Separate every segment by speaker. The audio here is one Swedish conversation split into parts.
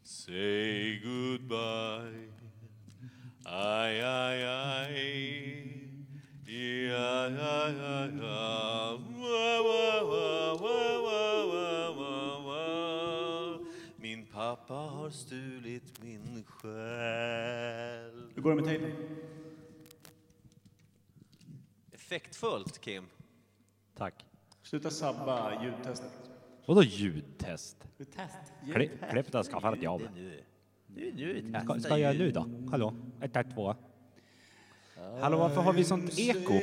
Speaker 1: Say goodbye. Ay, ay, ay. Yeah, ay, ay, ay, ah. Wah, wah, wah, wah, wah, wah, wah, wah. Min pappa har stulit min själ.
Speaker 2: Hur går det med tejpen?
Speaker 1: Effektfullt, Kim.
Speaker 3: Tack.
Speaker 2: Sluta sabba ljudtestet.
Speaker 3: Vadå ljudtest?
Speaker 1: Test.
Speaker 3: Klipp, klipp det ska fan inte jag med.
Speaker 1: Nu. Nu, nu
Speaker 3: Ska, ska jag göra nu då? Hallå? Ett, ett, två. Hallå, varför har vi sånt eko?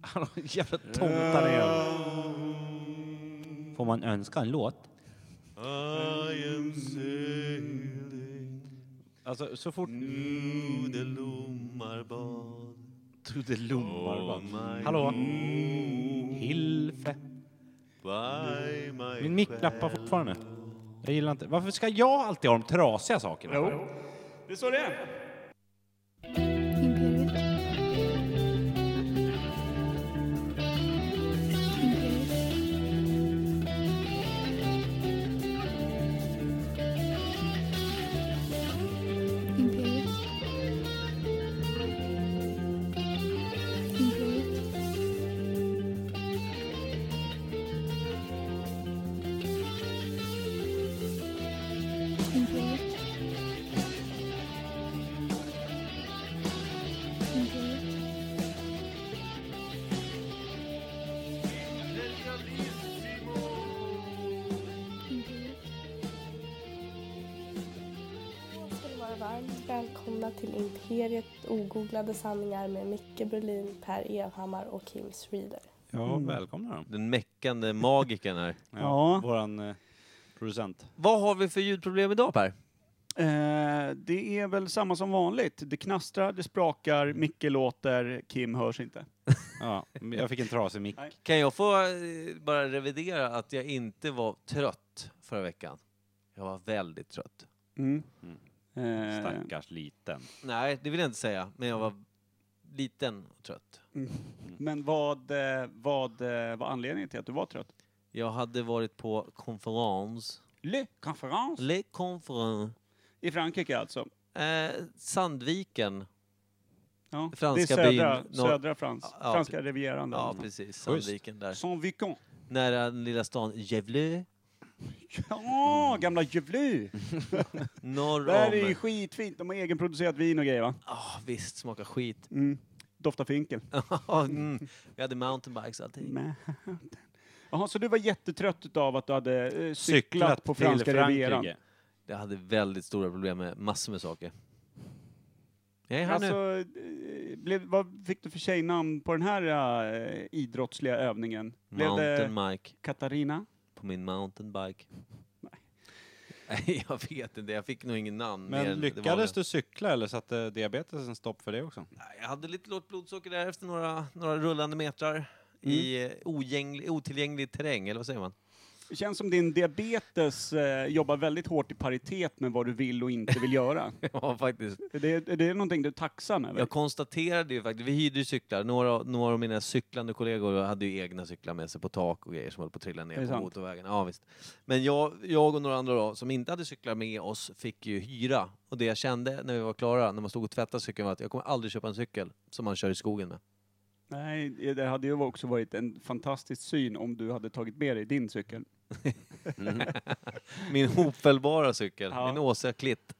Speaker 3: Hallå, jävla tomtar igen. Får man önska en låt?
Speaker 1: I am sailing
Speaker 3: Alltså, så fort...
Speaker 1: through the lommarbad
Speaker 3: To the
Speaker 1: Oh my
Speaker 3: Hallå? Hilfe.
Speaker 1: by my
Speaker 3: Min mick klappar fortfarande. Jag gillar inte... Varför ska jag alltid ha de trasiga sakerna?
Speaker 2: Det är så det är.
Speaker 4: Imperiet. Imperiet. Imperiet. Imperiet. Imperiet. Imperiet. Imperiet.
Speaker 5: Då ska ni vara varmt välkomna till Imperiet ogooglade sanningar med Micke Berlin, Per Evhammar och Kim Reader.
Speaker 3: Ja, välkomna dem.
Speaker 1: Den meckande magiken här.
Speaker 3: Ja.
Speaker 2: Ja.
Speaker 3: Våran eh, producent.
Speaker 1: Vad har vi för ljudproblem idag Per?
Speaker 2: Eh, det är väl samma som vanligt. Det knastrar, det sprakar, Micke låter, Kim hörs inte.
Speaker 3: Ja, jag fick en trasig mick.
Speaker 1: Kan jag få eh, bara revidera att jag inte var trött förra veckan? Jag var väldigt trött.
Speaker 2: Mm.
Speaker 3: Mm.
Speaker 2: Eh,
Speaker 3: Stackars liten.
Speaker 1: Nej, det vill jag inte säga, men jag var liten och trött.
Speaker 2: Men vad, eh, vad eh, var anledningen till att du var trött?
Speaker 1: Jag hade varit på konferens.
Speaker 2: Le conférence.
Speaker 1: Le conférence.
Speaker 2: I Frankrike alltså.
Speaker 1: Eh, Sandviken.
Speaker 2: Ja.
Speaker 1: Franska
Speaker 2: det är södra,
Speaker 1: byn, norr-
Speaker 2: södra Frans,
Speaker 1: Ja,
Speaker 2: franska rivieran. där
Speaker 1: Ja,
Speaker 2: någonstans.
Speaker 1: precis. Sandviken där.
Speaker 2: Saint Vicon.
Speaker 1: Nära den lilla stan Gävle.
Speaker 2: Ja, gamla
Speaker 1: Mm.
Speaker 2: Gävle.
Speaker 1: Norr
Speaker 2: Där är ju
Speaker 1: om...
Speaker 2: skitfint. De har egenproducerat vin och grejer va?
Speaker 1: Ah, visst, smakar skit.
Speaker 2: Mm. Doftar finkel.
Speaker 1: mm. Vi hade mountainbikes allting.
Speaker 2: Manhattan. Jaha, så du var jättetrött utav att du hade eh, cyklat, på
Speaker 3: till
Speaker 2: franska rivieran?
Speaker 3: Frankrike.
Speaker 1: Jag hade väldigt stora problem med massor med saker. Jag är här
Speaker 2: Alltså,
Speaker 1: nu.
Speaker 2: eh, blev, vad fick du för tjejnamn på den här eh, idrottsliga övningen? Blev det
Speaker 1: Mountain Mike
Speaker 2: Katarina?
Speaker 1: på min mountainbike. Nej, jag vet inte. Jag fick nog ingen namn. mer
Speaker 3: Men
Speaker 1: än det vanliga.
Speaker 3: lyckades du cykla eller satte diabetesen stopp för det också?
Speaker 1: Nej, Jag hade lite lågt blodsocker där efter några, några rullande metrar i eh, ogänglig, otillgänglig terräng, eller vad säger man?
Speaker 2: Det känns som din diabetes eh, jobbar väldigt hårt i paritet med vad du vill och inte vill göra.
Speaker 1: Ja, faktiskt.
Speaker 2: Är det, är det någonting du är tacksam över?
Speaker 1: Jag konstaterade ju faktiskt, vi hyrde ju cyklar. Några, några av mina cyklande kollegor hade ju egna cyklar med sig på tak och grejer som höll på att trilla
Speaker 2: Är
Speaker 1: ner
Speaker 2: det
Speaker 1: på
Speaker 2: sant?
Speaker 1: motorvägen. Ja, visst. Men jag, jag och några andra då, som inte hade cyklar med oss fick ju hyra. Och det jag kände när vi var klara, när man stod och tvättade cykeln var att jag kommer aldrig köpa en cykel som man kör i skogen med.
Speaker 2: Nej, det hade ju också varit en fantastisk syn om du hade tagit med dig din cykel.
Speaker 1: Min hopfällbara cykel,
Speaker 2: Ja.
Speaker 1: min Åsa Klitt.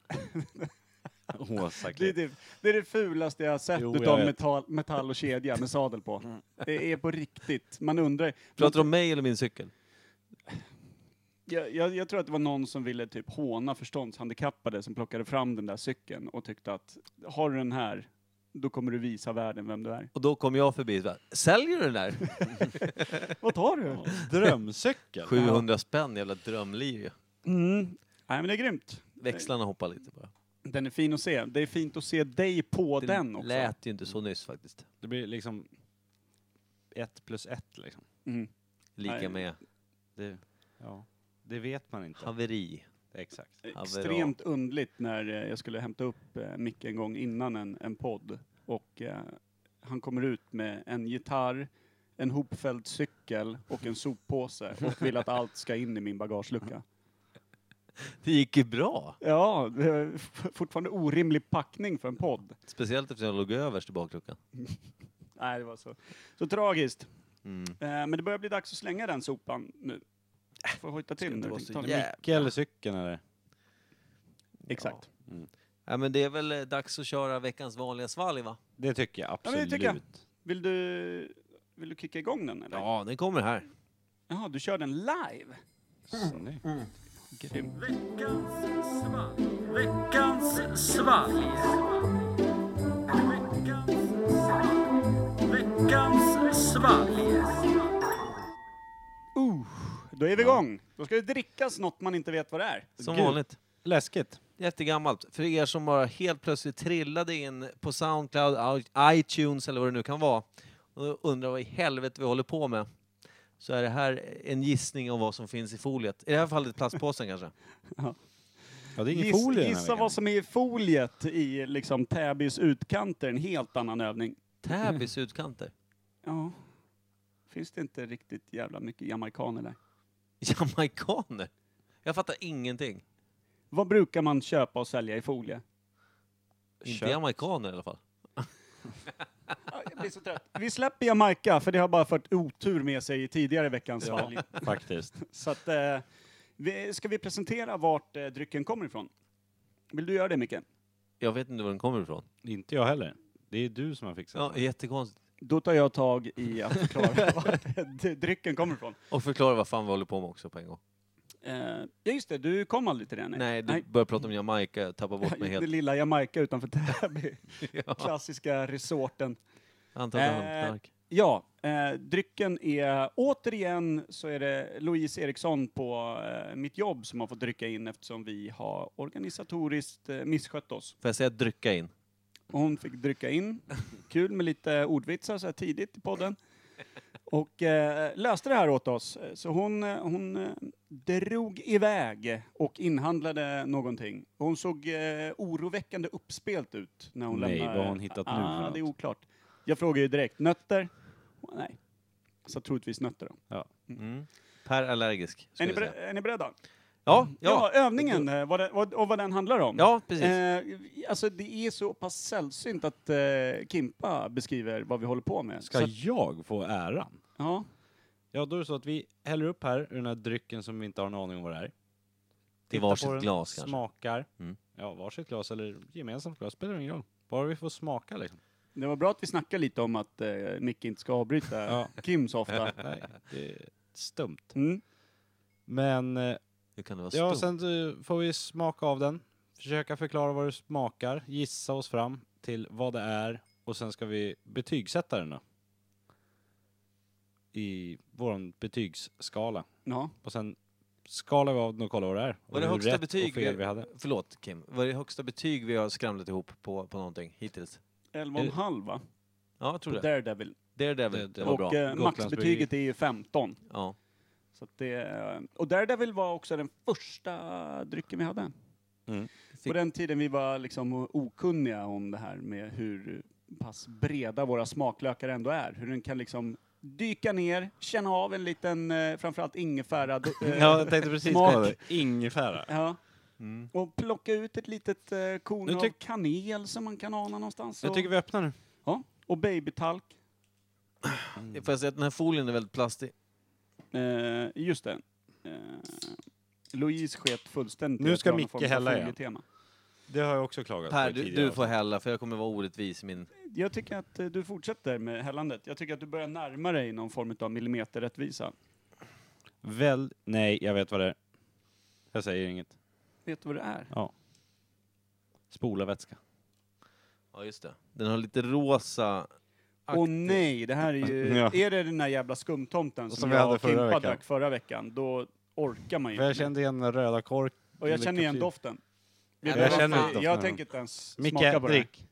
Speaker 3: Åsa
Speaker 2: Det är det, det, är det fulaste jag har sett
Speaker 3: Jo, jag
Speaker 2: utav
Speaker 3: vet.
Speaker 2: metall, metall och kedja med sadel på. Det är på riktigt. Man undrar.
Speaker 1: Pratar du om mig eller min cykel?
Speaker 2: Jag, jag, jag tror att det var någon som ville typ håna förståndshandikappade som plockade fram den där cykeln och tyckte att har du den här, då kommer du visa världen vem du är.
Speaker 1: Och då kom jag förbi och bara, säljer du den där?
Speaker 2: Vad tar du?
Speaker 3: Drömcykel.
Speaker 1: 700 spänn, jävla drömliv ju.
Speaker 2: Mm. Nej men det är grymt.
Speaker 1: Växlarna hoppar lite bara.
Speaker 2: Den är fin att se. Det är fint att se dig på
Speaker 1: Det
Speaker 2: den också.
Speaker 1: lät ju inte så nyss faktiskt.
Speaker 3: Det blir liksom ett plus ett liksom.
Speaker 2: Mm.
Speaker 1: Lika
Speaker 2: Nej.
Speaker 1: med
Speaker 3: Det, ja. det vet man inte.
Speaker 1: haveri.
Speaker 3: Exakt.
Speaker 2: Extremt undligt när eh, jag skulle hämta upp eh, Micke en gång innan en, en podd och eh, han kommer ut med en gitarr, en hopfälld cykel och en soppåse och vill att allt ska in i min bagagelucka.
Speaker 6: Det gick ju bra.
Speaker 2: Ja, det är f- fortfarande orimlig packning för en podd.
Speaker 6: Speciellt eftersom jag låg överst i bakluckan.
Speaker 2: Nej, det var så. Så tragiskt.
Speaker 6: Mm.
Speaker 2: Eh, men det börjar bli dags att slänga den sopan nu. Får hojta till
Speaker 6: Äh, inte
Speaker 2: nu.
Speaker 6: vara
Speaker 2: Tänk
Speaker 6: så
Speaker 2: ta det.
Speaker 6: jävla-
Speaker 3: Micke eller cykeln eller?
Speaker 2: Exakt.
Speaker 6: Ja, men det är väl eh, dags att köra veckans vanliga svalg va?
Speaker 3: Det tycker jag
Speaker 2: men
Speaker 3: absolut.
Speaker 2: det tycker jag. Vill du, vill du kicka igång den eller?
Speaker 6: Ja, den kommer här.
Speaker 2: Jaha, du kör den live?
Speaker 3: Snyggt.
Speaker 2: Grym. Uh, då är vi igång! Då ska det drickas något man inte vet vad det är.
Speaker 6: Som
Speaker 3: Gud.
Speaker 6: vanligt.
Speaker 3: Läskigt.
Speaker 6: Jättegammalt. För er som bara helt plötsligt trillade in på Soundcloud, i- iTunes eller vad det nu kan vara och undrar vad i helvete vi håller på med. Så är det här en gissning om vad som finns i foliet. I det här fallet plastpåsen kanske.
Speaker 3: Ja, det är ingen
Speaker 2: Giss,
Speaker 3: folie den här
Speaker 2: gissa
Speaker 3: veckan.
Speaker 2: vad som är i foliet i liksom Täbys utkanter, en helt annan övning.
Speaker 6: Täbys utkanter.
Speaker 2: Ja. Finns det inte riktigt jävla mycket jamaicaner där?
Speaker 6: Jamaicaner? Jag fattar ingenting.
Speaker 2: Vad brukar man köpa och sälja i folie?
Speaker 6: Inte
Speaker 3: Kött.
Speaker 6: jamaicaner i alla fall.
Speaker 2: Ja, Jag blir så trött. Vi släpper Jamaica, för det har bara fört otur med sig i tidigare veckans valg.
Speaker 3: Faktiskt.
Speaker 2: Så att, eh, vi, ska vi presentera vart eh, drycken kommer ifrån? Vill du göra det, Micke?
Speaker 6: Jag vet inte var den kommer ifrån.
Speaker 3: Inte jag heller. Det är du som har fixat
Speaker 6: Ja,
Speaker 3: det.
Speaker 6: jättekonstigt.
Speaker 2: Då tar jag tag i att förklara vart eh, d- drycken kommer ifrån.
Speaker 6: Och förklara vad fan vi håller på med också på en gång.
Speaker 2: Eh, ja, just det, du kom aldrig till det? Nej,
Speaker 6: Nej, du börjar prata om Jamaica, jag tappar bort mig
Speaker 2: Det
Speaker 6: helt.
Speaker 2: lilla Jamaica utanför Täby.
Speaker 6: Ja,
Speaker 2: Klassiska resorten.
Speaker 6: antagligen
Speaker 2: Eh,
Speaker 6: knark.
Speaker 2: Ja, eh, drycken är återigen så är det Louise Eriksson på eh, mitt jobb som har fått drycka in eftersom vi har organisatoriskt eh, misskött oss.
Speaker 6: Får jag säga drycka in?
Speaker 2: Och hon fick drycka in. Kul med lite ordvitsar så här tidigt i podden. Och eh, löste det här åt oss. Så hon, eh, hon eh, drog iväg och inhandlade någonting. Hon såg eh, oroväckande uppspelt ut när hon
Speaker 3: Nej,
Speaker 2: lämnade.
Speaker 3: vad har hon hittat nu för
Speaker 2: ah,
Speaker 3: något?
Speaker 2: Det är oklart. Jag frågar ju direkt, nötter? Hon, Nej. Så troligtvis nötter då.
Speaker 6: Mm. Per allergisk.
Speaker 2: Är ni,
Speaker 6: skulle
Speaker 2: Mm.
Speaker 6: jag säga.
Speaker 2: bere- är ni beredda?
Speaker 6: Ja,
Speaker 2: Ja,
Speaker 6: ja,
Speaker 2: övningen eh, vad det, vad, och vad den handlar om.
Speaker 6: ja, precis.
Speaker 2: Eh, alltså det är så pass sällsynt att eh, Kimpa beskriver vad vi håller på med.
Speaker 3: Ska
Speaker 2: så, att-
Speaker 3: jag få äran?
Speaker 2: ja.
Speaker 3: Ja, då är det så att vi häller upp här ur den här drycken som vi inte har en aning om vad det är.
Speaker 6: I
Speaker 3: Tittar
Speaker 6: varsitt
Speaker 3: på den,
Speaker 6: glas kanske.
Speaker 3: Smakar.
Speaker 6: Mm.
Speaker 3: Ja, varsitt glas eller gemensamt glas spelar ingen roll. Bara vi får smaka liksom.
Speaker 2: Det var bra att vi snackade lite om att eh, Micke inte ska avbryta
Speaker 3: Ja.
Speaker 2: Kim så ofta.
Speaker 3: Nej, det är stumt.
Speaker 2: Mm.
Speaker 3: Men eh,
Speaker 6: Hur kan det vara
Speaker 3: ja,
Speaker 6: ja,
Speaker 3: sen eh, får vi smaka av den. Försöka förklara vad det smakar. Gissa oss fram till vad det är. Och sen ska vi betygsätta den då. I vår betygsskala.
Speaker 2: Ja.
Speaker 3: Och sen skalar vi av den och kollar vad det är. Och
Speaker 6: Var det
Speaker 3: hur
Speaker 6: högsta
Speaker 3: rätt
Speaker 6: betyg
Speaker 3: och fel
Speaker 6: vi-
Speaker 3: vi hade.
Speaker 6: Förlåt Kim, vad är det högsta betyg vi har skramlat ihop på, på någonting hittills?
Speaker 2: Elva och en halv va?
Speaker 6: Ja, jag
Speaker 2: På
Speaker 6: Eh, tror det.
Speaker 2: Daredevil.
Speaker 6: Daredevil,
Speaker 3: Det-
Speaker 6: det,
Speaker 3: det
Speaker 6: var
Speaker 2: Och
Speaker 6: bra.
Speaker 2: eh, maxbetyget är ju 15.
Speaker 6: Ja.
Speaker 2: Så att det, eh, och Daredevil var också den första drycken vi hade.
Speaker 3: Mm.
Speaker 6: Fick-
Speaker 2: På den tiden vi var liksom okunniga om det här med hur pass breda våra smaklökar ändå är. Hur den kan liksom dyka ner, känna av en liten, eh, framförallt ingefära. do- eh,
Speaker 3: Ja, jag tänkte precis
Speaker 2: Smak.
Speaker 3: på det. Ingefära.
Speaker 2: ja.
Speaker 6: Mm.
Speaker 2: Och plocka ut ett litet eh, korn
Speaker 3: Nu
Speaker 2: av
Speaker 3: tyck-
Speaker 2: kanel som man kan ana någonstans.
Speaker 3: Jag
Speaker 2: och-
Speaker 3: tycker vi öppnar nu.
Speaker 2: ja. Och babytalk.
Speaker 6: Mm. Får jag säga att den här folien är väldigt plastig?
Speaker 2: Eh, just det. Eh, Louise sket fullständigt. i
Speaker 3: Nu
Speaker 2: att
Speaker 3: ska
Speaker 2: dra någon
Speaker 3: Micke
Speaker 2: form av
Speaker 3: hälla igen.
Speaker 2: följetema.
Speaker 3: Det har jag också klagat
Speaker 6: Per,
Speaker 3: på
Speaker 6: du,
Speaker 3: tidigare.
Speaker 6: du får hälla för jag kommer vara orättvis i min...
Speaker 2: Jag tycker att eh, du fortsätter med hällandet. Jag tycker att du börjar närma dig någon form av millimeterrättvisa.
Speaker 3: Väl... Nej, jag vet vad det är. Jag säger inget.
Speaker 2: Vet du vad det är?
Speaker 3: Spola vätska.
Speaker 6: Ja, just det. Den har lite rosa...
Speaker 2: Åh nej, det här är ju...
Speaker 3: Ja.
Speaker 2: Är det den där jävla skumtomten som,
Speaker 3: Som vi
Speaker 2: jag
Speaker 3: hade
Speaker 2: och
Speaker 3: förra
Speaker 2: Kimpa
Speaker 3: veckan.
Speaker 2: drack förra veckan, då orkar man ju
Speaker 3: För jag
Speaker 2: inte.
Speaker 3: kände igen den röda kork.
Speaker 2: Och jag känner igen
Speaker 3: kapsyl.
Speaker 2: doften. Vet
Speaker 6: Jag
Speaker 2: du vad?
Speaker 6: känner
Speaker 2: Fan,
Speaker 6: inte
Speaker 3: doften.
Speaker 2: Jag tänker inte ens
Speaker 3: Micke,
Speaker 2: smaka på
Speaker 3: drick.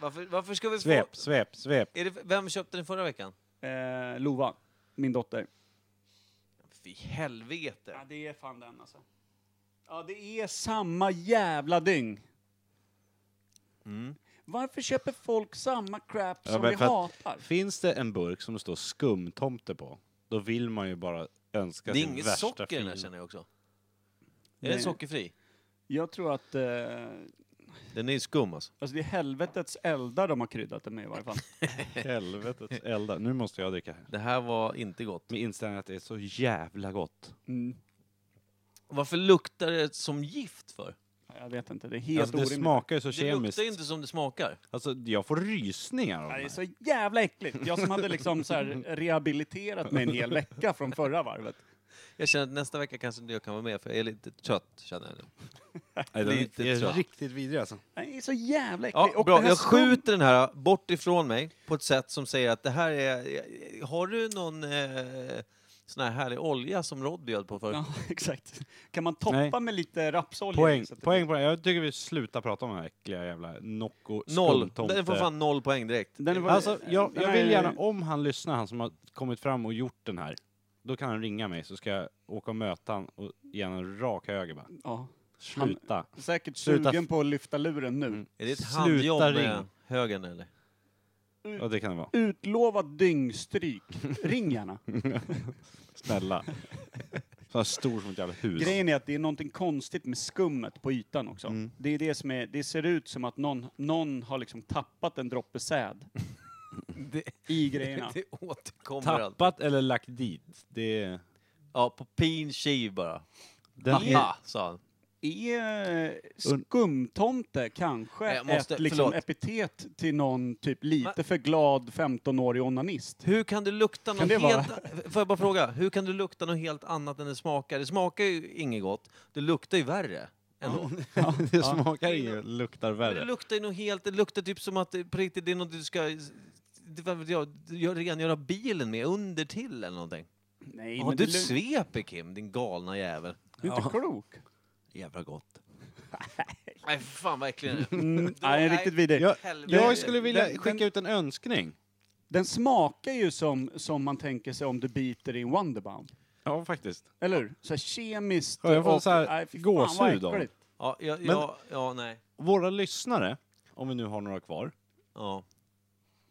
Speaker 6: Varför, varför ska vi få...
Speaker 3: Svep, svep, svep.
Speaker 6: Är det, vem köpte den förra veckan?
Speaker 2: det här. Eh, Lova, min dotter.
Speaker 6: Fy helvete.
Speaker 2: Ja, det är fan den alltså. Ja, det är samma jävla dyng.
Speaker 6: Mm.
Speaker 2: Varför köper folk samma crap
Speaker 3: Ja,
Speaker 2: som
Speaker 3: men
Speaker 2: vi
Speaker 3: för att-
Speaker 2: hatar?
Speaker 3: Finns det en burk som det står skumtomte på, då vill man ju bara önska
Speaker 6: Det är
Speaker 3: sin
Speaker 6: inget
Speaker 3: värsta
Speaker 6: socker i den här
Speaker 3: fiende.
Speaker 6: känner jag också. Är
Speaker 2: Nej.
Speaker 6: den sockerfri?
Speaker 2: Jag tror att eh,
Speaker 6: Den är ju skum alltså.
Speaker 2: alltså det är helvetets eldar de har kryddat den med i varje fall.
Speaker 3: Helvetet elda. Nu måste jag dricka.
Speaker 6: Det här var inte gott.
Speaker 3: Med inställningen att det är så jävla gott.
Speaker 2: Mm.
Speaker 6: Varför luktar det som gift för?
Speaker 2: Jag vet inte, det är helt
Speaker 3: Alltså, det
Speaker 2: orimligt.
Speaker 3: smakar ju så
Speaker 6: Det
Speaker 3: kemiskt.
Speaker 6: luktar ju inte som det smakar.
Speaker 3: Alltså, jag får rysningar av
Speaker 2: Ja, Det är
Speaker 3: det.
Speaker 2: så jävla äckligt. Jag som hade liksom så här rehabiliterat mig en hel vecka från förra varvet.
Speaker 6: Jag känner att nästa vecka kanske inte jag kan vara med för jag är lite trött känner jag nu.
Speaker 3: här. Nej,
Speaker 6: lite
Speaker 3: den är
Speaker 6: trött.
Speaker 3: riktigt vidrig alltså.
Speaker 2: Nej, Det är så jävla äckligt.
Speaker 6: Ja,
Speaker 2: Och det
Speaker 6: bra.
Speaker 2: här
Speaker 6: Jag
Speaker 2: skum-
Speaker 6: skjuter den här bort ifrån mig på ett sätt som säger att det här är... Har du någon eh, sån här härlig olja som Rod bjöd på förut?
Speaker 2: Ja, exakt. Kan man toppa
Speaker 3: Nej.
Speaker 2: med lite rapsolja?
Speaker 3: Poäng,
Speaker 2: Så att det-
Speaker 3: poäng, poäng. Jag tycker vi slutar prata om den här äckliga jävla Nocco
Speaker 6: Noll.
Speaker 3: skumtomte.
Speaker 6: Den får fan noll poäng direkt.
Speaker 2: Den var-
Speaker 3: Alltså, jag,
Speaker 2: den
Speaker 3: jag
Speaker 2: här-
Speaker 3: vill gärna, om han lyssnar, han som har kommit fram och gjort den här, då kan han ringa mig så ska jag åka och möta han och ge han en rak höger bara.
Speaker 2: Ja,
Speaker 3: Sluta.
Speaker 2: säkert
Speaker 3: Sluta.
Speaker 2: sugen på att lyfta luren nu.
Speaker 3: Mm.
Speaker 6: Är det ett
Speaker 3: Sluta
Speaker 6: handjobb med
Speaker 3: ring.
Speaker 6: högern eller?
Speaker 3: Ja, det kan det vara.
Speaker 2: Utlovat dyngstryk. Ring gärna.
Speaker 3: Snälla. Så här stor som ett jävla hus.
Speaker 2: Grejen är att det är någonting konstigt med skummet på ytan också.
Speaker 3: Mm.
Speaker 2: Det är det som är, det ser ut som att någon, någon har liksom tappat en droppe säd
Speaker 6: Det,
Speaker 2: i grejerna.
Speaker 6: det återkommer allt.
Speaker 3: Tappat eller lagt dit, det är...
Speaker 6: Ja, på pin kiv bara.
Speaker 3: Den är
Speaker 6: Haha, sa han.
Speaker 2: Är eh, skumtomte kanske
Speaker 6: Jag måste-
Speaker 2: ett liksom,
Speaker 6: förlåt.
Speaker 2: epitet till någon typ lite
Speaker 6: Men-
Speaker 2: för glad 15-årig onanist?
Speaker 6: Hur kan du lukta något
Speaker 2: det vara-
Speaker 6: helt... Får jag bara fråga? Hur kan du lukta något helt annat än det smakar? Det smakar ju inget gott. Det luktar ju värre. Ändå.
Speaker 3: det smakar inget, luktar
Speaker 6: Men det
Speaker 3: värre.
Speaker 6: luktar ju något helt... Det luktar typ som att det på riktigt det är något du ska... Det, vad vet jag, gör- rengöra bilen med under till eller någonting.
Speaker 2: Nej,
Speaker 6: Har
Speaker 2: men
Speaker 6: du
Speaker 2: det
Speaker 6: ett
Speaker 2: lu-
Speaker 6: sveper Kim, din galna jävel.
Speaker 2: du är inte klok.
Speaker 6: Jävla gott. Nej, fan vad äcklig den är.
Speaker 2: Mm, nej, riktigt vidrig.
Speaker 3: Jag,
Speaker 6: Helvete.
Speaker 3: jag skulle vilja
Speaker 2: Den- den-
Speaker 3: skicka ut en önskning.
Speaker 2: Den smakar ju som, som man tänker sig om du biter i en Wonderbaum.
Speaker 3: Ja, faktiskt.
Speaker 2: Eller hur? Så här kemiskt.
Speaker 3: Ja, jag får
Speaker 2: och-
Speaker 3: så här
Speaker 2: nej, fy fan,
Speaker 3: gåshud
Speaker 2: vad
Speaker 3: av
Speaker 2: äckligt.
Speaker 6: Ja, ja, ja, ja, nej.
Speaker 3: Våra lyssnare, om vi nu har några kvar,
Speaker 6: Ja.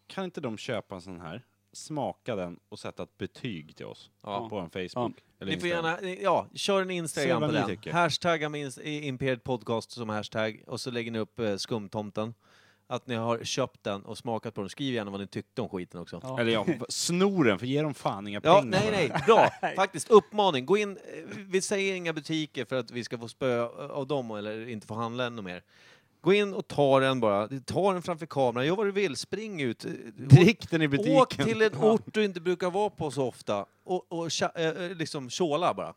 Speaker 3: kan inte de köpa en sån här, smaka den och sätta ett betyg till oss
Speaker 6: Ja.
Speaker 3: på en Facebook? Eller
Speaker 6: Ni får
Speaker 3: Instagram?
Speaker 6: gärna, ni- ja, kör en
Speaker 3: Se
Speaker 6: Instagram
Speaker 3: vad
Speaker 6: på
Speaker 3: ni
Speaker 6: den.
Speaker 3: tycker.
Speaker 6: Hashtagga med ins- i- Imperiet Podcast som hashtag och så lägger ni upp eh, skumtomten. Att ni har köpt den och smakat på den. Skriv gärna vad ni tyckte om skiten också. Ja,
Speaker 2: Ja.
Speaker 3: Eller ja, snor den, för ge dem fan inga pengar.
Speaker 6: nej,
Speaker 3: för den.
Speaker 6: nej, bra. Faktiskt, uppmaning. Gå in, eh, vi säger inga butiker för att vi ska få spö eh, av dem eller inte få handla ännu mer. Gå in och ta den bara. Ta den framför kameran, gör vad du vill, spring ut. Eh,
Speaker 3: Drick den i butiken.
Speaker 6: Åk till en ort du inte brukar vara på så ofta och, och tja- eh, eh, liksom tjåla bara.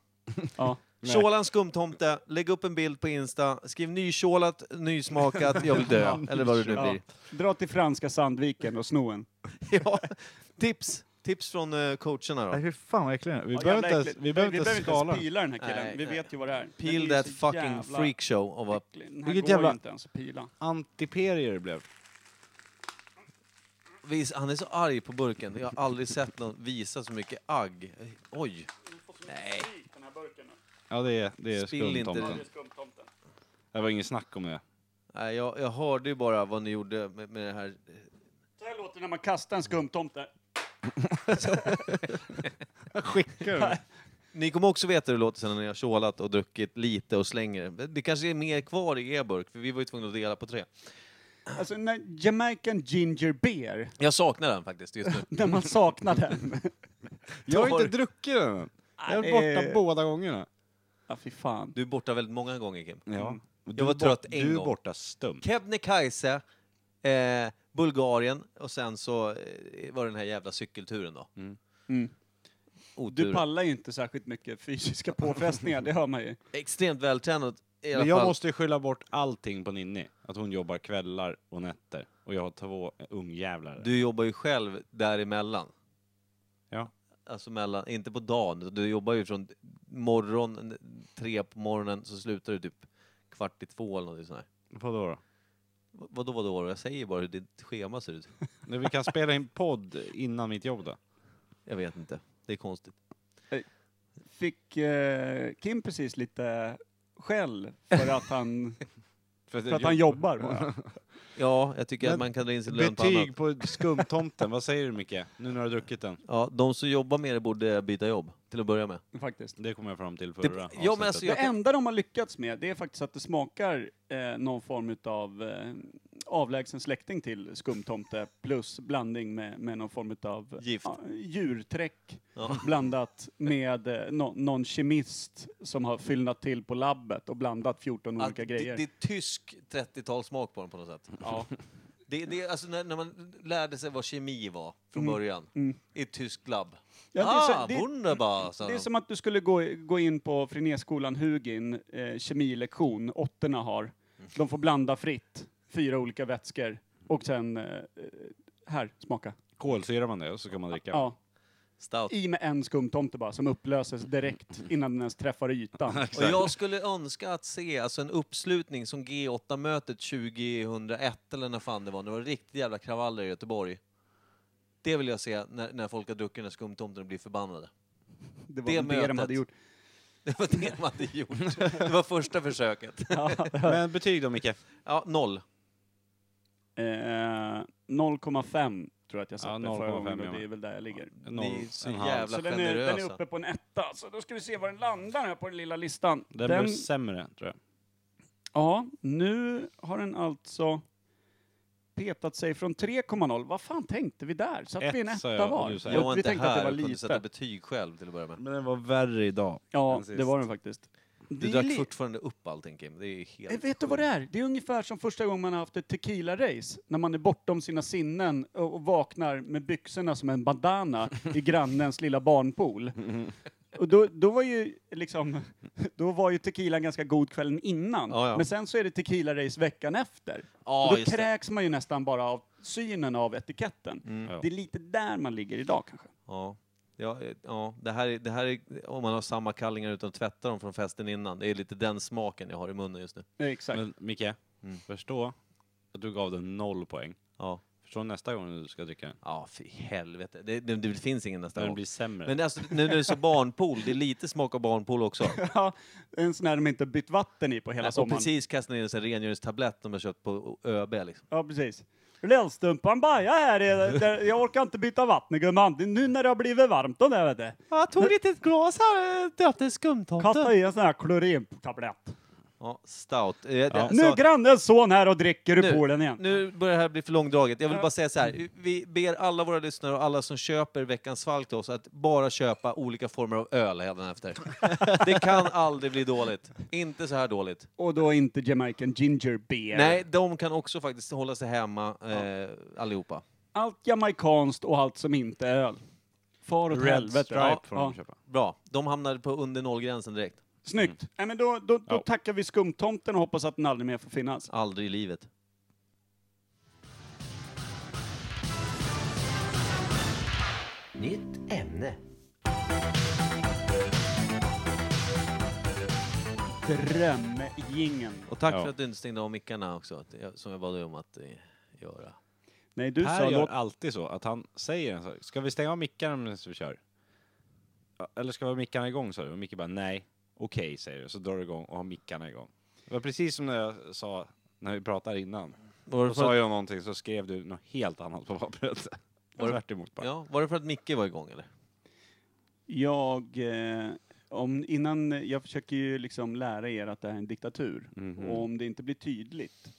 Speaker 2: Ja.
Speaker 6: Tjåla en skumtomte, lägg upp en bild på Insta, skriv nykjålat, nysmakat, jag vill dö, eller vad det nu
Speaker 2: Ja.
Speaker 6: blir.
Speaker 2: Dra till franska Sandviken och sno en.
Speaker 6: Ja, tips! Tips från eh, coacherna då.
Speaker 3: hur fan vad äcklig den är. Vi
Speaker 2: Ja,
Speaker 3: behöver
Speaker 2: jävla
Speaker 3: inte ens,
Speaker 2: äckligt.
Speaker 3: vi behöver inte ens skala den.
Speaker 2: pila den här killen.
Speaker 6: Nej,
Speaker 2: vi
Speaker 6: nej.
Speaker 2: vet ju vad det är. Den är
Speaker 6: Peel
Speaker 2: ju
Speaker 6: that
Speaker 2: så
Speaker 6: fucking
Speaker 2: jävla
Speaker 6: freakshow. Och vad-
Speaker 2: äcklig. Den här
Speaker 3: Vilket
Speaker 2: går
Speaker 3: jävla-
Speaker 2: ju inte ens att pila.
Speaker 3: Antiperier det blev.
Speaker 6: Vis- Han är så arg på burken, jag har aldrig sett någon visa så mycket agg. Oj! Nej.
Speaker 2: Den här burken
Speaker 3: Ja, det är, det är
Speaker 6: Spill inte
Speaker 3: skumtomten.
Speaker 6: den.
Speaker 2: skumtomten.
Speaker 3: Det var inget snack om det.
Speaker 6: Nej, jag, jag hörde ju bara vad ni gjorde med, med det här.
Speaker 2: Så här låter det när man kastar en skumtomte.
Speaker 3: Skickar
Speaker 6: Ni kommer också veta hur det låter sen när ni har tjålat och druckit lite och slänger det. Det kanske är mer kvar i er burk, för vi var ju tvungna att dela på tre.
Speaker 2: Alltså, när Jamaican Ginger Beer,
Speaker 6: Jag saknar den faktiskt just nu.
Speaker 2: när man saknar den.
Speaker 3: Jag har
Speaker 6: Tar-
Speaker 3: inte druckit den än. Jag har varit
Speaker 2: Nej.
Speaker 3: borta båda gångerna.
Speaker 2: Ja, fy fan.
Speaker 6: Du är borta väldigt många gånger, Kim.
Speaker 3: Ja.
Speaker 6: Jag var trött en
Speaker 3: Du är
Speaker 6: gång.
Speaker 3: borta stum.
Speaker 6: Kebnekaise, eh, Bulgarien och sen så eh, var det den här jävla cykelturen då.
Speaker 2: Mm.
Speaker 6: Oturen.
Speaker 2: Du pallar ju inte särskilt mycket fysiska påfrestningar, det hör man ju.
Speaker 6: Extremt vältränad i alla
Speaker 3: Men jag
Speaker 6: fall.
Speaker 3: måste ju skylla bort allting på Ninni. Att hon jobbar kvällar och nätter. Och jag har två ungjävlar.
Speaker 6: Du jobbar ju själv däremellan.
Speaker 3: Ja.
Speaker 6: Alltså mellan, inte på dagen, utan du jobbar ju från morgon, n- tre på morgonen, så slutar du typ kvart i två eller något sånt där.
Speaker 3: Vadå då?
Speaker 6: V- Vadå, vadå, vadå? Jag säger bara hur ditt schema ser ut.
Speaker 3: Nej, Vi kan spela in podd innan mitt jobb då.
Speaker 6: Jag vet inte. Det är konstigt.
Speaker 2: Fick eh, Kim precis lite skäll för att han,
Speaker 3: För,
Speaker 2: för att han jobbar bara.
Speaker 6: Ja, jag tycker att
Speaker 3: Men
Speaker 6: man kan dra in sin lön på annat.
Speaker 3: Betyg på skumtomten, vad säger du Micke? Nu när du har druckit den.
Speaker 6: Ja, de som jobbar med det borde byta jobb, till att börja med.
Speaker 2: faktiskt.
Speaker 3: Det kommer jag fram till
Speaker 6: Det-
Speaker 3: förra
Speaker 6: ja, men
Speaker 3: avsnittet.
Speaker 6: alltså,
Speaker 2: Det
Speaker 6: jag-
Speaker 2: enda de har lyckats med, det är faktiskt att det smakar eh, någon form av eh, avlägsen släkting till skumtomte plus blandning med, med någon form av
Speaker 6: Gift.
Speaker 2: djurträck
Speaker 6: Ja.
Speaker 2: blandat med eh, nå- någon kemist som har fyllnat till på labbet och blandat 14
Speaker 6: Att
Speaker 2: olika
Speaker 6: det,
Speaker 2: grejer.
Speaker 6: det är tysk 30-talssmak på dem på något sätt.
Speaker 2: ja.
Speaker 6: Det, det, är alltså när, när man lärde sig vad kemi var från början i ett tyskt labb.
Speaker 2: Mm. Ja, det är så-
Speaker 6: ah,
Speaker 2: det-
Speaker 6: wunderbar, sa
Speaker 2: Det är
Speaker 6: de.
Speaker 2: som att du skulle gå, gå in på Frenésskolan Hugin, eh, kemilektion, åttorna har. De får blanda fritt, fyra olika vätskor och sen, eh, här, smaka.
Speaker 3: Kolsyrar man det och så kan man dricka.
Speaker 2: Ja.
Speaker 6: Stout.
Speaker 2: I med en skumtomte bara, som upplöses direkt innan den ens träffar ytan.
Speaker 6: Och jag skulle önska att se alltså en uppslutning som G8-mötet 2001 eller när fan det var. när Det var riktigt jävla kravaller i Göteborg. Det vill jag se när, när folk har druckit den här skumtomten och blir förbannade.
Speaker 2: Det var det,
Speaker 6: Det
Speaker 2: det de
Speaker 6: mötet.
Speaker 2: hade gjort.
Speaker 6: Det var det man hade gjort. Det var första försöket.
Speaker 3: Men betyg då Micke?
Speaker 6: Ja, noll.
Speaker 2: Eh, 0,5 tror jag att jag satte förra
Speaker 3: 0,5
Speaker 2: gången
Speaker 3: jag
Speaker 2: och det är
Speaker 3: med.
Speaker 2: väl där jag ligger.
Speaker 3: Noll.
Speaker 6: Ni är så
Speaker 3: En halv.
Speaker 6: jävla
Speaker 2: Så den är, den är
Speaker 6: generösa.
Speaker 2: uppe på en etta, så då ska vi se var den landar här på den lilla listan.
Speaker 3: Den,
Speaker 2: Den-
Speaker 3: blev sämre tror jag.
Speaker 2: Ja, nu har den alltså petat sig från 3,0. Vad fan tänkte vi där? Satt
Speaker 3: Ett,
Speaker 2: vi en
Speaker 3: sa
Speaker 2: etta
Speaker 3: jag,
Speaker 2: var?
Speaker 3: och du sa
Speaker 6: Jag var
Speaker 2: vi
Speaker 6: inte
Speaker 2: tänkte att det
Speaker 6: här
Speaker 2: var
Speaker 6: och kunde sätta
Speaker 2: lite.
Speaker 6: betyg själv till att börja med.
Speaker 3: Men den var värre idag.
Speaker 2: Ja,
Speaker 3: än sist.
Speaker 2: det var den faktiskt.
Speaker 6: Du
Speaker 2: Det är
Speaker 6: drack
Speaker 2: li-
Speaker 6: fortfarande upp allting Kim. Det är ju helt
Speaker 2: Eh, Vet du vad det är? Det är ungefär som första gången man har haft ett tequila-race. När man är bortom sina sinnen och och vaknar med byxorna som en bandana i grannens lilla barnpool. Och då, då var ju liksom, då var ju tequilan ganska god kvällen innan.
Speaker 6: Ja, ja.
Speaker 2: Men sen så är det tequila-race veckan efter.
Speaker 6: Ja,
Speaker 2: och då
Speaker 6: just det.
Speaker 2: kräks man ju nästan bara av synen av etiketten.
Speaker 3: Ja.
Speaker 2: Det är lite där man ligger idag kanske.
Speaker 6: Mm. Ja. Ja, eh, ja, det här, är, det här är om man har samma kallingar utan att tvätta dem från festen innan. Det är lite den smaken jag har i munnen just nu.
Speaker 2: Eh, Exakt.
Speaker 3: Men Micke, förstå att du gav den noll poäng.
Speaker 6: Ja,
Speaker 3: Förstå nästa gång du ska dricka den.
Speaker 6: ja fy helvete. Det, det, det finns ingen nästa
Speaker 3: När den
Speaker 6: gång.
Speaker 3: blir sämre.
Speaker 6: Men alltså, nu när det är så barnpool, det är lite smak av barnpool också.
Speaker 2: ja, en sån här de inte bytt vatten i på hela
Speaker 6: Och
Speaker 2: sommaren.
Speaker 6: precis kastade ner en rengöringstablett de har köpt på ÖB. Liksom.
Speaker 2: Ja, precis. Lillstumpan baja här, är- där- jag orkar inte byta vatten gumman. Det är Nu när det har blivit varmt och det vet du.
Speaker 6: Jag tog lite ett glas här, eh, döpte skumtomten.
Speaker 2: Kasta i en sån här klorintablett.
Speaker 6: Ja, stout. Eh, det- alltså-
Speaker 2: Nu är grannens son här och dricker ur poolen igen.
Speaker 6: Nu börjar det här bli för långdraget. Jag vill bara säga så här. Vi ber alla våra lyssnare och alla som köper veckans valk till oss att bara köpa olika former av öl hädanefter. det kan aldrig bli dåligt. Inte så här dåligt.
Speaker 2: Och då inte Jamaican ginger beer.
Speaker 6: Nej, de kan också faktiskt hålla sig hemma eh, allihopa.
Speaker 2: Allt jamaikanskt och allt som inte är öl. Far åt
Speaker 3: Red
Speaker 2: helvete.
Speaker 3: Stripe
Speaker 2: Ja,
Speaker 3: får
Speaker 2: ja.
Speaker 3: de köpa.
Speaker 6: Bra. De hamnade på under nollgränsen direkt.
Speaker 2: Snyggt. Nej, men då då, då
Speaker 3: Mm. Ja.
Speaker 2: tackar vi skumtomten och hoppas att den aldrig mer får finnas.
Speaker 6: Aldrig i livet.
Speaker 7: Nytt ämne.
Speaker 2: Drömgingen.
Speaker 6: Och tack
Speaker 3: Ja.
Speaker 6: för att du inte stängde av mickarna också, att jag- som jag bad dig om att eh, göra.
Speaker 2: Nej, du
Speaker 3: Per
Speaker 2: sa
Speaker 3: gör
Speaker 2: låt...
Speaker 3: alltid så att han säger en sak. Ska vi stänga av mickarna medan vi kör? Ja, Eller ska vi ha mickarna igång sa du? Och Micke bara nej. Okej säger du. Så drar du igång och har mickarna igång. Det var precis som när jag sa när vi pratade innan.
Speaker 6: Var
Speaker 3: Då
Speaker 6: det
Speaker 3: sa
Speaker 6: för att,
Speaker 3: jag någonting så skrev du något helt annat på pappret.
Speaker 6: Var det-
Speaker 3: Tvärt emot bara.
Speaker 6: ja, var det för att Micke var igång eller?
Speaker 2: Jag, eh, om, innan, jag försöker ju liksom lära er att det här är en diktatur.
Speaker 3: Mhm.
Speaker 2: Och om det inte blir tydligt,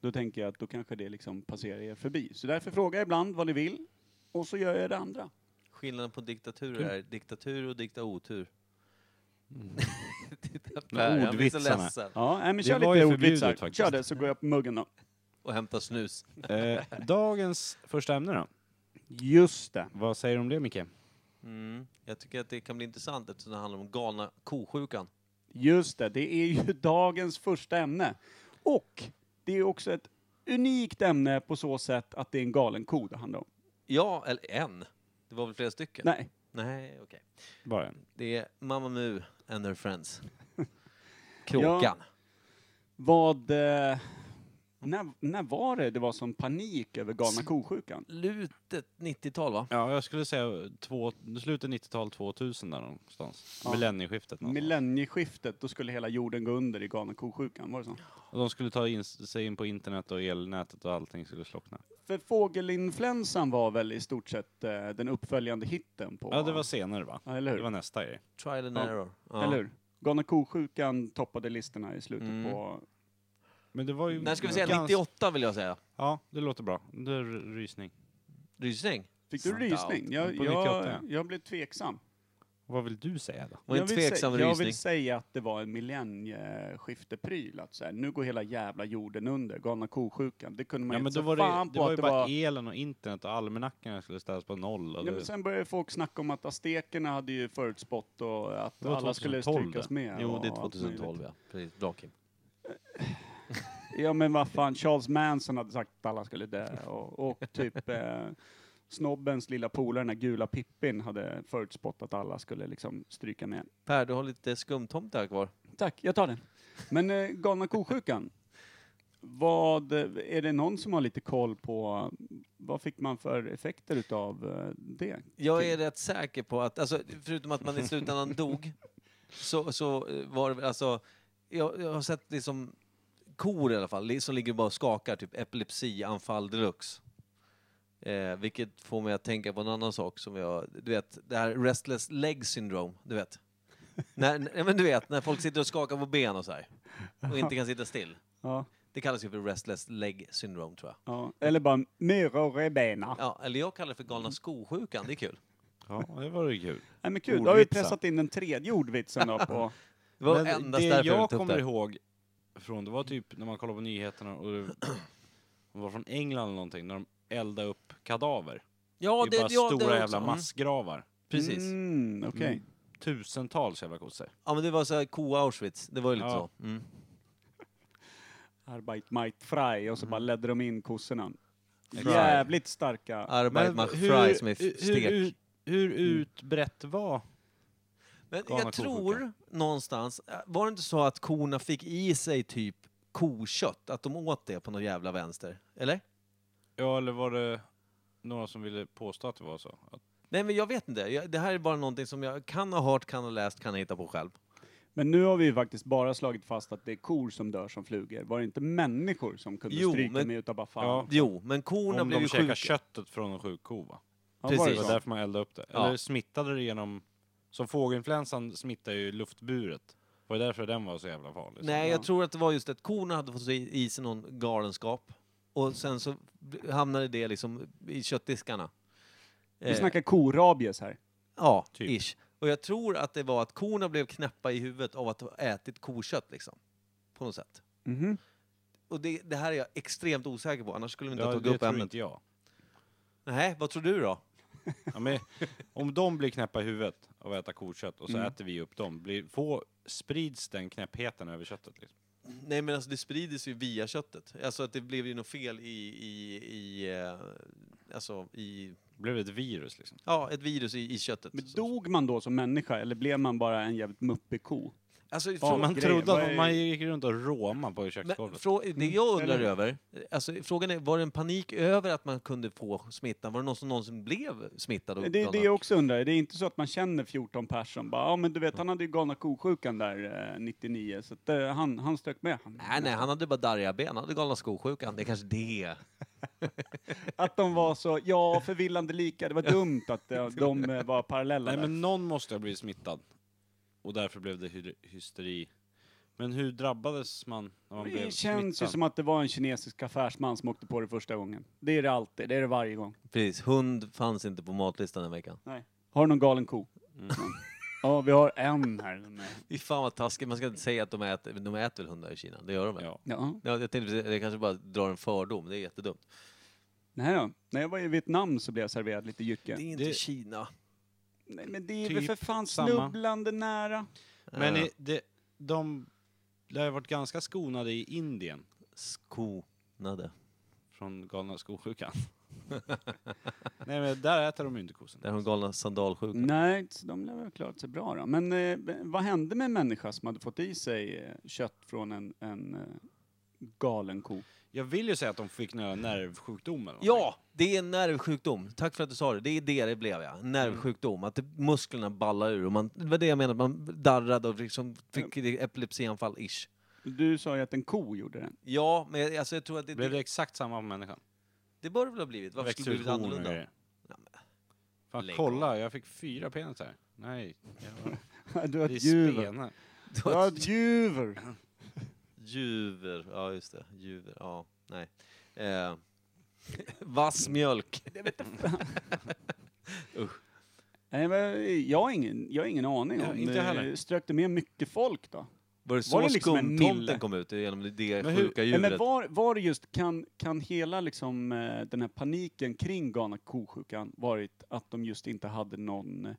Speaker 2: då tänker jag att då kanske det liksom passerar er förbi. Så därför frågar jag ibland vad ni vill, och så gör jag det andra.
Speaker 6: Skillnaden på diktaturer är diktatur och dikta otur. Titta på
Speaker 3: Men
Speaker 6: Per, han blir så
Speaker 3: ordvitsarna.
Speaker 6: ledsen.
Speaker 2: Ja, nej, men
Speaker 3: Det
Speaker 2: kör
Speaker 3: var ju
Speaker 2: lite ordvitsar.
Speaker 3: förbjudet faktiskt.
Speaker 2: Kör det, så går jag på muggen då.
Speaker 6: Och hämta snus.
Speaker 3: Eh, dagens första ämne då.
Speaker 2: Just det.
Speaker 3: Vad säger du om det Micke?
Speaker 6: Mm. Jag tycker att det kan bli intressant eftersom det handlar om galna kosjukan.
Speaker 2: Just det, det är ju dagens första ämne. Och det är också ett unikt ämne på så sätt att det är en galen ko det handlar om.
Speaker 6: Ja, eller en. Det var väl flera stycken?
Speaker 2: Nej,
Speaker 6: Nej, okej.
Speaker 3: Bara en.
Speaker 6: Det är Mamma Mu and her friends. Kråkan.
Speaker 2: Vad... Eh, När, när var det det var som panik över galna kosjukan?
Speaker 6: Slutet 90-tal va?
Speaker 3: Ja, jag skulle säga två, slutet 90-tal, 2000 där någonstans.
Speaker 2: Ja.
Speaker 3: Millennieskiftet någonstans.
Speaker 2: Millennieskiftet, då skulle hela jorden gå under i galna kosjukan, var det så?
Speaker 3: och de skulle ta in, sig in på internet och elnätet och allting skulle slockna.
Speaker 2: För fågelinfluensan var väl i stort sett eh, den uppföljande hitten på...
Speaker 3: Ja, det var senare va?
Speaker 2: Ja, eller hur?
Speaker 3: Det var nästa grej.
Speaker 6: Trial and
Speaker 2: Ja.
Speaker 6: error. Ja.
Speaker 2: Eller hur? Galna kosjukan toppade listorna i slutet
Speaker 6: Mm.
Speaker 2: på...
Speaker 3: Men det var ju...
Speaker 6: När ska vi säga?
Speaker 3: gans-
Speaker 6: 98 vill jag säga.
Speaker 3: Ja, det låter bra. Det är r- rysning.
Speaker 6: Rysning.
Speaker 2: Fick du
Speaker 6: Sant
Speaker 2: rysning? Jag,
Speaker 3: På 98, ja.
Speaker 2: jag, jag blev tveksam.
Speaker 3: Vad vill du säga då?
Speaker 6: Var en
Speaker 2: jag, vill
Speaker 6: tveksam
Speaker 2: säga, jag
Speaker 6: rysning.
Speaker 2: vill säga att det var en millennieskiftepryl. Att så här, nu går hela jävla jorden under. Galna kosjukan. Det kunde man
Speaker 3: Ja,
Speaker 2: ju
Speaker 3: men
Speaker 2: inte
Speaker 3: då
Speaker 2: se
Speaker 3: var det,
Speaker 2: fan
Speaker 3: det
Speaker 2: på
Speaker 3: var
Speaker 2: att
Speaker 3: ju
Speaker 2: det
Speaker 3: bara
Speaker 2: var...
Speaker 3: elen och internet och almanackorna skulle ställas på noll. Och
Speaker 2: Ja,
Speaker 3: det-
Speaker 2: men sen började folk snacka om att aztekerna hade ju förutspått och att
Speaker 3: Det var
Speaker 2: alla skulle
Speaker 3: 2012
Speaker 2: strykas
Speaker 3: det.
Speaker 2: med.
Speaker 6: Jo,
Speaker 2: och
Speaker 6: det är
Speaker 2: allt
Speaker 6: 2012
Speaker 2: möjligt.
Speaker 6: ja. Precis. Bra Kim.
Speaker 2: Ja, men vad fan, Charles Manson hade sagt att alla skulle dö och, och typ eh, snobbens lilla polare, den här gula Pippin, hade förutspått att alla skulle liksom stryka med.
Speaker 6: Per, du har lite skumtomte här kvar.
Speaker 2: Tack, jag tar den. Men eh, galna kosjukan. Vad, eh, är det någon som har lite koll på vad fick man för effekter utav eh, det?
Speaker 6: Jag är rätt säker på att, alltså, förutom att man i slutändan dog, så, så eh, var det väl, alltså, jag, jag har sett liksom kor i alla fall, li- som ligger och bara och skakar, typ epilepsianfall deluxe. Eh, vilket får mig att tänka på en annan sak som jag, du vet, det här restless leg syndrome, du vet. när, n- ja, men du vet, när folk sitter och skakar på ben och så här, och inte kan sitta still.
Speaker 2: Ja,
Speaker 6: Det kallas ju för restless leg syndrome tror jag.
Speaker 2: ja. Eller bara myror i
Speaker 3: Ah.
Speaker 2: benen.
Speaker 6: Ja, eller jag kallar det för
Speaker 3: Mm.
Speaker 6: galna skosjukan, det är kul.
Speaker 3: ja, det var ju kul.
Speaker 2: Nej men kul, då har vi
Speaker 3: Ordvitsen.
Speaker 2: pressat in den tredje ordvitsen då på...
Speaker 6: Det var
Speaker 3: Men
Speaker 6: endast
Speaker 3: det
Speaker 6: därför jag
Speaker 3: jag
Speaker 6: tog upp
Speaker 3: kommer
Speaker 6: det.
Speaker 3: ihåg från, det var typ när man kollade på nyheterna och det det var från England eller någonting, när de eldade upp kadaver.
Speaker 6: Ja,
Speaker 3: det är bara stora
Speaker 6: också.
Speaker 3: jävla
Speaker 6: Mm,
Speaker 3: massgravar.
Speaker 6: Precis.
Speaker 2: Mm, okej.
Speaker 3: Mm. Tusentals jävla kossor.
Speaker 6: Ja, men det var så här ko-Auschwitz. Det var ju lite
Speaker 3: Ja.
Speaker 6: så. Mm.
Speaker 2: Arbeit might fry och så bara ledde de in kossorna.
Speaker 3: Fry.
Speaker 2: Jävligt starka.
Speaker 6: Arbeit macht frei som är f- stek.
Speaker 3: Hur, ut- hur utbrett var...
Speaker 6: men
Speaker 3: galna
Speaker 6: jag tror
Speaker 3: kosjukan.
Speaker 6: någonstans, äh, var det inte så att korna fick i sig typ kokött? Att de åt det på någon jävla vänster? Eller?
Speaker 3: Ja, eller var det några som ville påstå att det var så? Att,
Speaker 6: Nej, men jag vet inte. Jag, det här är bara någonting som jag kan ha hört, kan ha läst, kan ha hittat på själv.
Speaker 2: Men nu har vi ju faktiskt bara slagit fast att det är kor som dör som flugor. Var det inte människor som kunde
Speaker 6: Jo,
Speaker 2: stryka
Speaker 6: men-
Speaker 2: med utav bara fan?
Speaker 3: Ja.
Speaker 6: Jo, men korna
Speaker 3: om
Speaker 6: blev
Speaker 3: de
Speaker 6: ju
Speaker 3: käkade
Speaker 6: sjuka.
Speaker 3: köttet från en sjuk ko, va?
Speaker 2: Ja,
Speaker 6: precis.
Speaker 2: var
Speaker 3: Det
Speaker 2: det
Speaker 3: var
Speaker 2: så?
Speaker 3: därför man eldade upp det.
Speaker 6: Ja.
Speaker 3: Eller smittade det genom... Som fågelinfluensan smittar ju luftburet. Var det därför den var så jävla farlig?
Speaker 6: Nej, jag
Speaker 2: Ja.
Speaker 6: tror att det var just att korna hade fått i i sig någon galenskap. Och sen så hamnade det liksom i köttdiskarna.
Speaker 2: Vi
Speaker 6: Eh,
Speaker 2: snackar korabies här.
Speaker 6: Ja,
Speaker 3: Typ.
Speaker 6: ish. Och jag tror att det var att korna blev knäppa i huvudet av att ha ätit kokött liksom. På något sätt.
Speaker 2: Mhm.
Speaker 6: Och det, det här är jag extremt osäker på, annars skulle vi inte ha
Speaker 3: Ja,
Speaker 6: tagit
Speaker 3: det
Speaker 6: upp
Speaker 3: tror
Speaker 6: ämnet.
Speaker 3: inte jag.
Speaker 6: Nej, vad tror du då?
Speaker 3: Ja, men, om de blir knäppa i huvudet av att äta kokött och så
Speaker 2: Mm.
Speaker 3: äter vi upp dem, blir, få, sprids den knäppheten över köttet? Liksom?
Speaker 6: Nej men alltså det sprider sig ju via köttet. Alltså att det blev ju något fel i, i, i eh, alltså i,
Speaker 3: Blev det ett virus liksom?
Speaker 6: ja ett virus i, i köttet.
Speaker 2: Men dog man då som människa eller blev man bara en jävligt muppig ko?
Speaker 6: alltså,
Speaker 3: Ja,
Speaker 6: frå-
Speaker 3: man
Speaker 2: grejer.
Speaker 3: trodde
Speaker 2: Vad
Speaker 3: att
Speaker 2: är-
Speaker 3: man gick runt och råma på
Speaker 6: men,
Speaker 3: köksgolvet.
Speaker 6: frå- det jag undrar
Speaker 2: Eller-
Speaker 6: över, alltså frågan är, var det en panik över att man kunde få smittan? Var det någon som någonsin blev smittad? av
Speaker 2: Det är det
Speaker 6: galna-
Speaker 2: jag också undrar. Det är inte så att man känner 14 personer bara, ja men du vet han hade ju galna kosjukan där eh, 99 så att, eh, han, han strök med. Han,
Speaker 6: Nej, nej, han hade bara darriga ben. Han hade galna skosjukan. Det är kanske det.
Speaker 2: Att de var så, ja förvillande lika, det var dumt att eh, de eh, var parallella
Speaker 3: Nej
Speaker 2: där.
Speaker 3: men någon måste ha blivit smittad. Och därför blev det hy- hysteri. Men hur drabbades man när man blev
Speaker 2: Det känns ju
Speaker 3: smittad?
Speaker 2: som att det var en kinesisk affärsman som åkte på det första gången. Det är det alltid, det är det varje gång.
Speaker 6: Precis. Hund fanns inte på matlistan den veckan.
Speaker 2: Nej. Har du någon galen ko? Ja, vi har en här.
Speaker 6: Fy fan vad taskigt. Man ska inte säga att de äter, de äter väl hundar i Kina. Det gör de väl? Ja.
Speaker 3: Ja.
Speaker 2: Ja.
Speaker 6: jag tänkte precis- jag kanske bara drar en fördom. Det är jättedumt.
Speaker 2: Nej då. När jag var i Vietnam så blev jag serverad lite jycke.
Speaker 6: Det är inte
Speaker 3: Det-
Speaker 6: Kina.
Speaker 2: Nej, men det är
Speaker 3: Typ
Speaker 2: väl för fan
Speaker 3: samma.
Speaker 2: snubblande nära.
Speaker 3: Men
Speaker 6: Eh,
Speaker 3: i- det, de lär ju varit ganska skonade i Indien
Speaker 6: skonade.
Speaker 3: från galna skosjukan. Nej men där äter de ju inte
Speaker 6: Där
Speaker 3: kossorna.
Speaker 6: har de galna sandalsjukan.
Speaker 2: Nej, så de lär väl klarat sig bra då. Men eh, vad hände med en människa som hade fått i sig eh, kött från en, en eh, galen ko?
Speaker 3: Jag vill ju säga att de fick några nervsjukdomar. eller någonting.
Speaker 6: Ja, det är en nervsjukdom. Tack för att du sa det. Det är det det blev, ja. En Nervsjukdom. Att det, musklerna ballar ur. Och man, det var det jag menade, man darrade och liksom fick det epilepsianfall-ish.
Speaker 2: Du sa ju att en ko gjorde den.
Speaker 6: Ja, men jag- alltså, jag tror att det,
Speaker 3: Blev det
Speaker 6: det,
Speaker 3: exakt samma på människan?
Speaker 6: det bör det väl ha blivit. Varför skulle det blivit
Speaker 3: Växte ut horn och
Speaker 6: annorlunda?
Speaker 3: grejer.
Speaker 6: Ja, men-
Speaker 3: Fan,
Speaker 6: Lägg
Speaker 3: kolla, jag fick fyra penisar. Nej,
Speaker 2: Du har
Speaker 3: det är
Speaker 2: ett juver.
Speaker 3: spenar.
Speaker 6: Det
Speaker 2: Du
Speaker 6: var
Speaker 2: har
Speaker 6: ett
Speaker 2: ett juver.
Speaker 6: Juver, ja just det. Juver, ja. Nej. Eh, vass mjölk.
Speaker 2: Nej, men jag har ingen, jag har ingen aning
Speaker 3: Ja,
Speaker 2: om...
Speaker 3: inte jag heller.
Speaker 2: eh, Strök det med mycket folk då?
Speaker 6: Var det så
Speaker 2: det liksom en mille?
Speaker 6: skumtomten kom ut? Genom det
Speaker 3: Men hur-
Speaker 6: sjuka
Speaker 2: Nej, men
Speaker 6: djuret?
Speaker 2: var, var det just, kan, kan hela liksom, eh, den här paniken kring galna kosjukan varit att de just inte hade någon, eh,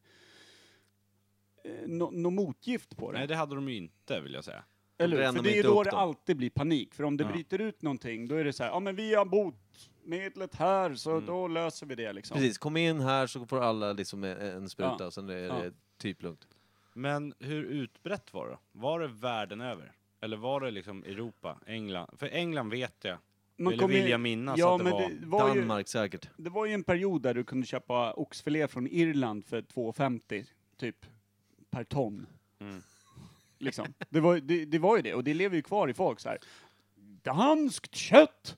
Speaker 2: nå- nå motgift på det?
Speaker 3: Nej, det hade de ju inte vill jag säga.
Speaker 2: Eller hur?
Speaker 6: brände
Speaker 2: För
Speaker 6: de
Speaker 2: det är ju
Speaker 6: inte
Speaker 2: då
Speaker 6: upp
Speaker 2: det
Speaker 6: dem.
Speaker 2: alltid blir panik. För om det
Speaker 3: Ja.
Speaker 2: bryter ut någonting, då är det så här, ja men vi har botemedlet här, så då löser vi det liksom.
Speaker 6: Mm. Precis, kom in här så får alla liksom en- en spruta
Speaker 2: Ja.
Speaker 6: och sen är
Speaker 2: Ja.
Speaker 6: det typ lugnt.
Speaker 3: Men hur utbrett var det? Var det världen över? Eller var det liksom Europa, England? För England vet jag. Eller
Speaker 2: kommer
Speaker 3: vill
Speaker 2: ju-
Speaker 3: jag minnas
Speaker 2: ja,
Speaker 3: att det
Speaker 2: men
Speaker 3: var-
Speaker 2: Det var, ju,
Speaker 6: Danmark säkert.
Speaker 2: det var ju en period där du kunde köpa oxfilé från Irland för 2,50 typ per ton.
Speaker 3: Mm.
Speaker 2: Liksom. Det, var, det, det var ju det, och det lever ju kvar i folk så här. Danskt kött!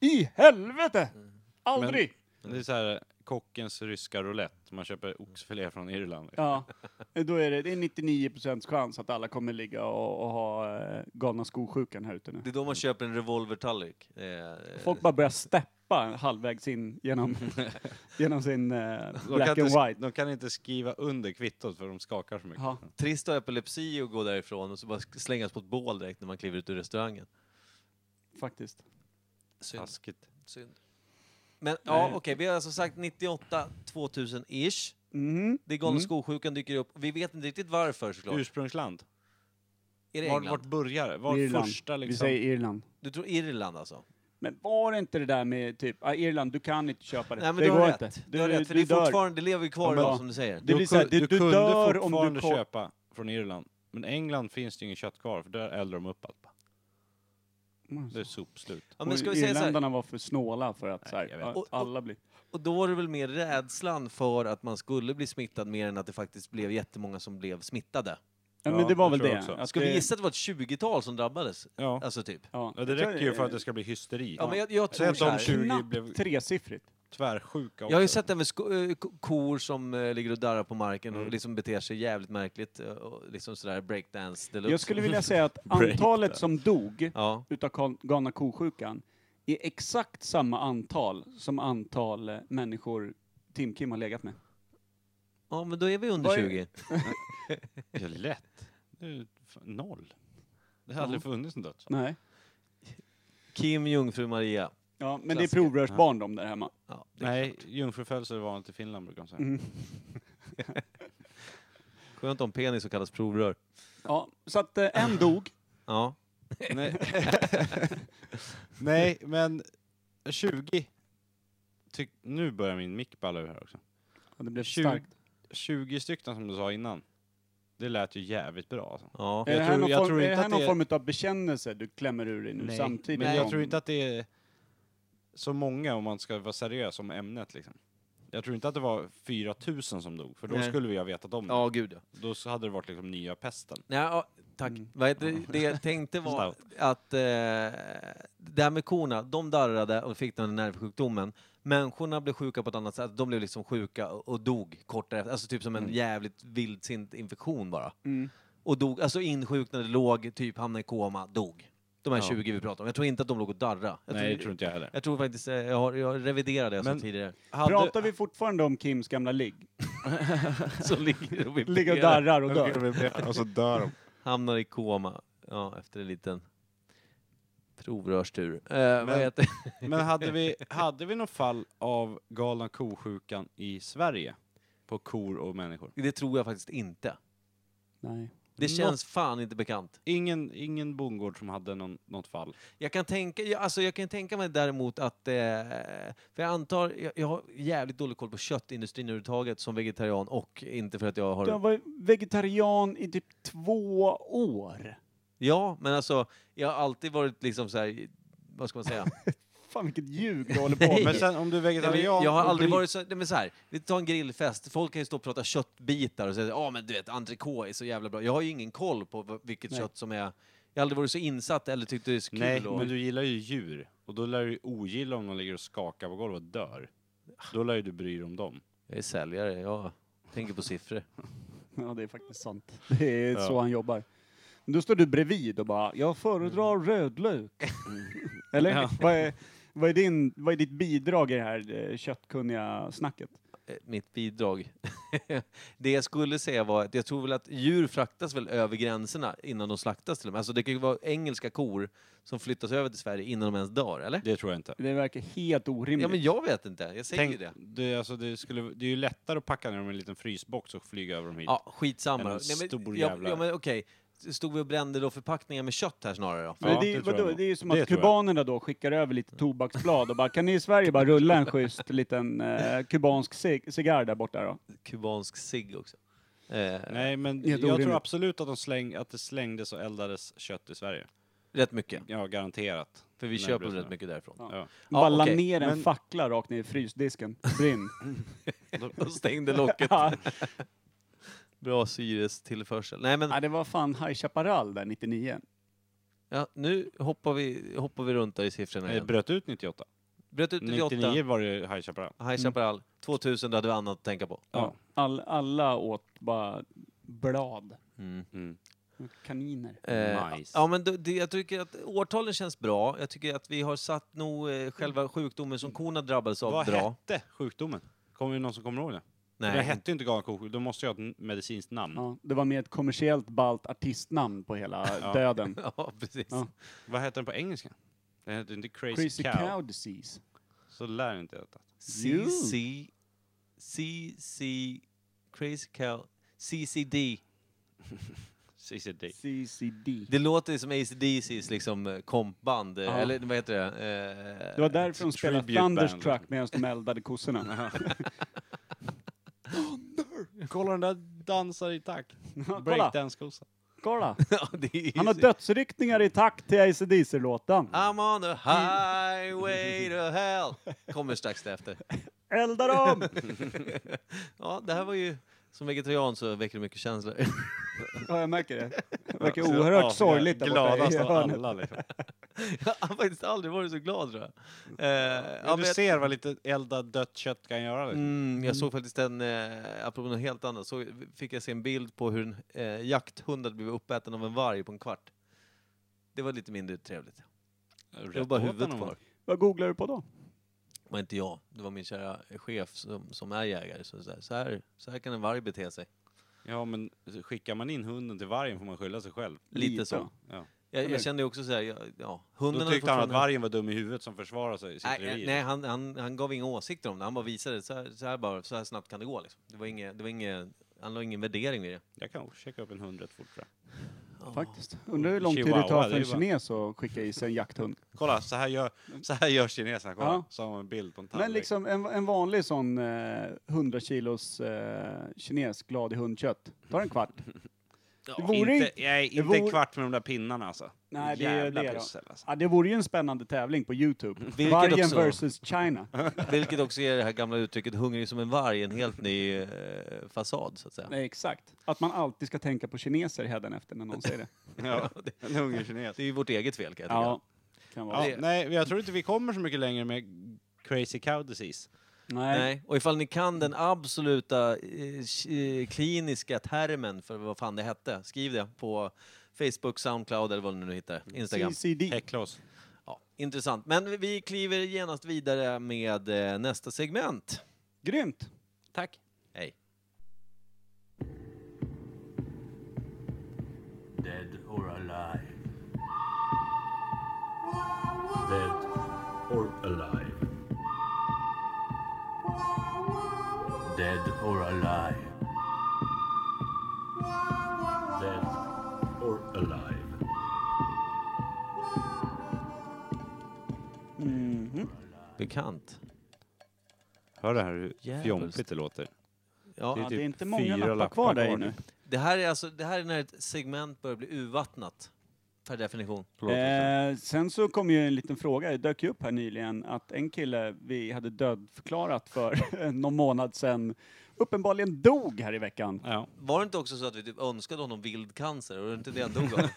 Speaker 2: I helvete!
Speaker 3: Mm.
Speaker 2: Aldrig!
Speaker 3: Det är så här kockens ryska roulette. Man köper oxfilé från Irland.
Speaker 2: Ja, då är det, det är 99% chans att alla kommer ligga och, och ha eh, galna skosjukan här ute nu.
Speaker 6: Det är då man köper en revolvertallrik. Eh,
Speaker 2: Folk bara börjar steppa halvvägs in genom, genom sin eh, black
Speaker 3: kan
Speaker 2: and
Speaker 3: inte,
Speaker 2: white.
Speaker 3: de kan inte skriva under kvittot för de skakar så mycket.
Speaker 2: Ja.
Speaker 6: Trist att ha epilepsi och gå därifrån och så bara slängas på ett bål direkt när man kliver ut ur restaurangen.
Speaker 2: Faktiskt.
Speaker 6: Synd.
Speaker 3: Taskigt.
Speaker 6: Synd. Men ja, okej, vi har alltså sagt 98, 2000-ish.
Speaker 2: Mhm.
Speaker 6: Det är galna
Speaker 2: Mm.
Speaker 6: skosjukan dyker upp. Vi vet inte riktigt varför såklart.
Speaker 3: Ursprungsland.
Speaker 6: är det
Speaker 3: Var,
Speaker 6: England?
Speaker 3: vart börjar det? Var
Speaker 2: Irland.
Speaker 3: första
Speaker 2: Vi
Speaker 3: liksom?
Speaker 2: säger Irland.
Speaker 6: Du tror Irland alltså?
Speaker 2: Men var det inte det där med typ, ah, Irland, du kan inte köpa det.
Speaker 6: Nej men
Speaker 2: det
Speaker 6: du har
Speaker 2: går
Speaker 6: rätt.
Speaker 2: inte.
Speaker 6: Du, har rätt, för det, är
Speaker 2: dör.
Speaker 6: fortfarande, det lever ju kvar
Speaker 2: Ja, men-
Speaker 6: idag som du säger.
Speaker 2: Det blir
Speaker 3: du,
Speaker 2: så här,
Speaker 3: kun-
Speaker 2: det-
Speaker 3: du
Speaker 2: du
Speaker 3: kunde
Speaker 2: dör om du
Speaker 3: fortfarande
Speaker 2: kom-
Speaker 3: köpa från Irland. Men England finns det ju inget kött kvar för där eldar de upp allt.
Speaker 2: Mm.
Speaker 3: Det är sopslut.
Speaker 6: Ja, men ska
Speaker 2: Och
Speaker 6: vi säga så här,
Speaker 2: Irländarna var för snåla för att, så
Speaker 3: Nej,
Speaker 2: här,
Speaker 3: jag vet.
Speaker 2: att
Speaker 6: Och- och-
Speaker 2: alla blir...
Speaker 6: och då var det väl mer rädslan för att man skulle bli smittad mer än att det faktiskt blev jättemånga som blev smittade.
Speaker 2: Ja,
Speaker 3: Ja,
Speaker 2: men det var
Speaker 3: jag
Speaker 2: väl
Speaker 3: tror
Speaker 2: det.
Speaker 3: också.
Speaker 2: att
Speaker 6: Ska vi
Speaker 2: det-
Speaker 6: gissa att det var ett 20-tal som drabbades?
Speaker 3: Ja.
Speaker 6: Alltså typ.
Speaker 2: Ja.
Speaker 3: ja, det räcker ju för att det ska bli hysteri.
Speaker 6: Ja, men jag, jag
Speaker 3: Säg
Speaker 6: tror
Speaker 3: att
Speaker 6: så
Speaker 3: de
Speaker 6: här.
Speaker 3: 20
Speaker 2: knappt
Speaker 3: blev
Speaker 2: tresiffrigt.
Speaker 3: tvärsjuka också.
Speaker 6: Jag har ju sett även sko- eh, ko- kor som eh, ligger och darrar på marken
Speaker 2: Mm.
Speaker 6: och liksom beter sig jävligt märkligt. eh, Och liksom sådär breakdance deluxe.
Speaker 2: Jag skulle vilja säga att antalet som dog
Speaker 6: Ja.
Speaker 2: utav gal- galna kosjukan är exakt samma antal som antal eh, människor Tim Kim har legat med.
Speaker 6: ja, men då är vi
Speaker 2: Vad
Speaker 6: under
Speaker 2: är-
Speaker 6: 20.
Speaker 3: Det är lätt. Det är fan noll. Det har aldrig funnits en dödsfall.
Speaker 2: Nej.
Speaker 6: Kim, jungfru Maria.
Speaker 2: Ja, men
Speaker 6: Klassiker.
Speaker 2: det är provrörsbarn de där hemma.
Speaker 6: Ja, det är
Speaker 3: Nej, jungfrufödsel var inte i Finland brukar de säga.
Speaker 2: Mm.
Speaker 6: Skönt om penis som kallas provrör.
Speaker 2: Ja, så att eh, en dog.
Speaker 6: Ja.
Speaker 3: Nej. Nej, men 20. Tyck, nu börjar min mick balla ur här också.
Speaker 2: Ja, det blev
Speaker 3: 20,
Speaker 2: starkt.
Speaker 3: 20 stycken som du sa innan. Det lät ju jävligt bra alltså.
Speaker 6: ja.
Speaker 2: Är det här
Speaker 3: tror-
Speaker 2: någon,
Speaker 3: jag
Speaker 2: form,
Speaker 3: tror
Speaker 2: är det
Speaker 3: inte
Speaker 2: här
Speaker 3: att
Speaker 2: någon
Speaker 3: det är-
Speaker 2: form av bekännelse du klämmer ur dig nu samtidigt?
Speaker 3: men jag
Speaker 2: som-
Speaker 3: tror inte att det är så många om man ska vara seriös om ämnet liksom. Jag tror inte att det var 4000 som dog, för då
Speaker 6: Nej.
Speaker 3: skulle vi ha vetat om det.
Speaker 6: Ja, gud ja.
Speaker 3: Då så hade det varit liksom nya pesten.
Speaker 6: Nej, ja tack.
Speaker 2: Mm.
Speaker 6: Vad heter det? det jag tänkte var att eh, det här med korna, de darrade och fick den här nervsjukdomen. Människorna blev sjuka på ett annat sätt. De blev liksom sjuka och, och dog kort därefter. Alltså typ som
Speaker 3: Mm.
Speaker 6: en jävligt vildsint infektion bara.
Speaker 2: Mm.
Speaker 6: Och dog, alltså insjuknade, låg, typ hamnade i koma, dog. De här
Speaker 3: Ja.
Speaker 6: 20 vi pratar om. Jag tror inte att de låg och darra. Jag
Speaker 3: Nej, det
Speaker 6: tror,
Speaker 3: tror inte jag heller.
Speaker 6: jag tror faktiskt, eh, jag, har, jag reviderade det jag
Speaker 3: Men-
Speaker 6: sa tidigare.
Speaker 2: Pratar vi fortfarande om Kims gamla ligg?
Speaker 6: Så ligger och vibrerar.
Speaker 2: Ligger och darrar och dör.
Speaker 3: Hade... Och så dör de.
Speaker 6: Hamnar i koma. Ja, efter en liten provrörstur. Eh, vad
Speaker 3: Men-
Speaker 6: heter
Speaker 3: Men hade vi, hade vi något fall av galna kosjukan i Sverige? På kor och människor?
Speaker 6: det? tror jag faktiskt inte.
Speaker 2: Nej.
Speaker 6: Det
Speaker 3: Nå-
Speaker 6: känns fan inte bekant.
Speaker 3: Ingen, ingen bondgård som hade någon, något fall.
Speaker 6: Jag kan tänka, jag- alltså jag kan tänka mig däremot att... Eh, för jag antar, jag, jag har jävligt dålig koll på köttindustrin överhuvudtaget som vegetarian och inte för att jag har...
Speaker 2: Du har varit vegetarian i typ två år.
Speaker 6: Ja, men alltså jag har alltid varit liksom så här vad ska man säga?
Speaker 2: Fan vilket ljug du håller på
Speaker 3: Men
Speaker 2: med.
Speaker 3: sen om du är
Speaker 6: Nej, men
Speaker 3: vegetarian
Speaker 6: jag har
Speaker 3: och
Speaker 6: aldrig
Speaker 3: blir-
Speaker 6: varit så, nej, men så här, vi tar en grillfest, folk kan ju stå och prata köttbitar och säga ja men du vet entrecote är så jävla bra. Jag har ju ingen koll på v- vilket
Speaker 2: Nej.
Speaker 6: kött som är, jag har aldrig varit så insatt eller tyckt det är så kul.
Speaker 3: Nej,
Speaker 6: och,
Speaker 3: men du gillar ju djur. Och då lär du ju ogilla om de ligger och skakar på golvet och dör. Då lär ju du bry dig om dem.
Speaker 6: Jag är säljare, jag tänker på siffror.
Speaker 2: Ja, det är faktiskt sant. Det är
Speaker 3: Ja.
Speaker 2: så han jobbar. Men då står du bredvid och bara, jag föredrar rödlök. Eller?
Speaker 3: Mm. Ja.
Speaker 2: Vad, är, vad, är din, vad är ditt bidrag i det här eh, köttkunniga snacket?
Speaker 6: eh, mitt bidrag. det jag skulle säga var att jag tror väl att djur fraktas väl över gränserna innan de slaktas till och med. Alltså det kan ju vara engelska kor som flyttas över till Sverige innan de ens dör, eller?
Speaker 3: Det tror jag inte.
Speaker 2: Det verkar helt orimligt.
Speaker 6: Ja men jag vet inte, jag säger ju
Speaker 3: Tänk,
Speaker 6: det.
Speaker 3: det, är alltså, det, skulle, det är ju lättare att packa ner dem i en liten frysbox och flyga över dem hit.
Speaker 6: Ja, skitsamma.
Speaker 3: Eller en
Speaker 6: Nej, men,
Speaker 3: stor
Speaker 6: ja,
Speaker 3: jävla-
Speaker 6: ja men okej, stod vi och brände då förpackningar med kött här snarare då?
Speaker 2: För
Speaker 3: Ja,
Speaker 2: det,
Speaker 3: det
Speaker 2: är-
Speaker 3: tror jag
Speaker 2: vadå?
Speaker 3: nog.
Speaker 2: det är ju som
Speaker 3: Det
Speaker 2: att
Speaker 3: tror jag.
Speaker 2: kubanerna då skickar över lite tobaksblad och bara, kan ni i Sverige bara rulla en schysst liten eh, kubansk cig- cigarr där borta då?
Speaker 6: Kubansk cigg också. Eh,
Speaker 3: Nej, men
Speaker 2: Helt
Speaker 3: jag tror
Speaker 2: orimligt.
Speaker 3: absolut att, de släng, att det slängdes och eldades kött i Sverige.
Speaker 6: Rätt mycket,
Speaker 3: Ja, garanterat.
Speaker 6: för vi
Speaker 3: Nej,
Speaker 6: köper
Speaker 3: precis.
Speaker 6: rätt mycket därifrån.
Speaker 2: Ja.
Speaker 3: Ja.
Speaker 6: Ja,
Speaker 2: Bara la
Speaker 6: okej,
Speaker 2: ner en
Speaker 3: men-
Speaker 2: fackla rakt ner i frysdisken. Brinn.
Speaker 6: Och stängde locket.
Speaker 2: ja,
Speaker 6: Bra syrestillförsel. Nej men,
Speaker 2: det var fan High Chaparral där 99.
Speaker 6: ja, nu hoppar vi, hoppar vi runt där i siffrorna
Speaker 3: Det
Speaker 6: igen.
Speaker 3: Eh, bröt ut 98.
Speaker 6: Bröt ut 98.
Speaker 3: 99 var det High Chaparral.
Speaker 6: High Chaparral. 2000, då hade vi annat att tänka på.
Speaker 2: Ja. All, alla åt bara blad.
Speaker 3: Mm.
Speaker 2: Kaniner.
Speaker 6: Eh,
Speaker 3: Nice.
Speaker 6: ja, men då- det, jag tycker att årtalen känns bra. Jag tycker att vi har satt nog eh, själva sjukdomen som korna drabbades av
Speaker 3: Vad
Speaker 6: bra.
Speaker 3: hette sjukdomen? Kommer det någon som kommer ihåg det? Nej. Det
Speaker 6: Nej,
Speaker 3: hette ju inte galna ko då måste jag ha ett medicinskt namn.
Speaker 2: Ja, det var med ett kommersiellt balt artistnamn på hela
Speaker 3: Ja.
Speaker 2: döden.
Speaker 6: ja, precis.
Speaker 2: Ja.
Speaker 3: Vad heter den på engelska? Den heter inte Crazy,
Speaker 2: Crazy
Speaker 3: Cow.
Speaker 2: cow disease.
Speaker 3: Så lär inte jag detta.
Speaker 6: CC... CC... Crazy Cow... CCD.
Speaker 3: CCD.
Speaker 2: CCD.
Speaker 6: Det låter som ACDCs liksom eh, kompband. eh,
Speaker 2: Ja.
Speaker 6: Eller vad heter det? Eh,
Speaker 2: Det var därför de spelade
Speaker 3: tribute band.
Speaker 2: Thunderstruck medan de eldade kossorna.
Speaker 3: Kolla den där dansar i takt.
Speaker 2: kolla.
Speaker 3: Breakdance-kossa.
Speaker 2: Kolla!
Speaker 6: ja, det är ju
Speaker 2: Han har
Speaker 6: så-
Speaker 2: dödsryckningar i takt till AC/DC-låten.
Speaker 6: I'm on the highway to hell. Kommer strax efter.
Speaker 2: Elda dem!
Speaker 6: Ja, det här var ju... Som vegetarian så väcker det mycket känslor.
Speaker 2: Ja, jag märker det. Det verkar oerhört sorgligt där borta i
Speaker 3: Gladast av
Speaker 2: hörnet.
Speaker 3: alla liksom.
Speaker 6: jag har faktiskt aldrig varit så glad tror jag. Eh, ja,
Speaker 3: Men
Speaker 6: men
Speaker 3: du
Speaker 6: jag-
Speaker 3: ser vad lite eldat dött kött kan göra. Liksom.
Speaker 6: Mm, jag såg faktiskt en, eh, apropå något helt annat, så fick jag se en bild på hur en eh, jakthund hade blivit uppäten av en varg på en kvart. Det var lite mindre trevligt.
Speaker 3: Rätt
Speaker 6: Det var bara
Speaker 3: åt
Speaker 6: huvudet
Speaker 3: honom.
Speaker 6: kvar.
Speaker 2: Vad googlar du på då?
Speaker 6: Det var inte jag, det var min kära chef som, som är jägare. Så, så, här, så, här, så här kan en varg bete sig.
Speaker 3: Ja, men skickar man in hunden till vargen får man skylla sig själv.
Speaker 6: Lite,
Speaker 2: Lite.
Speaker 6: så.
Speaker 3: Ja.
Speaker 6: Jag,
Speaker 2: Eller-
Speaker 6: jag kände ju också så här, jag, ja, hunden
Speaker 3: Då
Speaker 6: hade
Speaker 3: tyckte han att
Speaker 6: fortfarande-
Speaker 3: vargen var dum i huvudet som försvarar sig i sitt
Speaker 6: Nej, eh,
Speaker 3: revir.
Speaker 6: nej han, han, han gav inga åsikter om det, han bara visade så här, så här, bara, så här snabbt kan det gå. Liksom. Det var inget, det var inget, han la ingen värdering i det.
Speaker 3: Jag kan checka upp en hund rätt fort tror jag.
Speaker 6: Ja.
Speaker 2: Faktiskt. Undrar hur lång tid det
Speaker 3: Chihuahua,
Speaker 2: tar för en
Speaker 3: det är bara-
Speaker 2: kines att skicka i sig en jakthund.
Speaker 3: Kolla, så här gör, så här gör kineserna. Kolla,
Speaker 2: Ja.
Speaker 3: så har man en bild på en tallrik.
Speaker 2: Men liksom en, en vanlig sån eh, 100 kilos eh, kines glad i hundkött tar en kvart.
Speaker 6: Ja.
Speaker 2: Det vore
Speaker 3: inte,
Speaker 2: inte,
Speaker 3: nej, inte
Speaker 2: vore-
Speaker 3: en kvart med de där pinnarna alltså.
Speaker 2: Nej, det är
Speaker 3: Jävla
Speaker 2: det då.
Speaker 3: pussel alltså.
Speaker 2: ja, det vore ju en spännande tävling på Youtube.
Speaker 6: Vilket
Speaker 2: Vargen
Speaker 6: också-
Speaker 2: versus China.
Speaker 6: Vilket också ger det här gamla uttrycket hungrig som en varg en helt ny eh, fasad så att säga.
Speaker 2: Nej, exakt. Att man alltid ska tänka på kineser hädanefter när någon säger det.
Speaker 3: Ja, en hungerkines.
Speaker 6: Det är ju vårt eget fel kan jag tycka.
Speaker 2: Ja, kan vara.
Speaker 3: Ja,
Speaker 6: Det-
Speaker 3: nej, jag tror inte vi kommer så mycket längre med Crazy Cow Disease.
Speaker 2: Nej.
Speaker 6: Nej. Och ifall ni kan den absoluta eh, k- eh, kliniska termen för vad fan det hette, skriv det på Facebook, Soundcloud eller vad ni nu hittar. Instagram.
Speaker 2: CCD.
Speaker 3: Häckla oss.
Speaker 6: Ja, intressant. Men vi kliver genast vidare med eh, nästa segment.
Speaker 2: Grymt!
Speaker 6: Tack. Hej.
Speaker 7: dead or alive. Dead or alive. Dead or alive. Dead or alive.
Speaker 2: Mm-hmm.
Speaker 6: Bekant.
Speaker 3: Hör det här hur
Speaker 6: Jävligt.
Speaker 3: fjompigt det låter?
Speaker 6: Ja,
Speaker 3: Det
Speaker 2: Ja,
Speaker 3: är
Speaker 2: det
Speaker 3: typ
Speaker 2: är inte många
Speaker 3: fyra
Speaker 2: lappar
Speaker 3: lappar
Speaker 2: kvar där
Speaker 3: kvar
Speaker 2: inne.
Speaker 3: nu.
Speaker 6: det här är alltså, det här är när ett segment börjar bli urvattnat. per definition.
Speaker 2: Eh, sen så kom ju en liten fråga, det dök ju upp här nyligen, att en kille vi hade dödförklarat för någon månad sedan uppenbarligen dog här i veckan.
Speaker 3: Ja.
Speaker 6: Var det inte också så att vi typ önskade honom vild cancer? Var det inte det han dog av?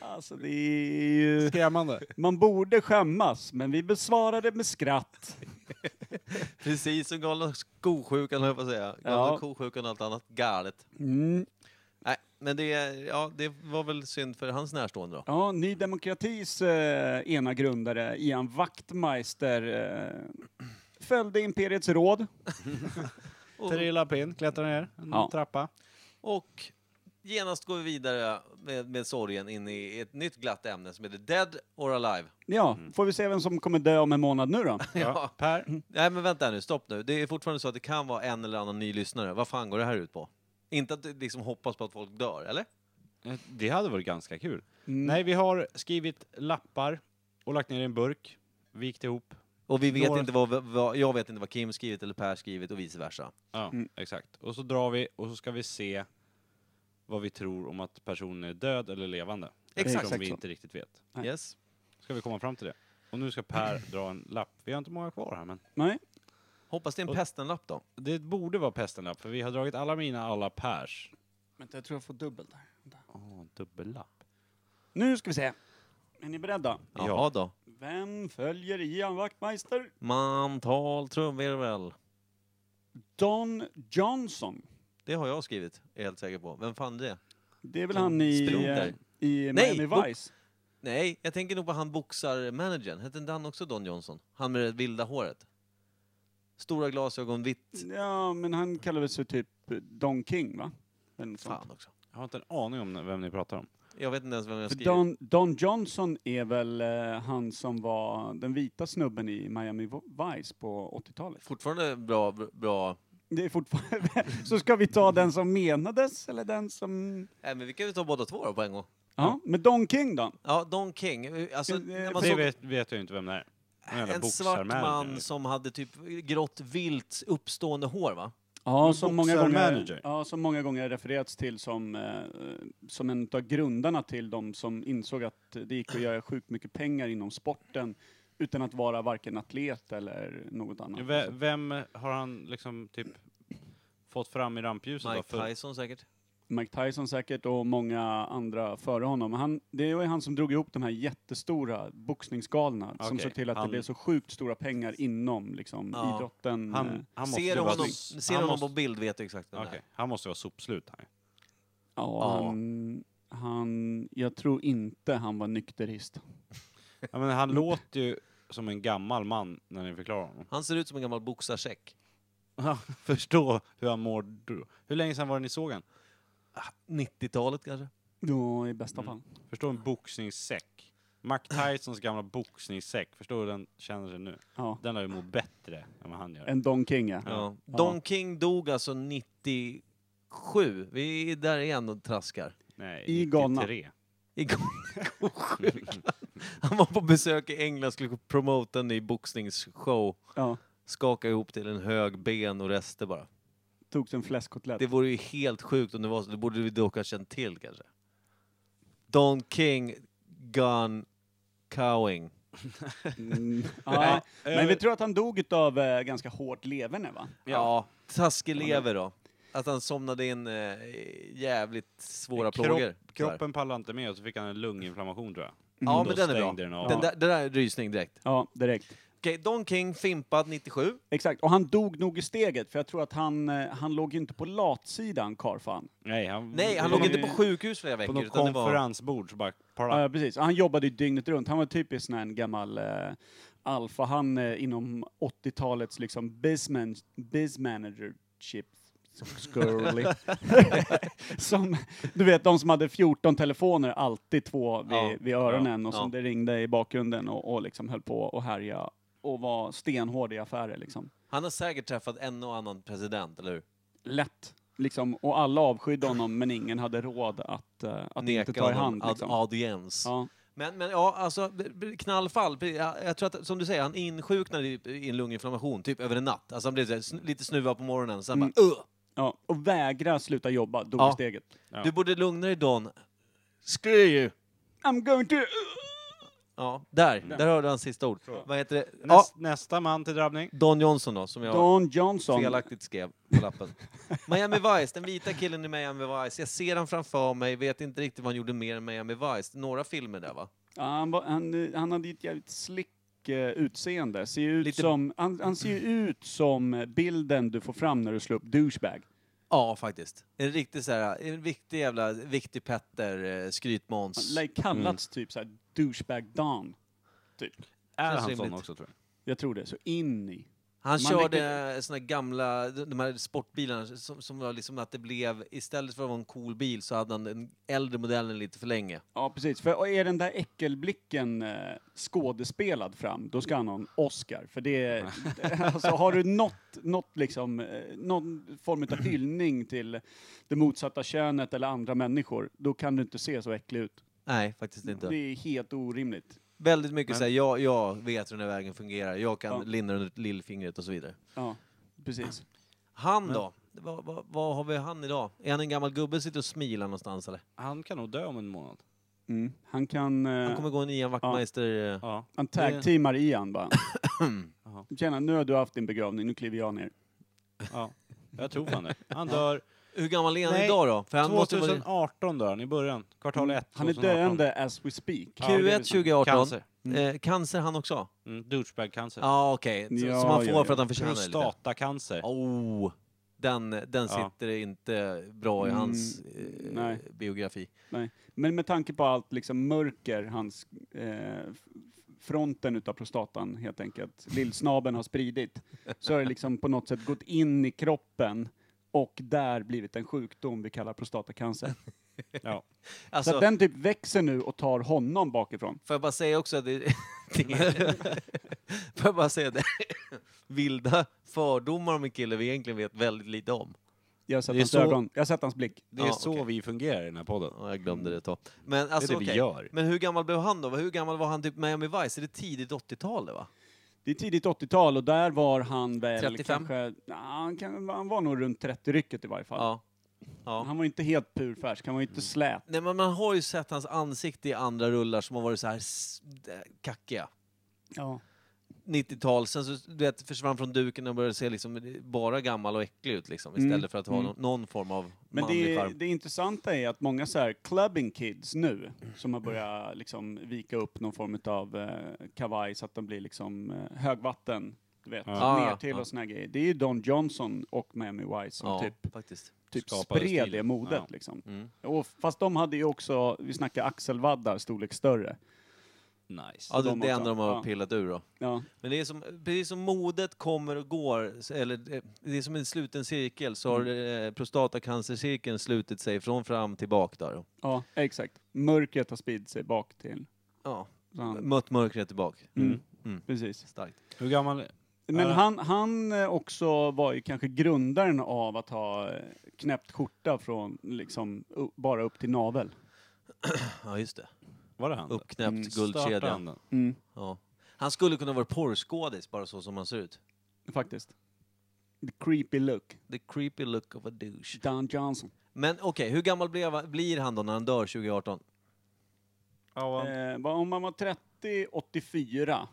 Speaker 2: Alltså det är ju...
Speaker 3: Skrämmande.
Speaker 2: Man borde skämmas, men vi besvarade med skratt.
Speaker 6: Precis som galna kosjukan höll jag på att säga. Galna
Speaker 2: Ja.
Speaker 6: kosjukan och allt annat galet.
Speaker 2: Mm.
Speaker 6: Nej, men det, ja, det var väl synd för hans närstående då.
Speaker 2: Ja, Ny Demokratis eh, ena grundare, Ian Wachtmeister, eh, följde Imperiets råd.
Speaker 6: Och,
Speaker 3: Trilla upp in, klättra ner, en
Speaker 2: Ja.
Speaker 3: trappa.
Speaker 6: och genast går vi vidare med, med sorgen in i ett nytt glatt ämne som heter Dead or Alive.
Speaker 2: Ja, får vi se vem som kommer dö om en månad nu då?
Speaker 6: Ja.
Speaker 3: Per,
Speaker 6: Nej men vänta nu, stopp nu. Det är fortfarande så att det kan vara en eller annan ny lyssnare. Vad fan går det här ut på? Inte att liksom hoppas på att folk dör, eller?
Speaker 3: det hade varit ganska kul.
Speaker 2: Mm.
Speaker 3: Nej, vi har skrivit lappar och lagt ner i en burk, vikt ihop.
Speaker 6: Och vi vet
Speaker 3: Några-
Speaker 6: inte vad, vad, jag vet inte vad Kim skrivit eller Per skrivit och vice versa.
Speaker 3: Ja,
Speaker 2: Mm.
Speaker 3: exakt. Och så drar vi och så ska vi se vad vi tror om att personen är död eller levande.
Speaker 6: Exakt.
Speaker 3: Som vi
Speaker 2: Exakt så.
Speaker 3: inte riktigt vet.
Speaker 2: Nej.
Speaker 6: Yes.
Speaker 3: Ska vi komma fram till det? Och nu ska Per dra en lapp. Vi har inte många kvar här men.
Speaker 2: Nej.
Speaker 6: Hoppas det är en
Speaker 3: Och-
Speaker 6: pestenlapp då.
Speaker 3: Det borde vara pestenlapp för vi har dragit alla mina, alla Pers.
Speaker 2: Vänta, jag tror jag får dubbelt där.
Speaker 3: Åh, dubbellapp.
Speaker 2: Nu ska vi se. Är ni beredda?
Speaker 6: Jaha
Speaker 3: Ja.
Speaker 6: då.
Speaker 2: Vem följer Ian Wachtmeister?
Speaker 6: Mantal trumvirvel.
Speaker 2: Don Johnson.
Speaker 6: Det har jag skrivit, är jag helt säker på. Vem fan är det?
Speaker 2: Det är väl han i,
Speaker 6: Sprinter.
Speaker 2: eh, i
Speaker 6: Nej,
Speaker 2: Miami
Speaker 6: Bo-
Speaker 2: Vice?
Speaker 6: Nej, jag tänker nog på han boxarmanagern. Hette inte han också Don Johnson? Han med det vilda håret. Stora glasögon, vitt.
Speaker 2: Ja, men han kallades sig typ Don King, va? Eller något sånt.
Speaker 6: Fan också.
Speaker 3: Jag har inte en aning om vem ni pratar om.
Speaker 6: Jag vet inte ens vem jag
Speaker 2: För
Speaker 6: skrivit.
Speaker 2: Don, Don Johnson är väl eh, han som var den vita snubben i Miami Vo- Vice på 80-talet?
Speaker 6: Fortfarande bra, bra.
Speaker 2: Det är fortfarande... Så ska vi ta den som menades eller den som...
Speaker 6: Nej, men vi kan ju ta båda två då på en gång.
Speaker 2: Ja, men Don King då?
Speaker 6: Ja, Don King. Alltså,
Speaker 2: Eh,
Speaker 6: när man
Speaker 3: Det
Speaker 6: såg
Speaker 3: vet, vet jag ju inte vem det är. Någon jävla
Speaker 6: en svart
Speaker 3: boxarmanager.
Speaker 6: man som hade typ grått, vilt, uppstående hår, va?
Speaker 2: Ja, som många, gånger,
Speaker 3: boxarmanager.
Speaker 2: ja, som många gånger refererats till som, eh, som en av grundarna till de som insåg att det gick att göra sjukt mycket pengar inom sporten utan att vara varken atlet eller något annat.
Speaker 3: Ve- Vem har han liksom typ fått fram i rampljuset då?
Speaker 6: Mike
Speaker 3: För-
Speaker 6: Tyson säkert.
Speaker 2: Mike Tyson säkert och många andra före honom. Han, det var ju han som drog ihop de här jättestora boxningsgalorna som
Speaker 3: Okej,
Speaker 2: såg till att det
Speaker 3: han-
Speaker 2: blev så sjukt stora pengar inom liksom,
Speaker 6: Ja,
Speaker 2: idrotten. eh,
Speaker 3: Han, han måste
Speaker 6: Ser
Speaker 3: ju
Speaker 6: du
Speaker 3: vara
Speaker 6: honom,
Speaker 3: sops-
Speaker 6: ser
Speaker 3: han
Speaker 6: honom
Speaker 3: måste-
Speaker 6: på bild vet du exakt vem det
Speaker 3: Okej, han måste vara sopslut. Han.
Speaker 2: ja,
Speaker 6: ja.
Speaker 2: Han, han, jag tror inte han var nykterist.
Speaker 3: Ja, men han låter ju som en gammal man när ni förklarar honom.
Speaker 6: är. Han ser ut som en gammal boxarsäck.
Speaker 3: Förstå hur han mår då. Hur länge sedan var det ni såg han?
Speaker 6: 90-talet kanske?
Speaker 2: Ja, i bästa
Speaker 3: Mm.
Speaker 2: fall.
Speaker 3: Förstå en boxningssäck. Mike Tysons gamla boxningssäck. Förstå hur den känner sig nu.
Speaker 2: Ja.
Speaker 3: Den har ju mått bättre än vad han gör.
Speaker 2: En Don King, ja.
Speaker 6: Ja.
Speaker 2: Ja.
Speaker 6: Don King dog alltså 97. Vi är där igen och traskar.
Speaker 3: Nej,
Speaker 2: I Ghana.
Speaker 3: 93.
Speaker 6: Igår sjukan. Han var på besök i England skulle promota en ny boxningsshow.
Speaker 2: ja.
Speaker 6: Skaka ihop till en hög ben och rester bara.
Speaker 2: Togs en fläskkotlett.
Speaker 6: Det vore ju helt sjukt om det var så. Det borde vi dock ha känt till kanske. Don King Gun Cowing.
Speaker 2: Mm.
Speaker 3: Nej,
Speaker 2: ja. Men vi tror att han dog utav eh, ganska hårt leverne, va?
Speaker 6: Ja. ja. Taskig lever då. Att han somnade in eh, jävligt svåra plågor.
Speaker 3: Kropp, kroppen pallade inte med och så fick han en lunginflammation tror jag.
Speaker 6: Ja,
Speaker 3: Då
Speaker 6: men den är bra.
Speaker 3: stängde
Speaker 6: Den
Speaker 3: den av.
Speaker 6: där, det där är rysning direkt.
Speaker 2: Ja, direkt.
Speaker 6: Okej, Don King, fimpad 97.
Speaker 2: Exakt. Och han dog nog i steget, för jag tror att han, eh, han låg ju inte på latsidan, karlfan.
Speaker 3: Nej, han,
Speaker 6: Nej, han
Speaker 2: Det
Speaker 6: låg
Speaker 2: var-
Speaker 6: inte på sjukhus flera
Speaker 3: Mm. på
Speaker 6: veckor.
Speaker 3: något
Speaker 6: utan det var...
Speaker 3: konferensbord så bara...
Speaker 2: Ja,
Speaker 3: Pala.
Speaker 2: ja, precis. Och Han jobbade ju dygnet runt. Han var typiskt sån här en gammal eh, alfahan eh, inom 80-talets liksom business, business managership. Skurly. som, du vet, de som hade 14 telefoner, alltid två vid,
Speaker 6: Ja,
Speaker 2: vid öronen och som
Speaker 6: ja.
Speaker 2: det ringde i bakgrunden och, och liksom höll på och härja och var stenhård i affärer liksom.
Speaker 6: Han har säkert träffat en och annan president, eller hur?
Speaker 2: Lätt. Liksom, och alla avskydde honom men ingen hade råd att, eh, att inte ta i
Speaker 6: honom
Speaker 2: hand.
Speaker 6: ad-
Speaker 2: Liksom.
Speaker 6: audiens.
Speaker 2: Ja.
Speaker 6: Men, men ja, alltså b- b- knallfall. b- ja, Jag tror att, som du säger, han insjuknade i i en lunginflammation typ över en natt. Alltså han blev så här, sn- lite snuvad på morgonen, sen
Speaker 2: Mm.
Speaker 6: bara uh!
Speaker 2: Ja. Och vägra sluta jobba, dog
Speaker 6: Ja.
Speaker 2: steget.
Speaker 3: Ja.
Speaker 6: Du borde lugna dig Don. Screw you!
Speaker 2: I'm going to...
Speaker 6: Ja, där. Där hörde han sista ord. Vad heter det? Ja,
Speaker 3: Näst, Nästa man till drabbning.
Speaker 6: Don Johnson då, som jag
Speaker 2: Don Johnson.
Speaker 6: felaktigt skrev på lappen. Miami Vice, den vita killen i Miami Vice. Jag ser han framför mig, vet inte riktigt vad han gjorde mer än Miami Vice. Några filmer där va?
Speaker 2: Ja, han, var, han, han hade ett jävligt slick eh, utseende. Ser ju ut
Speaker 6: Lite-
Speaker 2: som, han, han ser ju ut som bilden du får fram när du slår upp douchebag.
Speaker 6: Ja, faktiskt. En riktig så här, en riktig jävla viktig Petter, eh,
Speaker 2: Han
Speaker 6: skrytmåns.
Speaker 2: lär ju kallats typ så här douchebag Dan. Typ.
Speaker 3: Är
Speaker 6: Känns
Speaker 3: han sån
Speaker 6: rimligt.
Speaker 3: också tror jag.
Speaker 2: Jag tror det. Så in i.
Speaker 6: Han
Speaker 2: Man
Speaker 6: körde eh,
Speaker 2: lyckas-
Speaker 6: såna här gamla, de här sportbilarna som, som var liksom att det blev, istället för att vara en cool bil så hade han den äldre modellen lite för länge.
Speaker 2: Ja, precis. För och är den där äckelblicken eh, skådespelad fram, då ska han ha en Oscar. För det är, alltså har du något, något liksom, eh, någon form av hyllning till det motsatta könet eller andra människor, då kan du inte se så äcklig ut.
Speaker 6: Nej, faktiskt inte.
Speaker 2: Det är helt orimligt.
Speaker 6: Väldigt mycket såhär, jag, jag vet hur den här vägen fungerar, jag kan
Speaker 2: Ja.
Speaker 6: linda den under lillfingret och så vidare.
Speaker 2: Ja, precis.
Speaker 6: Han då? Vad, vad, vad har vi han idag? Är han en gammal gubbe som sitter och smilar någonstans eller?
Speaker 3: Han kan nog dö om en månad.
Speaker 2: Mm. Han kan... eh,
Speaker 6: Han kommer gå en Ian Wachtmeister... eh,
Speaker 3: Ja.
Speaker 2: Han tag-teamar i han bara. Tjena, nu har du haft din begravning, nu kliver jag ner.
Speaker 3: ja. Jag tror fan det. Han dör.
Speaker 6: Hur gammal är han
Speaker 3: Nej,
Speaker 6: idag då? För han måste vara... Mm.
Speaker 3: 2018 dör han i början. Kvartal 1.
Speaker 2: Han är döende as we speak.
Speaker 6: Q1
Speaker 3: det är sant.
Speaker 6: 2018. Cancer.
Speaker 3: Cancer.
Speaker 6: Eh, cancer han också?
Speaker 3: Mm, douchebag-cancer.
Speaker 6: Ja ah, okej, Så-
Speaker 2: Ja,
Speaker 6: som han får
Speaker 2: ja,
Speaker 6: för att
Speaker 2: ja.
Speaker 6: han förtjänar det lite.
Speaker 3: Prostatacancer.
Speaker 6: Oh, den, den
Speaker 3: Ja.
Speaker 6: sitter inte bra i
Speaker 2: Mm,
Speaker 6: hans eh,
Speaker 2: nej.
Speaker 6: biografi.
Speaker 2: Nej. Men med tanke på allt liksom mörker, hans eh, f- fronten utav prostatan helt enkelt, lillsnaben har spridit, så har det liksom på något sätt gått in i kroppen och där blivit en sjukdom vi kallar prostatacancer.
Speaker 3: Ja.
Speaker 6: Alltså,
Speaker 2: Så att den typ växer nu och tar honom bakifrån.
Speaker 6: Får jag bara säga också att det... det är- får jag bara säga det? Vilda fördomar om en kille vi egentligen vet väldigt lite om.
Speaker 2: Jag har sett
Speaker 3: Det är
Speaker 2: hans
Speaker 3: så-
Speaker 2: ögon, jag har sett hans blick.
Speaker 3: Det är
Speaker 6: Ja,
Speaker 3: så
Speaker 6: okej.
Speaker 3: vi fungerar i den här podden.
Speaker 6: Ja, jag glömde det ett tag. Men, alltså,
Speaker 3: det vi
Speaker 6: okej.
Speaker 3: gör.
Speaker 6: Men hur gammal blev han då? Hur gammal var han typ Miami Vice? Är det tidigt 80-tal det va?
Speaker 2: Det är tidigt 80-tal och där var han väl
Speaker 6: 35?
Speaker 2: kanske, ja, han, kan, han var nog runt 30-rycket i varje fall.
Speaker 6: Ja. ja.
Speaker 2: Han var inte helt purfärsk, han var
Speaker 3: Mm.
Speaker 2: inte slät.
Speaker 6: Nej men man har ju sett hans ansikte i andra rullar som har varit så här s- eh, kackiga.
Speaker 2: Ja.
Speaker 6: 90-tal, sen så du vet, försvann från duken och började se liksom bara gammal och äcklig ut liksom, istället
Speaker 3: Mm,
Speaker 6: för att ha någon, någon form av
Speaker 2: Men
Speaker 6: manlig
Speaker 2: det,
Speaker 6: charm.
Speaker 2: det intressanta är att många så här clubbing kids nu, som har börjat liksom vika upp någon form av eh, kavaj så att de blir liksom eh, högvatten, du vet,
Speaker 6: Ja.
Speaker 2: ner
Speaker 6: Ja,
Speaker 2: till
Speaker 6: ja.
Speaker 2: och såna här grejer. Det är ju Don Johnson och Miami Vice som
Speaker 6: Ja,
Speaker 2: typ,
Speaker 6: faktiskt.
Speaker 2: typ
Speaker 3: skapade
Speaker 2: spred det
Speaker 3: stilen.
Speaker 2: modet
Speaker 3: Ja.
Speaker 2: liksom.
Speaker 6: Mm.
Speaker 2: Och, fast de hade ju också, vi snackar axelvaddar, storlek större.
Speaker 3: Nice.
Speaker 6: Ja, det,
Speaker 2: de
Speaker 6: det är
Speaker 2: också.
Speaker 6: enda de har
Speaker 2: Ja.
Speaker 6: pillat ur då.
Speaker 2: Ja.
Speaker 6: Men det är som, precis som modet kommer och går, s- eller eh, det är som en sluten cirkel, så har eh, prostatacancercirkeln slutit sig från fram till bak där. då.
Speaker 2: ja, exakt. Mörkret har spridit sig bak till.
Speaker 6: Ja,
Speaker 2: Så han,
Speaker 6: mött mörkret tillbaka.
Speaker 2: mm.
Speaker 6: Mm.
Speaker 2: Precis.
Speaker 6: Starkt.
Speaker 3: Hur gammal?
Speaker 2: Men
Speaker 3: Ja.
Speaker 2: han, han eh, också var ju kanske grundaren av att ha eh, knäppt skjorta från liksom u- bara upp till navel.
Speaker 6: Ja, just det.
Speaker 3: Var det han?
Speaker 6: Uppknäppt
Speaker 2: Mm.
Speaker 3: Startade han
Speaker 6: guldkedja.
Speaker 3: den?
Speaker 6: Ja. Han skulle kunna vara porrskådis, bara så som han ser ut.
Speaker 2: Faktiskt. The creepy look.
Speaker 6: The creepy look of a douche.
Speaker 2: Don Johnson.
Speaker 6: Men okej, hur gammal blev, blir han då när han dör 2018?
Speaker 3: Ja, vad-
Speaker 2: Eh, vad om man var 30, 84.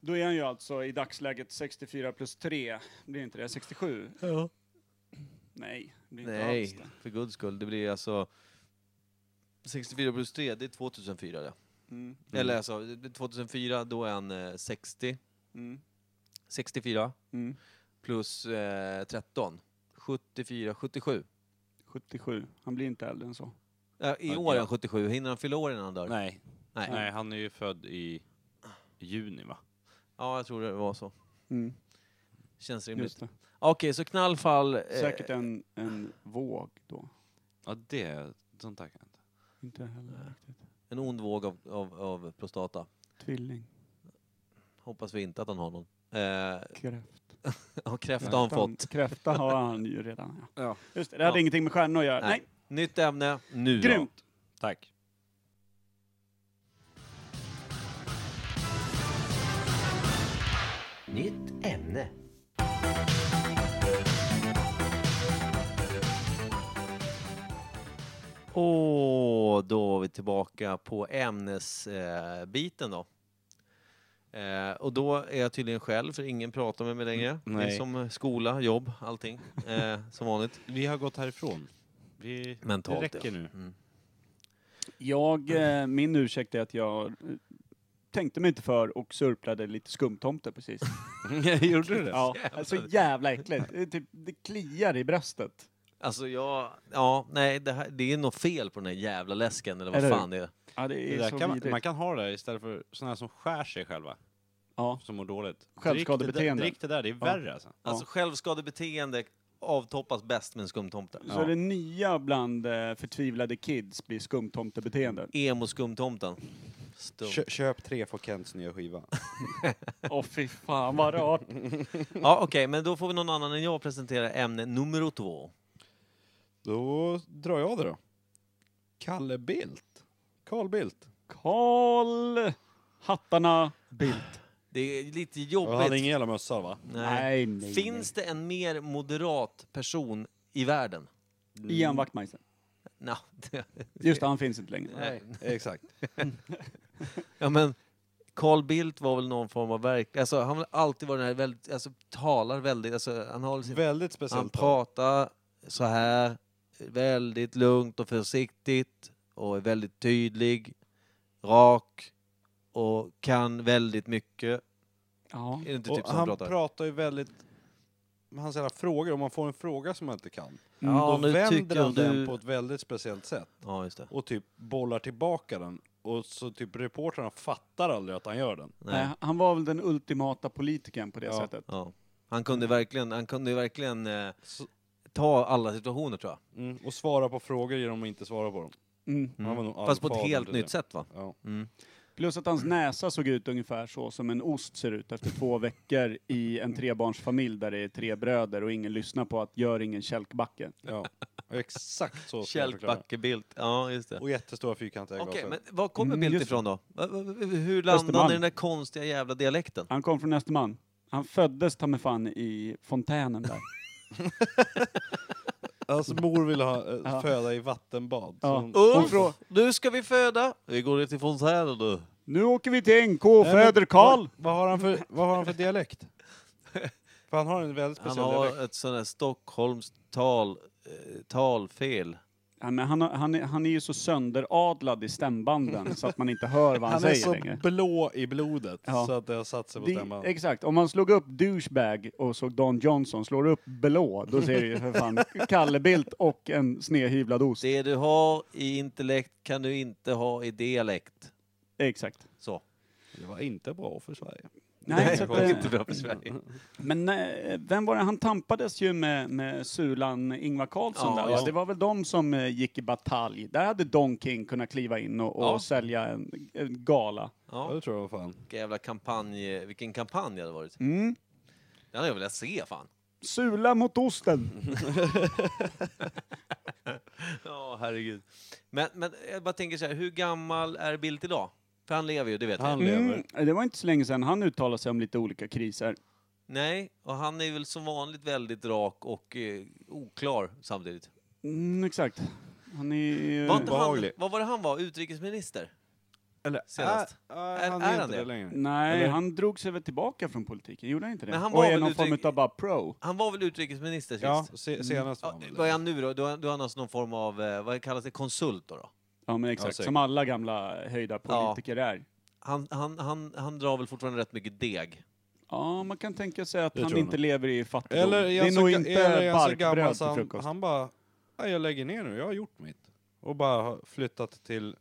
Speaker 2: Då är han ju alltså i dagsläget 64 plus 3. Blir inte det 67?
Speaker 6: Ja.
Speaker 2: Nej, det blir inte alls
Speaker 6: Nej,
Speaker 2: det.
Speaker 6: för guds skull. Det blir alltså 64 plus 3, det är 2004 det.
Speaker 2: Mm,
Speaker 6: Eller alltså, det- 2004 då är han eh, 60,
Speaker 2: mm,
Speaker 6: 64
Speaker 2: mm.
Speaker 6: plus eh, 13, 74, 77.
Speaker 2: 77. Han blir inte äldre än så.
Speaker 6: Eh, I
Speaker 3: Ja,
Speaker 6: år är
Speaker 3: ja.
Speaker 6: han 77, hinner han fylla år innan han dör?
Speaker 3: Nej.
Speaker 6: Nej.
Speaker 3: Nej, han är ju född i juni va?
Speaker 6: Ja, jag tror det var så.
Speaker 2: Mm,
Speaker 6: Känns rimligt.
Speaker 2: just det.
Speaker 6: Okej, så knallfall. eh,
Speaker 2: Säkert en, en våg då. Ja,
Speaker 3: Ja, det... Sånt där kan jag inte.
Speaker 2: Inte heller riktigt.
Speaker 6: En ond våg av, av, av prostata.
Speaker 2: Tvilling.
Speaker 6: Hoppas vi inte att han har någon. Eh,
Speaker 2: Kräft.
Speaker 6: och kräfta har han fått.
Speaker 2: Kräfta har han ju redan. Ja.
Speaker 3: Ja.
Speaker 2: Just det, det hade
Speaker 6: Ja.
Speaker 2: ingenting med stjärnor att göra. Nej,
Speaker 6: Nej. Nytt ämne, nu då.
Speaker 2: grymt!
Speaker 3: Tack.
Speaker 8: Nytt ämne.
Speaker 6: Åh, Och då var vi tillbaka på ämnesbiten eh, biten då. Eh, och då är jag tydligen själv, för ingen pratar med mig längre. Det är
Speaker 3: Mm, nej.
Speaker 6: som eh, skola, jobb, allting. Eh, som vanligt.
Speaker 3: Vi har gått härifrån. Vi,
Speaker 6: Mentalt,
Speaker 3: det räcker nu.
Speaker 6: Mm.
Speaker 2: Jag, eh, min ursäkt är att jag eh, tänkte mig inte för och surplade lite skumtomte precis.
Speaker 3: Gjorde du det?
Speaker 2: Ja, så jävla äckligt. Det, är typ, det kliar i bröstet.
Speaker 6: Alltså jag, ja, nej, det, här, det är något fel på den här jävla läsken eller vad
Speaker 2: Eller hur?
Speaker 6: fan det är.
Speaker 2: Ja, det
Speaker 3: Det
Speaker 2: är
Speaker 3: där
Speaker 2: så
Speaker 3: kan man,
Speaker 2: vidrigt.
Speaker 3: man kan ha det där istället för sådana här som skär sig själva,
Speaker 2: Ja.
Speaker 3: som mår dåligt.
Speaker 2: Självskadebeteende.
Speaker 3: Drick det där, drick det där, det är värre alltså.
Speaker 6: Alltså självskadebeteende avtoppas bäst med en skumtomte.
Speaker 2: Så det nya bland eh, förtvivlade kids blir skumtomtebeteenden.
Speaker 6: Emo-skumtomten. Stum.
Speaker 3: Kö, köp tre för Kents nya skiva.
Speaker 2: Åh fy fan vad rart.
Speaker 6: Ja, Okej, men då får vi någon annan än jag presentera ämne nummer två.
Speaker 3: Då drar jag det då. Kalle Bildt. Carl Bildt.
Speaker 2: Karl Hattarna Bildt.
Speaker 6: Det är lite
Speaker 3: Han hade ingen
Speaker 6: jobbigt.
Speaker 3: jävla mössa va?
Speaker 6: Nej.
Speaker 2: nej.
Speaker 6: Finns det en mer moderat person i världen?
Speaker 2: nej. Ian Wachtmeister.
Speaker 6: Nå, det-
Speaker 2: Just det, han finns inte längre.
Speaker 6: Nej.
Speaker 3: Exakt.
Speaker 6: ja men Carl Bildt var väl någon form av verk... Alltså han har alltid varit den här väldigt, alltså talar väldigt, alltså han har sin
Speaker 3: Väldigt
Speaker 6: Han
Speaker 3: speciellt.
Speaker 6: pratar så här, väldigt lugnt och försiktigt och är väldigt tydlig, rak och kan väldigt mycket.
Speaker 2: Ja.
Speaker 6: Är det inte
Speaker 3: Och
Speaker 6: typ som
Speaker 3: han
Speaker 6: han
Speaker 3: pratar.
Speaker 6: pratar?
Speaker 3: ju väldigt... Han ställer frågor, om man får en fråga som man inte kan,
Speaker 6: Ja,
Speaker 3: då
Speaker 6: nu
Speaker 3: vänder
Speaker 6: tycker
Speaker 3: han den
Speaker 6: du...
Speaker 3: på ett väldigt speciellt sätt.
Speaker 6: Ja, just det.
Speaker 3: Och typ bollar tillbaka den. Och så typ reportrarna fattar aldrig att han gör den.
Speaker 6: Nej.
Speaker 2: Nej, han var väl den ultimata politikern på det
Speaker 3: Ja.
Speaker 2: sättet.
Speaker 6: Ja. Han kunde verkligen, han kunde verkligen eh,
Speaker 3: Så-
Speaker 6: ta alla situationer tror jag.
Speaker 3: Mm, Och svara på frågor genom att inte svara på dem.
Speaker 2: Mm.
Speaker 3: Han var nog
Speaker 6: Fast på ett
Speaker 3: alfadern
Speaker 6: helt
Speaker 3: till
Speaker 6: nytt
Speaker 3: det.
Speaker 6: sätt va?
Speaker 3: Ja.
Speaker 6: Mm.
Speaker 2: Plus att hans näsa såg ut ungefär så som en ost ser ut efter två veckor i en trebarnsfamilj där det är tre bröder och ingen lyssnar på att gör ingen kälkbacke.
Speaker 3: ja. Exakt så ska jag förklara.
Speaker 6: Kälkbackebild, ja just det.
Speaker 3: Och jättestora fyrkantiga
Speaker 6: Okej,
Speaker 3: glasögon.
Speaker 6: men var kommer
Speaker 2: Mm,
Speaker 6: Bildt
Speaker 2: just det.
Speaker 6: ifrån då? Va- va- va- Hur landade han
Speaker 2: Östermalm.
Speaker 6: i den där konstiga jävla dialekten?
Speaker 2: Han kom från Östermalm. Han föddes ta mig fan i fontänen där.
Speaker 3: Alltså mor ville ha eh,
Speaker 2: Ja.
Speaker 3: föda i vattenbad.
Speaker 2: Ja.
Speaker 3: Så hon-
Speaker 6: Ulf, nu ska vi föda! Vi går till fontänen nu.
Speaker 2: Nu åker vi till NK och
Speaker 3: Nej, men
Speaker 2: föder Karl!
Speaker 3: Vad, vad, har han för- vad har han för dialekt? För han har en väldigt
Speaker 6: Han
Speaker 3: speciell dialekt.
Speaker 6: har ett sånt här Stockholmstal, eh, talfel.
Speaker 2: Ja, men han, har- han, är- han är ju så sönderadlad i stämbanden så att man inte hör vad han,
Speaker 3: Han är
Speaker 2: säger
Speaker 3: så
Speaker 2: längre.
Speaker 3: blå i blodet
Speaker 2: Ja.
Speaker 3: så att det har satt sig på
Speaker 2: Det,
Speaker 3: stämman.
Speaker 2: exakt, om man slog upp douchebag och såg Don Johnson, slår upp blå, då ser du ju för fan Kalle Bildt och en snedhyvlad ost.
Speaker 6: Det du har i intellekt kan du inte ha i dialekt.
Speaker 2: Exakt.
Speaker 6: Så.
Speaker 3: Det var inte bra för Sverige.
Speaker 2: Nej, så
Speaker 6: det
Speaker 2: att,
Speaker 6: var inte
Speaker 2: eh,
Speaker 6: bra för Sverige.
Speaker 2: men eh, vem var det? Han tampades ju med, med Sulan Ingvar Carlsson
Speaker 6: Ja,
Speaker 2: där.
Speaker 6: ja.
Speaker 2: Så det var väl de som eh, gick i batalj. Där hade Don King kunnat kliva in och, och
Speaker 6: Ja.
Speaker 2: sälja en, en gala.
Speaker 3: Ja,
Speaker 6: Ja,
Speaker 3: det tror jag var fan.
Speaker 6: vilken jävla kampanj, vilken kampanj det hade varit.
Speaker 2: Mm.
Speaker 6: Det hade jag velat se fan.
Speaker 2: Sula mot osten.
Speaker 6: Mm. Ja, herregud. Men, men jag bara tänker så här, hur gammal är Bildt idag? För han lever ju, det vet jag.
Speaker 3: Han lever.
Speaker 2: Mm. Det var inte så länge sedan han uttalade sig om lite olika kriser.
Speaker 6: Nej, och han är väl som vanligt väldigt rak och eh, oklar samtidigt.
Speaker 2: Mm, exakt. Han är ju...
Speaker 6: Var inte han,
Speaker 3: Obehaglig.
Speaker 6: vad var det han var? Utrikesminister?
Speaker 3: Eller
Speaker 6: Senast.
Speaker 3: Är,
Speaker 6: Är-
Speaker 3: han
Speaker 6: är
Speaker 3: är
Speaker 6: han
Speaker 3: inte
Speaker 6: det?
Speaker 3: det längre.
Speaker 2: Nej,
Speaker 3: Eller?
Speaker 2: han drog sig väl tillbaka från politiken, gjorde han inte det?
Speaker 6: Men han
Speaker 2: och
Speaker 6: var
Speaker 2: är
Speaker 6: väl
Speaker 2: någon
Speaker 6: utrike-
Speaker 2: form av bara pro.
Speaker 6: Han var väl utrikesminister sist?
Speaker 3: Ja, se, senast var
Speaker 6: Ja,
Speaker 3: han väl
Speaker 6: vad är
Speaker 3: det.
Speaker 6: han nu då? Då är han- då är han alltså någon form av, eh, vad kallas det, konsult då? då?
Speaker 2: Ja men exakt,
Speaker 3: säkert.
Speaker 2: som alla gamla höjda politiker är.
Speaker 6: Han, han, han, han drar väl fortfarande rätt mycket deg.
Speaker 2: Ja, man kan tänka sig att
Speaker 3: Det
Speaker 2: han
Speaker 3: tror jag
Speaker 2: inte
Speaker 3: nog.
Speaker 2: lever i fattigdom.
Speaker 3: Eller
Speaker 2: det
Speaker 3: jag
Speaker 2: är
Speaker 3: så,
Speaker 2: nog
Speaker 3: ga- eller
Speaker 2: inte
Speaker 3: jag så gammal
Speaker 2: barkbröd
Speaker 3: så
Speaker 2: till
Speaker 3: han,
Speaker 2: frukost.
Speaker 3: han bara, "Nej, jag lägger ner nu, jag har gjort mitt. Och bara har flyttat till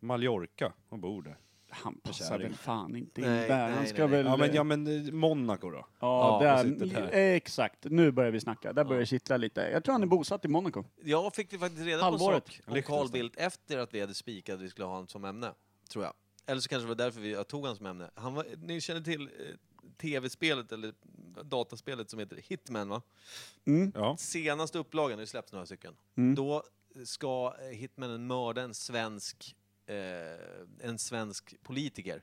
Speaker 3: Mallorca och bor där.
Speaker 2: Han passar
Speaker 3: Kärring.
Speaker 2: väl fan inte in
Speaker 6: Nej,
Speaker 2: där.
Speaker 6: nej,
Speaker 2: Han
Speaker 6: nej,
Speaker 2: ska
Speaker 6: nej.
Speaker 2: väl...
Speaker 3: Ja men, ja men eh, Monaco då?
Speaker 2: Ja,
Speaker 3: Ja, och
Speaker 2: där,
Speaker 3: sitter där.
Speaker 2: exakt. Nu börjar vi snacka. Där börjar det kittla lite. Jag tror han är bosatt i Monaco.
Speaker 6: Jag fick det faktiskt reda
Speaker 2: Halvåret.
Speaker 6: på en sak om Carl
Speaker 3: Liechtenstein.
Speaker 6: Bildt efter att vi hade spikat att vi skulle ha honom som ämne, tror jag. Eller så kanske det var därför vi jag tog honom som ämne. Han var, ni känner till eh, tv-spelet, eller dataspelet som heter Hitman va?
Speaker 2: Mm.
Speaker 3: Ja.
Speaker 6: Senaste upplagan, nu släpps några stycken,
Speaker 2: Mm.
Speaker 6: då ska eh, hitmannen mörda en svensk, eh, en svensk politiker.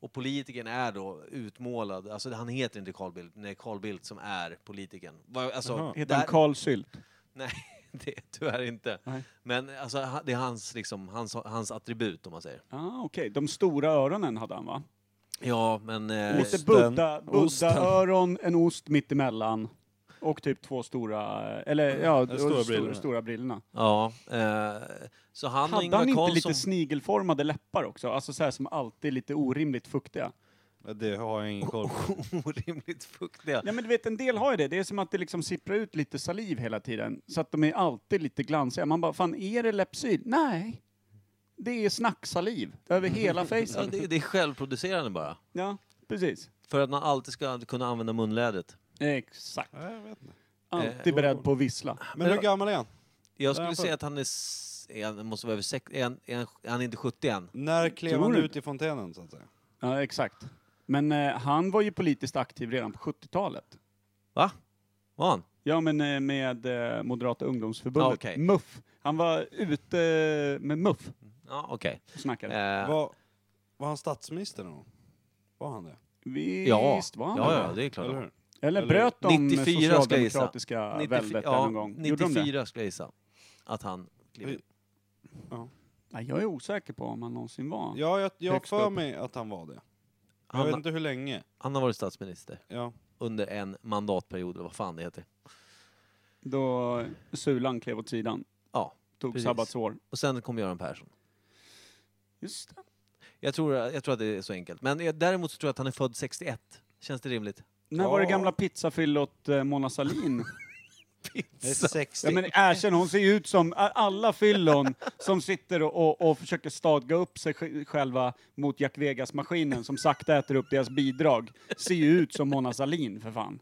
Speaker 6: Och politikern är då utmålad, alltså han heter inte Carl Bildt, men det är Carl Bildt som är politikern. Va- Alltså,
Speaker 3: Jaha.
Speaker 2: Heter han Carl Sylt?
Speaker 6: Nej, det är tyvärr inte.
Speaker 2: Nej.
Speaker 6: Men alltså, ha- det är hans, liksom, hans, hans attribut om man säger.
Speaker 2: Ah, Okej, de stora öronen hade han va?
Speaker 6: Ja, men... eh,
Speaker 2: Lite
Speaker 3: Osten.
Speaker 2: buddha,
Speaker 3: Äh, Osten.
Speaker 2: buddha öron, en ost mittemellan. Och typ två stora, eh, eller ja,
Speaker 3: stora
Speaker 2: stora, stora,
Speaker 3: brillorna.
Speaker 2: stora brillorna.
Speaker 6: Ja, eh, så han och
Speaker 2: Hade
Speaker 6: Ingvar
Speaker 2: han inte
Speaker 6: Carlsson...
Speaker 2: lite snigelformade läppar också? Alltså så här som alltid är lite orimligt fuktiga.
Speaker 3: Det har jag ingen koll på.
Speaker 6: orimligt fuktiga.
Speaker 2: Ja men du vet en del har ju det, det är som att det liksom sipprar ut lite saliv hela tiden. Så att de är alltid lite glansiga. Man bara, fan är det läppsyl? Nej. Det är snacksaliv över hela
Speaker 6: Ja,
Speaker 2: fejsen.
Speaker 6: det, det är självproducerande bara.
Speaker 2: Ja, precis.
Speaker 6: För att man alltid ska kunna använda munlädret.
Speaker 2: Exakt.
Speaker 3: Nej, jag vet inte.
Speaker 2: Alltid beredd på att vissla.
Speaker 3: Eh, Men hur gammal är han?
Speaker 6: Jag
Speaker 3: Där
Speaker 6: skulle
Speaker 3: får-
Speaker 6: säga att han är... s- är Han måste vara över sex, är han, är han, är han inte 70 än?
Speaker 3: När klev
Speaker 2: Tror
Speaker 3: han
Speaker 2: du?
Speaker 3: ut i fontänen så att säga?
Speaker 2: Ja, exakt. Men eh, han var ju politiskt aktiv redan på 70-talet.
Speaker 6: Va? Var han?
Speaker 2: Ja, men eh, med eh, Moderata ungdomsförbundet.
Speaker 6: Ja, okej.
Speaker 2: MUF. Han var ute eh, med MUF
Speaker 6: Ja, okej.
Speaker 2: och snackade.
Speaker 6: Eh,
Speaker 3: Var, var han statsminister någon gång? Var han det?
Speaker 2: Visst
Speaker 6: ja.
Speaker 2: var han
Speaker 6: ja,
Speaker 2: det?
Speaker 6: ja, det är klart.
Speaker 3: Eller hur?
Speaker 2: Eller
Speaker 3: Eller-
Speaker 2: bröt de
Speaker 6: 94 ska jag gissa.
Speaker 2: socialdemokratiska
Speaker 6: 94
Speaker 2: väldet där
Speaker 6: ja,
Speaker 2: någon gång? Gjorde de det?
Speaker 6: 94 skulle jag gissa. Att han klev ut.
Speaker 2: Nej, jag är osäker på om han någonsin var.
Speaker 3: Ja, jag, jag har
Speaker 2: Högst
Speaker 3: för
Speaker 2: upp.
Speaker 3: mig att han var det. Jag vet
Speaker 6: Han,
Speaker 3: inte hur länge.
Speaker 6: han har varit statsminister
Speaker 3: Ja.
Speaker 6: under en mandatperiod, eller vad fan det heter.
Speaker 2: Då Sulan klev åt sidan.
Speaker 6: Ja,
Speaker 2: Tog
Speaker 6: precis.
Speaker 2: sabbatsår.
Speaker 6: Och sen kom Göran Persson.
Speaker 2: Just det.
Speaker 6: Jag tror, jag tror att det är så enkelt. Men eh, däremot så tror jag att han är född 61. Känns det rimligt?
Speaker 2: När var det
Speaker 3: Ja.
Speaker 2: gamla pizzafyllot eh, Mona Sahlin?
Speaker 3: Det är 60.
Speaker 2: Ja, men erkänn, hon ser ju ut som a- alla fyllon som sitter och, och, och försöker stadga upp sig sj- själva mot Jack Vegas-maskinen som sakta äter upp deras bidrag. Ser ju ut som Mona Sahlin för fan.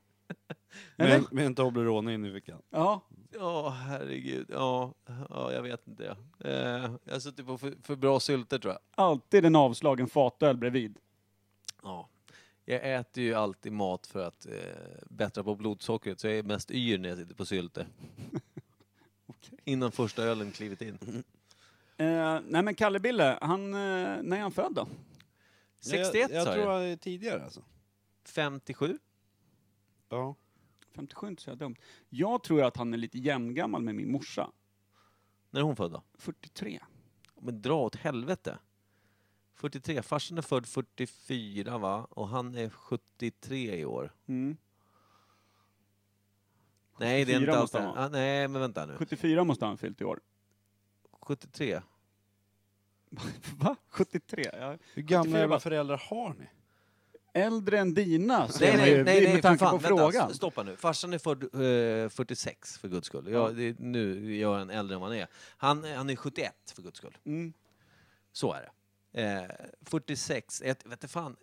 Speaker 2: Eller?
Speaker 3: med, med en Toblerone in i fickan.
Speaker 2: Ja,
Speaker 6: Ja, herregud. Ja, ja, jag vet inte. Eh, jag har suttit på för, för bra sylter tror jag.
Speaker 2: alltid en avslagen fatöl bredvid.
Speaker 6: Ja. Jag äter ju alltid mat för att eh, bättra på blodsockret, så jag är mest yr när jag sitter på sylter. Innan första ölen klivit in.
Speaker 2: Eh, nej men Kalle-Bille, han, eh, när är han född då?
Speaker 6: 61
Speaker 3: Jag, jag
Speaker 6: sa
Speaker 3: tror
Speaker 6: jag.
Speaker 3: han är tidigare alltså.
Speaker 6: 57?
Speaker 3: Ja.
Speaker 2: 57 är inte så jävla dumt. Jag tror att han är lite jämngammal med min morsa.
Speaker 6: När är hon född då?
Speaker 2: 43.
Speaker 6: Men dra åt helvete. 43. Farsan är född 44 va? Och han är 73 i år.
Speaker 2: Mm.
Speaker 6: Nej, det är
Speaker 2: 74
Speaker 6: inte alls
Speaker 2: måste
Speaker 6: det.
Speaker 2: han vara.
Speaker 6: Ah, nej, men vänta nu.
Speaker 2: 74 måste han ha fyllt i år.
Speaker 6: 73.
Speaker 2: Va? 73? Ja.
Speaker 3: Hur gamla
Speaker 2: 74
Speaker 3: jävla
Speaker 2: bara.
Speaker 3: föräldrar har ni?
Speaker 2: Äldre än dina,
Speaker 6: Nej,
Speaker 2: säger man
Speaker 6: nej,
Speaker 2: ju,
Speaker 6: nej, nej,
Speaker 2: med
Speaker 6: för
Speaker 2: tanke
Speaker 6: fan.
Speaker 2: på
Speaker 6: Vänta,
Speaker 2: frågan.
Speaker 6: s- Stoppa nu. Farsan är född eh, 46 för guds skull. Jag, det, nu gör han äldre än vad han är. Han, han är 71 för guds skull.
Speaker 2: Mm.
Speaker 6: Så är det. Eh, 46, ett, vet du fan.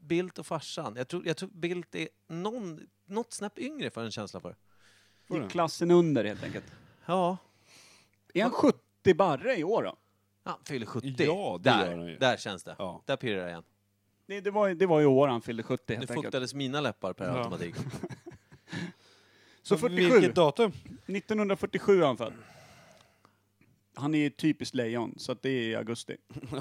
Speaker 6: Bildt och farsan. Jag tror, jag tror Bildt är någon, något snäpp yngre för en känsla för.
Speaker 3: Får
Speaker 2: I
Speaker 3: den?
Speaker 2: klassen under helt enkelt.
Speaker 6: Ja,
Speaker 2: Är han 70 barre i år då?
Speaker 6: han fyller 70.
Speaker 3: Ja, det gör
Speaker 6: där,
Speaker 3: han ju.
Speaker 6: där känns det.
Speaker 3: Ja.
Speaker 6: Där pirrar det igen.
Speaker 2: Det, det, var, ju- det var ju i år han fyllde 70
Speaker 6: Nu
Speaker 2: helt enkelt.
Speaker 6: fuktades mina läppar per
Speaker 3: Ja.
Speaker 6: automatik.
Speaker 2: Så
Speaker 3: Men
Speaker 2: 47,
Speaker 3: Vilket datum?
Speaker 2: 1947 är han född. Han är ju typiskt lejon, så att det är i augusti.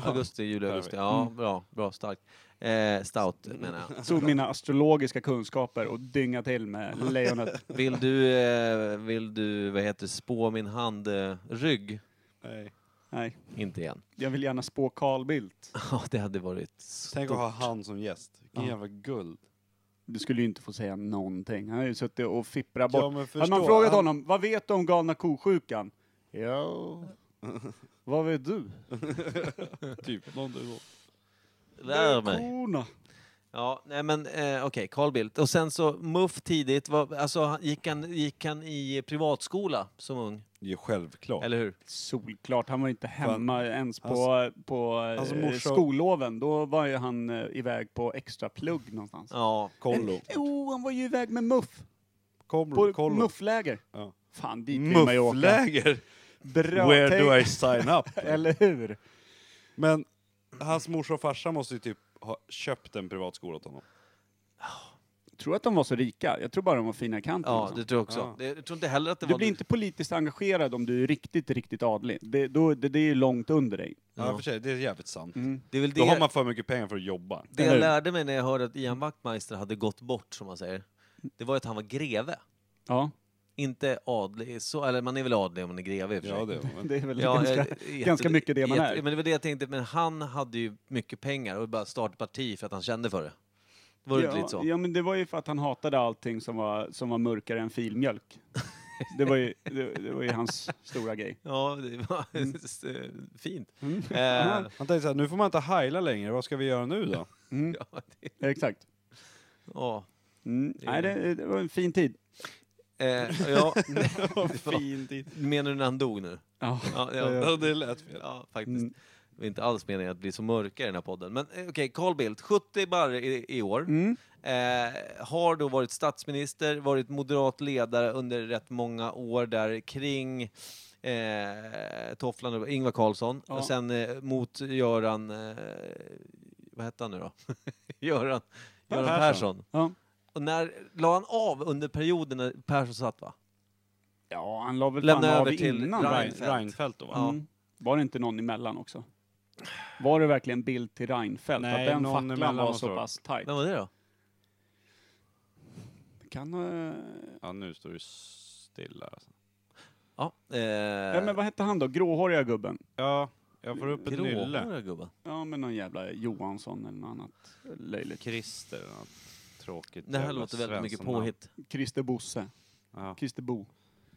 Speaker 6: Augusti, juli, augusti. Ja,
Speaker 3: Mm.
Speaker 6: bra. Bra, starkt. Eh, stout menar jag.
Speaker 2: Tog mina astrologiska kunskaper och dynga till med lejonet.
Speaker 6: Vill du, eh, vill du vad heter det, spå min hand eh, rygg?
Speaker 3: Nej.
Speaker 2: Nej,
Speaker 6: Inte igen.
Speaker 2: jag vill gärna spå Carl Bildt.
Speaker 6: Ja, det hade varit... s-
Speaker 3: Tänk att ha han som gäst. Vilken
Speaker 2: Ja.
Speaker 3: jävla guld.
Speaker 2: Du skulle ju inte få säga någonting. Han har ju suttit och fipprat bort.
Speaker 3: men
Speaker 2: Hade man frågat
Speaker 3: han-
Speaker 2: honom, vad vet du om galna kosjukan? Ja... vad vet du?
Speaker 3: Typ, någonting sånt.
Speaker 6: Lär mig.
Speaker 2: Korna.
Speaker 6: Ja, nej men eh, okej, Carl Bildt. Och sen så MUF tidigt, var, alltså han- gick han, gick han i privatskola som ung?
Speaker 3: Det är självklart.
Speaker 6: Eller hur?
Speaker 2: Solklart, han var inte hemma ens på, på eh,
Speaker 3: hans morsa-
Speaker 2: skolloven. Då var ju han eh, iväg på extra plugg någonstans. Eh,
Speaker 6: Ja.
Speaker 3: kollo.
Speaker 2: Jo, han var ju iväg med muff.
Speaker 3: Kollo.
Speaker 2: På
Speaker 3: kollo.
Speaker 2: muffläger.
Speaker 3: Ja.
Speaker 2: Fan, dit vill man ju åka.
Speaker 3: Muffläger?
Speaker 2: Dra
Speaker 3: Where do
Speaker 2: take-
Speaker 3: I sign up?
Speaker 2: Eller hur?
Speaker 3: Men hans morsa och farsa måste ju typ ha köpt en privatskola åt honom.
Speaker 2: Jag tror att de var så rika. Jag tror bara de var fina i kanten.
Speaker 6: Ja,
Speaker 2: liksom.
Speaker 6: det tror jag också.
Speaker 3: Ja.
Speaker 6: Det, jag tror inte heller att det
Speaker 2: Du
Speaker 6: var...
Speaker 2: blir inte politiskt engagerad om du är riktigt, riktigt adlig. Det, då, det, det är ju långt under dig.
Speaker 3: Ja, för sig, det är jävligt sant.
Speaker 6: det är väl
Speaker 3: Då har
Speaker 6: det,
Speaker 3: man för mycket pengar för att jobba.
Speaker 6: det
Speaker 2: eller
Speaker 6: jag
Speaker 2: hur?
Speaker 6: lärde mig när jag hörde att Ian Wachtmeister hade gått bort, som man säger. Det var ju att han var greve.
Speaker 2: Ja.
Speaker 6: Inte adlig, så, eller man är väl adlig om man är greve i och för sig.
Speaker 3: Ja, det var man.
Speaker 2: Det är väl
Speaker 6: Ja,
Speaker 2: ganska,
Speaker 6: eh,
Speaker 2: ganska mycket det man
Speaker 6: jätte-
Speaker 2: är.
Speaker 6: Men det var det jag tänkte, men han hade ju mycket pengar och bara startade parti för att han kände för det. Var det inte lite
Speaker 2: Ja,
Speaker 6: så?
Speaker 2: ja, men det var ju för att han hatade allting som var, som var mörkare än filmjölk. Det var ju, det, det var ju hans stora grej.
Speaker 6: Ja, det var
Speaker 2: Mm.
Speaker 6: fint. Eh,
Speaker 3: Han tänkte såhär, nu får man inte heila längre, vad ska vi göra nu då?
Speaker 6: ja, det,
Speaker 2: Exakt.
Speaker 6: ja.
Speaker 2: Mm. Nej, det, det var en fin tid.
Speaker 6: Eh, ja,
Speaker 3: Fin tid.
Speaker 6: menar du när han dog nu?
Speaker 2: Ja.
Speaker 6: Ja, ja, det lät fel. Ja, faktiskt.
Speaker 2: Mm.
Speaker 6: Det är inte alls meningen att bli så mörka i den här podden. Men eh, okej, Carl Bildt, 70 barre i, i år. Eh, har då varit statsminister, varit moderat ledare under rätt många år där kring eh, tofflan, och Ingvar Carlsson,
Speaker 2: Ja.
Speaker 6: och sen eh, mot Göran... Eh, vad hette han nu då? Göran, Göran
Speaker 3: Persson.
Speaker 6: Persson.
Speaker 2: Ja.
Speaker 6: Och när la han av under perioden när Persson satt va?
Speaker 2: ja, han la väl
Speaker 6: Lämna
Speaker 2: fan av
Speaker 6: över till
Speaker 2: innan.
Speaker 6: Ryan.
Speaker 2: Ryan.
Speaker 3: Reinfeldt.
Speaker 6: Reinfeldt.
Speaker 3: Reinfeldt då va?
Speaker 6: Ja.
Speaker 2: Mm. Var det inte någon emellan också? Var det verkligen bild till Reinfeldt?
Speaker 3: Nej,
Speaker 2: att den
Speaker 3: någon
Speaker 2: facklan
Speaker 3: emellan
Speaker 2: var
Speaker 3: måste
Speaker 2: så
Speaker 3: det vara.
Speaker 2: pass tajt?
Speaker 6: Vem var det då?
Speaker 2: Kan, eh,
Speaker 3: Ja, nu står du stilla alltså.
Speaker 6: Ja, eh,
Speaker 2: ja, men vad hette han då? Gråhåriga gubben?
Speaker 3: Ja, jag får upp ett nylle.
Speaker 6: gråhåriga gubben.
Speaker 2: Ja, men någon jävla Johansson eller något annat löjligt.
Speaker 3: Christer, ja. tråkigt
Speaker 6: Det här
Speaker 3: jävla
Speaker 6: låter väldigt mycket
Speaker 3: Svensson-namn.
Speaker 6: påhitt.
Speaker 2: Christer Bosse.
Speaker 3: Ja.
Speaker 2: Christer Bo.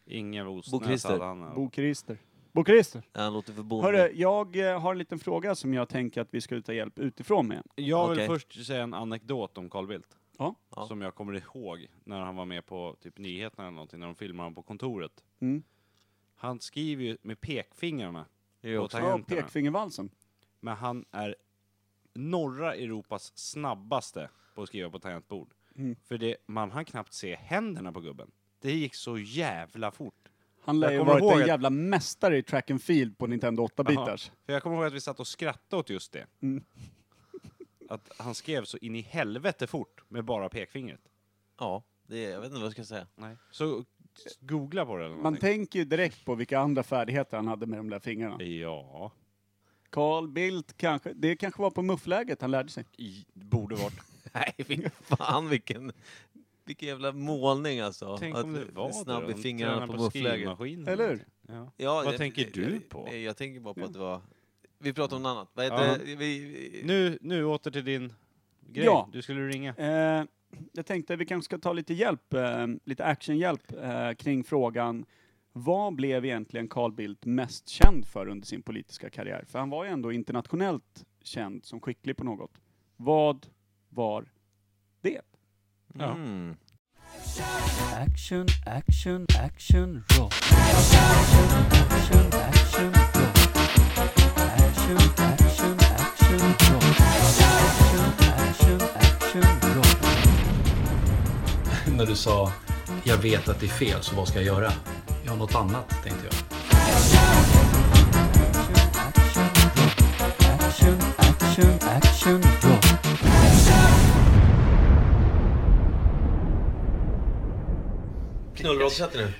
Speaker 3: Inge
Speaker 6: Bo
Speaker 3: Osnäs
Speaker 6: Christer.
Speaker 3: hade han. här.
Speaker 2: Bo Christer. Bo Christer!
Speaker 6: Ja, Han låter för bonde.
Speaker 2: Hörru, jag eh, har en liten fråga som jag tänker att vi skulle ta hjälp utifrån med.
Speaker 3: Jag vill
Speaker 6: Okej.
Speaker 3: först säga en anekdot om Carl Bildt.
Speaker 2: Ja.
Speaker 6: Ja.
Speaker 3: Som jag kommer ihåg när han var med på typ nyheterna eller någonting, när de filmade honom på kontoret.
Speaker 2: Mm.
Speaker 3: Han skriver ju med pekfingrarna
Speaker 6: Det är
Speaker 3: på
Speaker 6: också-
Speaker 2: Ja,
Speaker 3: tangenterna.
Speaker 2: pekfingervalsen.
Speaker 3: men han är norra Europas snabbaste på att skriva på tangentbord.
Speaker 2: Mm.
Speaker 3: För det, man hann knappt se händerna på gubben. Det gick så jävla fort.
Speaker 2: Han lär
Speaker 3: Jag
Speaker 2: ju ha
Speaker 3: kommer
Speaker 2: varit
Speaker 3: ihåg
Speaker 2: en
Speaker 3: att-
Speaker 2: jävla mästare i track and field på Nintendo 8-bitars.
Speaker 3: För jag kommer ihåg att vi satt och skrattade åt just det.
Speaker 2: Mm.
Speaker 3: Att han skrev så in i helvete fort med bara pekfingret.
Speaker 6: Ja, det är, jag vet inte vad jag ska säga.
Speaker 3: Nej. Så googla på det eller
Speaker 2: Man
Speaker 3: någonting.
Speaker 2: tänker ju direkt på vilka andra färdigheter han hade med de där fingrarna.
Speaker 3: Ja,
Speaker 2: Carl Bildt kanske, det kanske var på muffläget han lärde sig.
Speaker 3: i, borde varit.
Speaker 6: Nej, fy fan vilken, vilken jävla målning alltså.
Speaker 3: Tänk om det var
Speaker 6: snabb
Speaker 3: det.
Speaker 6: i
Speaker 3: De
Speaker 6: fingrarna
Speaker 3: tränar
Speaker 6: på muffläget.
Speaker 3: skrivmaskinen.
Speaker 2: Eller hur?
Speaker 3: Ja.
Speaker 6: Ja,
Speaker 3: Vad
Speaker 6: jag-
Speaker 3: tänker
Speaker 6: jag-
Speaker 3: du
Speaker 6: jag-
Speaker 3: på?
Speaker 6: Jag, jag tänker bara på att det var... Vi pratar om något annat. Vad
Speaker 3: Ja.
Speaker 6: heter det? vi, vi,
Speaker 3: Nu, nu åter till din grej.
Speaker 2: Ja.
Speaker 3: Du skulle ringa.
Speaker 2: Eh, jag tänkte vi kanske ska ta lite hjälp, eh, lite actionhjälp eh, kring frågan vad blev egentligen Carl Bildt mest känd för under sin politiska karriär? För han var ju ändå internationellt känd som skicklig på något. Vad var det?
Speaker 3: Ja.
Speaker 6: Mm.
Speaker 8: Action, action, action, roll. Action, action, roll. Action, action, action, roll. Action, action, action, roll.
Speaker 9: när du sa jag vet att det är fel, så vad ska jag göra? Ja, något annat, tänkte jag.
Speaker 8: Action, action, action, action, roll.
Speaker 6: Knullrådssätter nu.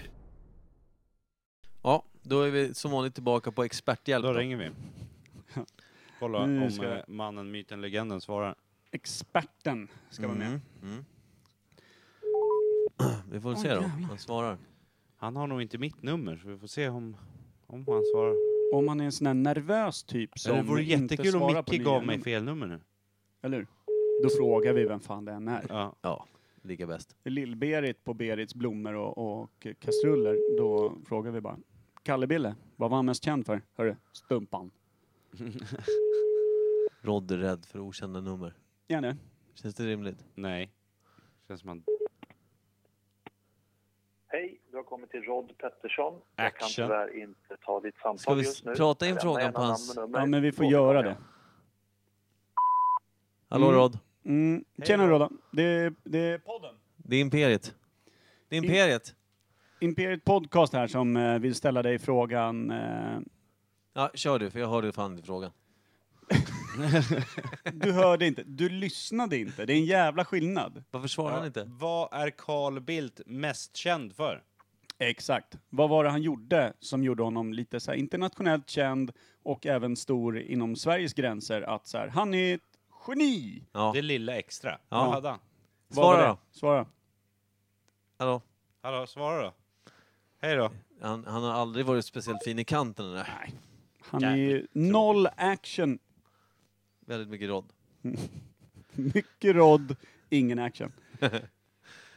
Speaker 6: Ja, då är vi som vanligt tillbaka på experthjälp.
Speaker 3: Då
Speaker 6: då.
Speaker 3: ringer vi. Kolla
Speaker 2: Nu
Speaker 3: om
Speaker 2: ska
Speaker 3: eh,
Speaker 2: jag-
Speaker 3: mannen, myten, legenden svarar.
Speaker 2: Experten ska vara med.
Speaker 6: Mm. Vi får väl se då, om han svarar.
Speaker 3: Han har nog inte mitt nummer, så vi får se om, om han svarar.
Speaker 2: Om han är en sån där nervös typ som
Speaker 3: Eller det vore
Speaker 2: inte
Speaker 3: jättekul om
Speaker 2: svarar på
Speaker 3: Micke
Speaker 2: nya
Speaker 3: gav mig
Speaker 2: nummer.
Speaker 3: fel nummer nu.
Speaker 2: Eller hur? Då frågar vi vem fan det än är.
Speaker 3: Ja.
Speaker 6: Ja, lika bäst.
Speaker 2: Lill-Berit på Berits blommor och, och kastruller, då frågar vi bara. Kalle-Bille, vad var han mest känd för? Hörru, stumpan.
Speaker 6: Rod är rädd för okända nummer.
Speaker 2: Ja, nu.
Speaker 6: Känns det rimligt?
Speaker 3: Nej. Känns som han...
Speaker 10: Hej, du har kommit till Rod Pettersson. Jag kan
Speaker 3: Action.
Speaker 10: tyvärr inte ta ditt
Speaker 6: Ska
Speaker 10: samtal
Speaker 6: vi
Speaker 10: just nu.
Speaker 6: prata in
Speaker 10: Lämna
Speaker 6: frågan
Speaker 10: gärna
Speaker 6: på hans-
Speaker 10: namn och nummer.
Speaker 2: Ja, men vi får
Speaker 10: Återkommer
Speaker 2: göra
Speaker 10: jag.
Speaker 2: det.
Speaker 6: Hallå
Speaker 2: Mm.
Speaker 6: Rod,
Speaker 2: Mm. Tjena Rodda. Det är, det är podden.
Speaker 6: det är Imperiet. Det är Imperiet.
Speaker 2: Imperiet Podcast här som eh, vill ställa dig frågan. Eh,
Speaker 6: Ja, kör du, för jag hörde fan inte frågan.
Speaker 2: du hörde inte, du lyssnade inte. Det är en jävla skillnad.
Speaker 6: Varför svarar han inte?
Speaker 3: Vad är Carl Bildt mest känd för?
Speaker 2: Exakt. Vad var det han gjorde som gjorde honom lite så här internationellt känd och även stor inom Sveriges gränser? Att så här, han är ett geni!
Speaker 6: Ja.
Speaker 3: Det lilla extra.
Speaker 6: Ja.
Speaker 3: Vad hade han?
Speaker 2: Vad var
Speaker 6: Svara
Speaker 2: det?
Speaker 6: då.
Speaker 2: Svara.
Speaker 6: Hallå?
Speaker 3: Hallå, svara då. Hej då.
Speaker 6: Han, han har aldrig varit speciellt fin i kanten den där.
Speaker 2: Han är ju noll action.
Speaker 6: Väldigt mycket rodd.
Speaker 2: Mycket rodd, ingen action.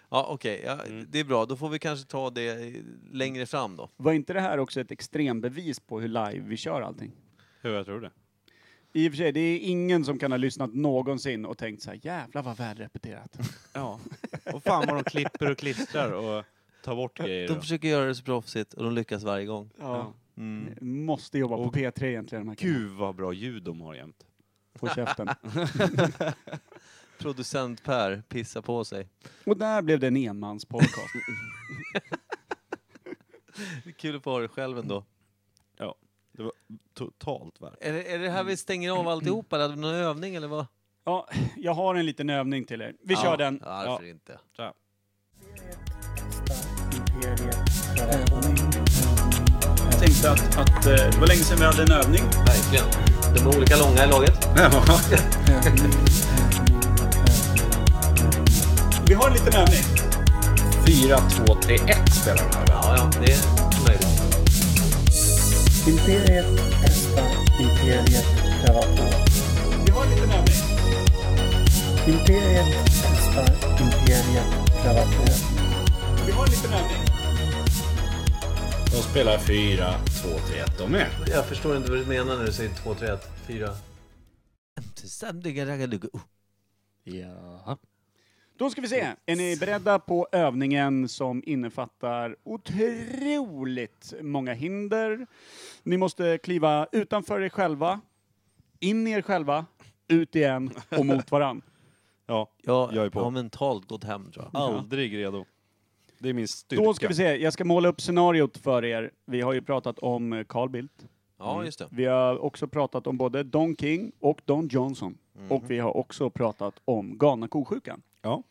Speaker 6: Ja, okej. Ja, Det är bra. Då får vi kanske ta det eh, längre fram då.
Speaker 2: Var inte det här också ett extrembevis på hur live vi kör allting?
Speaker 3: Hur jag tror det.
Speaker 2: I och för sig, det är ingen som kan ha lyssnat någonsin och tänkt så här, jävlar vad välrepeterat.
Speaker 3: Ja. Och fan vad de klipper och klistrar och tar bort grejer.
Speaker 6: De
Speaker 3: och-
Speaker 6: försöker göra det så proffsigt och de lyckas varje gång.
Speaker 2: Ja.
Speaker 6: Mm.
Speaker 2: Måste jobba på P3 egentligen, de här killarna.
Speaker 3: Gud vad bra ljud de har jämt.
Speaker 2: På käften.
Speaker 6: Producent Per pissar på sig.
Speaker 2: Och där blev det en enmanspodcast.
Speaker 6: Det är kul att få ha det själv ändå.
Speaker 3: Det var totalt värt.
Speaker 6: Är det, är det här vi stänger av alltihopa eller hade vi någon övning eller vad?
Speaker 2: Ja, jag har en liten övning till er. Vi kör
Speaker 6: ja,
Speaker 2: den.
Speaker 6: Ja, varför inte?
Speaker 2: Jag tänkte att, att eh, det var länge sedan vi hade en övning.
Speaker 6: Verkligen. De är olika långa i laget.
Speaker 2: Vi har en liten övning.
Speaker 9: 4, 2, 3, 1 spelar den här.
Speaker 6: Ja, ja, det är möjligt.
Speaker 2: Vi har en liten övning. Vi har en liten övning.
Speaker 9: De spelar 4, 2, 3, 1 de med.
Speaker 6: Jag förstår inte vad du menar när du säger 2, 3, 1, 4. Samtliga raggarduggor. Oh.
Speaker 9: Ja.
Speaker 2: Då ska vi se. Är ni beredda på övningen som innefattar otroligt många hinder? Ni måste kliva utanför er själva, in i er själva, ut igen och mot varann.
Speaker 3: Ja,
Speaker 6: Ja,
Speaker 3: Jag är
Speaker 6: jag
Speaker 3: på.
Speaker 6: har mentalt gått hem tror jag.
Speaker 3: aldrig redo. Det är min styrka.
Speaker 2: Då ska vi se. Jag ska måla upp scenariot för er. Vi har ju pratat om eh, Carl Bildt.
Speaker 6: Ja, just det.
Speaker 2: Vi har också pratat om både Don King och Don Johnson.
Speaker 3: Mm.
Speaker 2: Och vi har också pratat om galna kosjukan.
Speaker 3: Ja.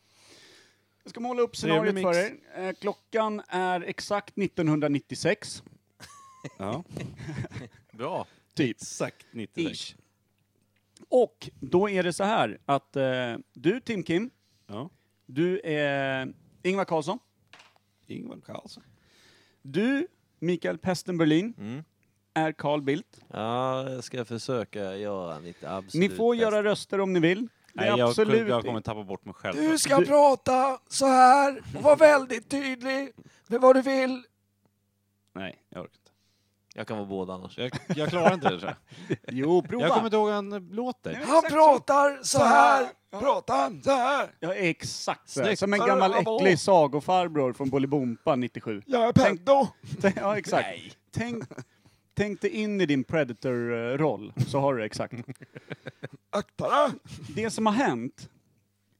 Speaker 2: Jag ska måla upp scenariot
Speaker 3: Trevlig
Speaker 2: för
Speaker 3: mix.
Speaker 2: er. Eh, Klockan är exakt 1996.
Speaker 3: Ja.
Speaker 6: Bra.
Speaker 2: Typ.
Speaker 3: Exakt 96.
Speaker 2: Ish. Och då är det så här att eh, du, Tim Kim,
Speaker 3: Ja.
Speaker 2: du är Ingvar Carlsson,
Speaker 3: Ingvar Carlsson.
Speaker 2: du, Mikael Pesten Berlin,
Speaker 6: Mm.
Speaker 2: är Carl Bildt.
Speaker 6: Ja, jag ska försöka göra mitt absolut
Speaker 2: Ni får
Speaker 6: bästa.
Speaker 2: göra röster om ni vill. Det
Speaker 3: Nej,
Speaker 2: är
Speaker 3: jag,
Speaker 2: absolut...
Speaker 3: jag kommer tappa bort mig själv.
Speaker 6: Du ska prata så här och vara väldigt tydlig med vad du vill.
Speaker 3: Nej, jag orkar inte.
Speaker 6: Jag kan vara båda annars.
Speaker 3: Jag, jag klarar inte det tror jag.
Speaker 2: Jo, prova!
Speaker 3: Jag kommer inte ihåg hur han låter.
Speaker 2: Han
Speaker 6: pratar så här.
Speaker 2: Ja, exakt så. här.
Speaker 6: Snyggt.
Speaker 2: Som en gammal äcklig sagofarbror från Bolibompa 97. Jag är Peddo! Ja, exakt. Tänk, tänk dig in i din Predator-roll, så har du det exakt. Akta Det som har hänt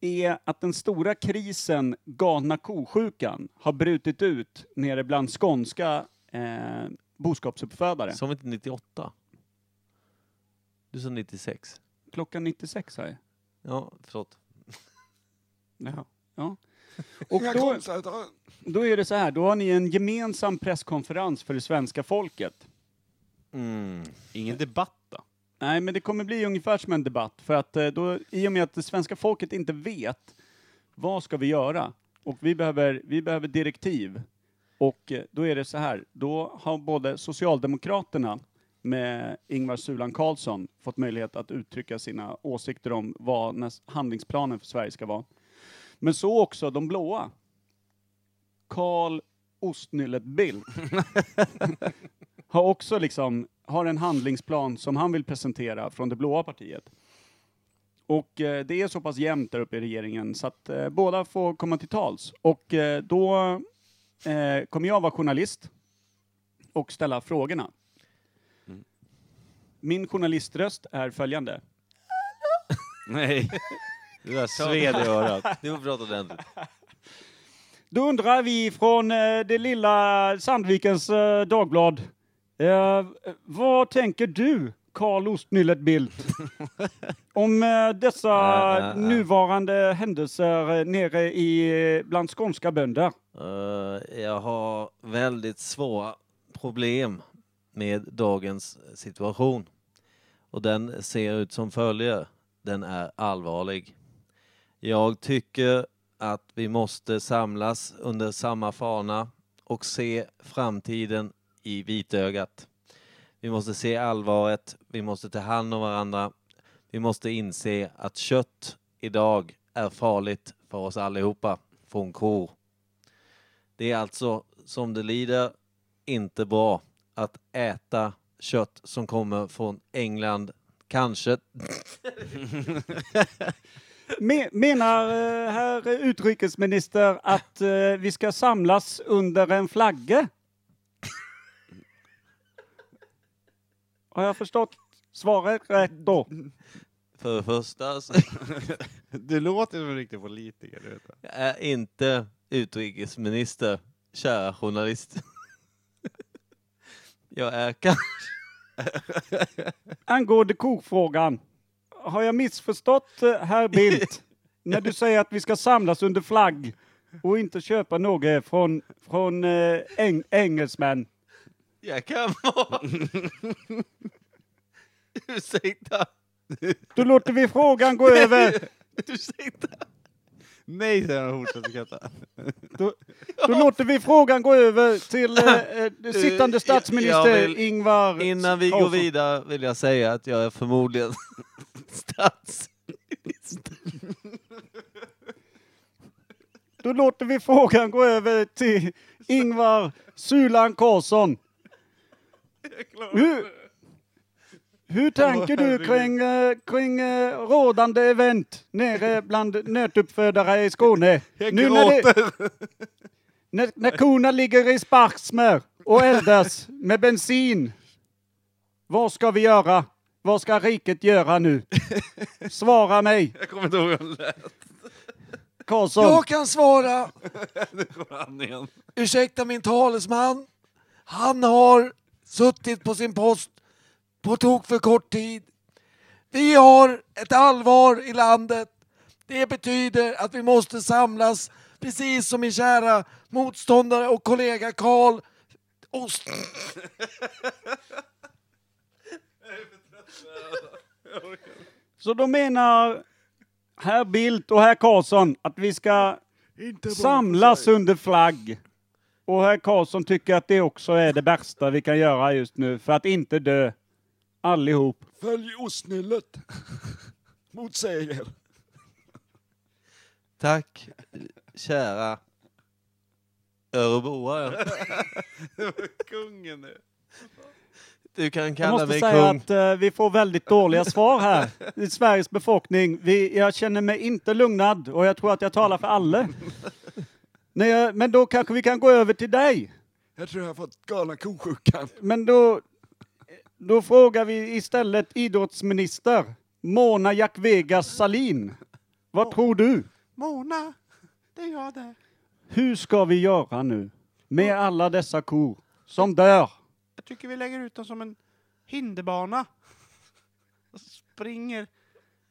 Speaker 2: är att den stora krisen galna kosjukan har brutit ut nere bland skånska eh, boskapsuppfödare.
Speaker 6: Som inte 98. Du sa 96.
Speaker 2: Klockan 96 sa jag.
Speaker 6: Ja, förlåt.
Speaker 2: Jaha. Ja. Och då, då är det så här, då har ni en gemensam presskonferens för det svenska folket.
Speaker 3: Ingen debatt då?
Speaker 2: Nej, men det kommer bli ungefär som en debatt, för att eh, då, i och med att det svenska folket inte vet vad ska vi göra och vi behöver, vi behöver direktiv. Och eh, då är det så här, då har både Socialdemokraterna med Ingvar Sulan Karlsson fått möjlighet att uttrycka sina åsikter om vad näs- handlingsplanen för Sverige ska vara. Men så också de blåa. Karl Ostnyllet Bildt har också liksom, har en handlingsplan som han vill presentera från det blåa partiet. Och eh, det är så pass jämnt där uppe i regeringen så att eh, båda får komma till tals. Och eh, då eh, kommer jag vara journalist och ställa frågorna. Min journaliströst är följande.
Speaker 3: Nej. Det där sved i örat.
Speaker 6: Nu har vi pratat ordentligt.
Speaker 2: Då undrar vi från eh, det lilla Sandvikens eh, Dagblad. Eh, vad tänker du, Carl Ostnyllet Bildt, om eh, dessa
Speaker 6: Äh, äh, äh.
Speaker 2: nuvarande händelser eh, nere i, eh, bland skånska bönder?
Speaker 6: Eh, jag har väldigt svåra problem med dagens situation. Och den ser ut som följer. Den är allvarlig. Jag tycker att vi måste samlas under samma fana och se framtiden i vitögat. Vi måste se allvaret, vi måste ta hand om varandra. Vi måste inse att kött idag är farligt för oss allihopa, från kor. Det är alltså, som det lider, inte bra att äta kött som kommer från England, kanske
Speaker 2: Me- Menar eh, herr utrikesminister att eh, vi ska samlas under en flagga? Har jag förstått svaret rätt då?
Speaker 6: för det första, så
Speaker 3: Du låter som en riktig politiker, du vet.
Speaker 6: jag är inte utrikesminister, kära journalist. Jag är kan...
Speaker 2: Angående kofrågan. Har jag missförstått eh, herr Bildt när du säger att vi ska samlas under flagg och inte köpa något från, från eh, eng- engelsmän?
Speaker 6: Jag kan vara... Ursäkta!
Speaker 2: Då låter vi frågan gå över.
Speaker 6: Ursäkta!
Speaker 3: Nej, säger han och fortsätter skratta.
Speaker 2: Då, då låter vi frågan gå över till eh, eh, sittande
Speaker 6: Eh,
Speaker 2: statsminister
Speaker 6: jag vill-
Speaker 2: Ingvar
Speaker 6: Innan vi går
Speaker 2: Carlsson.
Speaker 6: vidare vill jag säga att jag är förmodligen statsminister.
Speaker 2: Då låter vi frågan gå över till Ingvar Sulan Karlsson. Hur, hur tänker du kring, eh, kring eh, rådande event nere bland nötuppfödare i Skåne? Nu när, det, när, när korna ligger i sparksmör och eldas med bensin. Vad ska vi göra? Vad ska riket göra nu? Svara mig,
Speaker 3: Jag kommer inte ihåg hur han lät.
Speaker 2: Karlsson.
Speaker 6: kan svara!
Speaker 3: Han igen.
Speaker 6: Ursäkta min talesman. Han har suttit på sin post på tok för kort tid. Vi har ett allvar i landet. Det betyder att vi måste samlas, precis som min kära motståndare och kollega Karl Ost...
Speaker 2: Så då menar herr Bildt och herr Karlsson att vi ska samlas under flagg. Och herr Karlsson tycker att det också är det bästa vi kan göra just nu för att inte dö allihop.
Speaker 3: Följ ostnyllet. Motsäger er.
Speaker 6: Tack, kära örebroare.
Speaker 3: Kungen nu.
Speaker 6: Du kan
Speaker 2: Jag måste säga att eh, vi får väldigt dåliga svar här i Sveriges befolkning. Vi, jag känner mig inte lugnad och jag tror att jag talar för alla. Nej, jag- men då kanske vi kan gå över till dig.
Speaker 3: Jag tror jag har fått galna kosjukan.
Speaker 2: Men då, då frågar vi istället idrottsminister Mona Jack Vegas Salin. Vad tror du?
Speaker 3: Mona, det är jag det.
Speaker 2: Hur ska vi göra nu med alla dessa kor som dör?
Speaker 3: Jag tycker vi lägger ut dem som en hinderbana. Och springer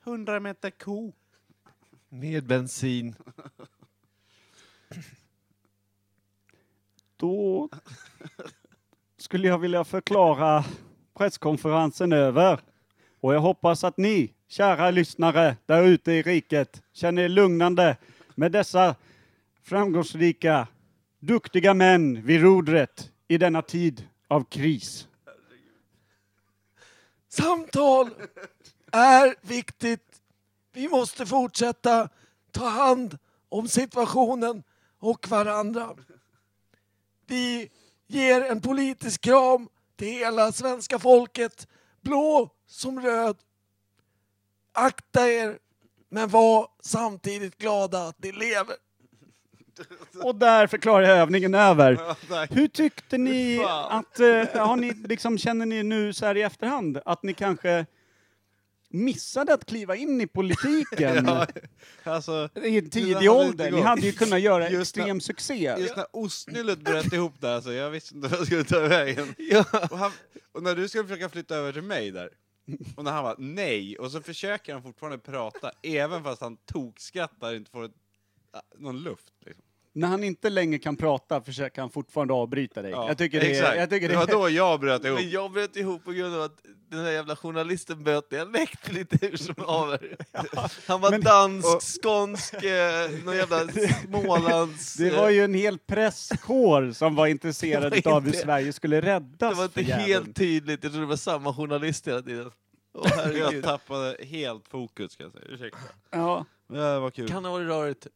Speaker 3: 100 meter ko.
Speaker 6: Med bensin.
Speaker 2: Då skulle jag vilja förklara presskonferensen över. Och jag hoppas att ni, kära lyssnare där ute i riket, känner er lugnande med dessa framgångsrika, duktiga män vid rodret i denna tid av kris.
Speaker 6: Samtal är viktigt. Vi måste fortsätta ta hand om situationen och varandra. Vi ger en politisk kram till hela svenska folket, blå som röd. Akta er, men var samtidigt glada att ni lever.
Speaker 2: Och där förklarar jag övningen över.
Speaker 3: tack.
Speaker 2: Hur tyckte ni
Speaker 3: Fan.
Speaker 2: att, eh, har ni, liksom, känner ni nu så här i efterhand att ni kanske missade att kliva in i politiken
Speaker 3: Alltså,
Speaker 2: i en
Speaker 3: det hade
Speaker 2: tidig
Speaker 3: inte
Speaker 2: ålder? Ni
Speaker 3: gått.
Speaker 2: hade ju kunnat göra
Speaker 3: Just
Speaker 2: extrem succé.
Speaker 3: just när ostnyllet bröt ihop där, alltså, jag visste inte vad jag skulle ta vägen. Och, han, och när du skulle försöka flytta över till mig där, och när han var nej, och så försöker han fortfarande prata, även fast han tokskrattar och inte får ett, någon luft. Liksom.
Speaker 2: När han inte längre kan prata försöker han fortfarande avbryta dig.
Speaker 1: Ja,
Speaker 2: jag tycker det är...
Speaker 1: exakt.
Speaker 2: Jag tycker det
Speaker 1: det var då jag bröt ihop.
Speaker 6: Men jag bröt ihop på grund av att den där jävla journalisten böt dialekt lite hur som haver. Han var
Speaker 2: men-
Speaker 6: dansk, skånsk, eh, någon jävla smålands... eh,
Speaker 2: Det var ju en hel presskår som var intresserad
Speaker 6: Det var
Speaker 2: av hur
Speaker 6: inte-
Speaker 2: Sverige skulle räddas.
Speaker 6: det var
Speaker 2: för
Speaker 6: inte
Speaker 2: jäveln.
Speaker 6: helt tydligt, jag trodde det var samma journalist hela tiden. Åh,
Speaker 3: Jag
Speaker 6: herregud.
Speaker 3: tappade helt fokus ska jag säga. Ursäkta.
Speaker 2: Ja.
Speaker 3: Men Det var kul.
Speaker 6: Kan ha varit rörigt.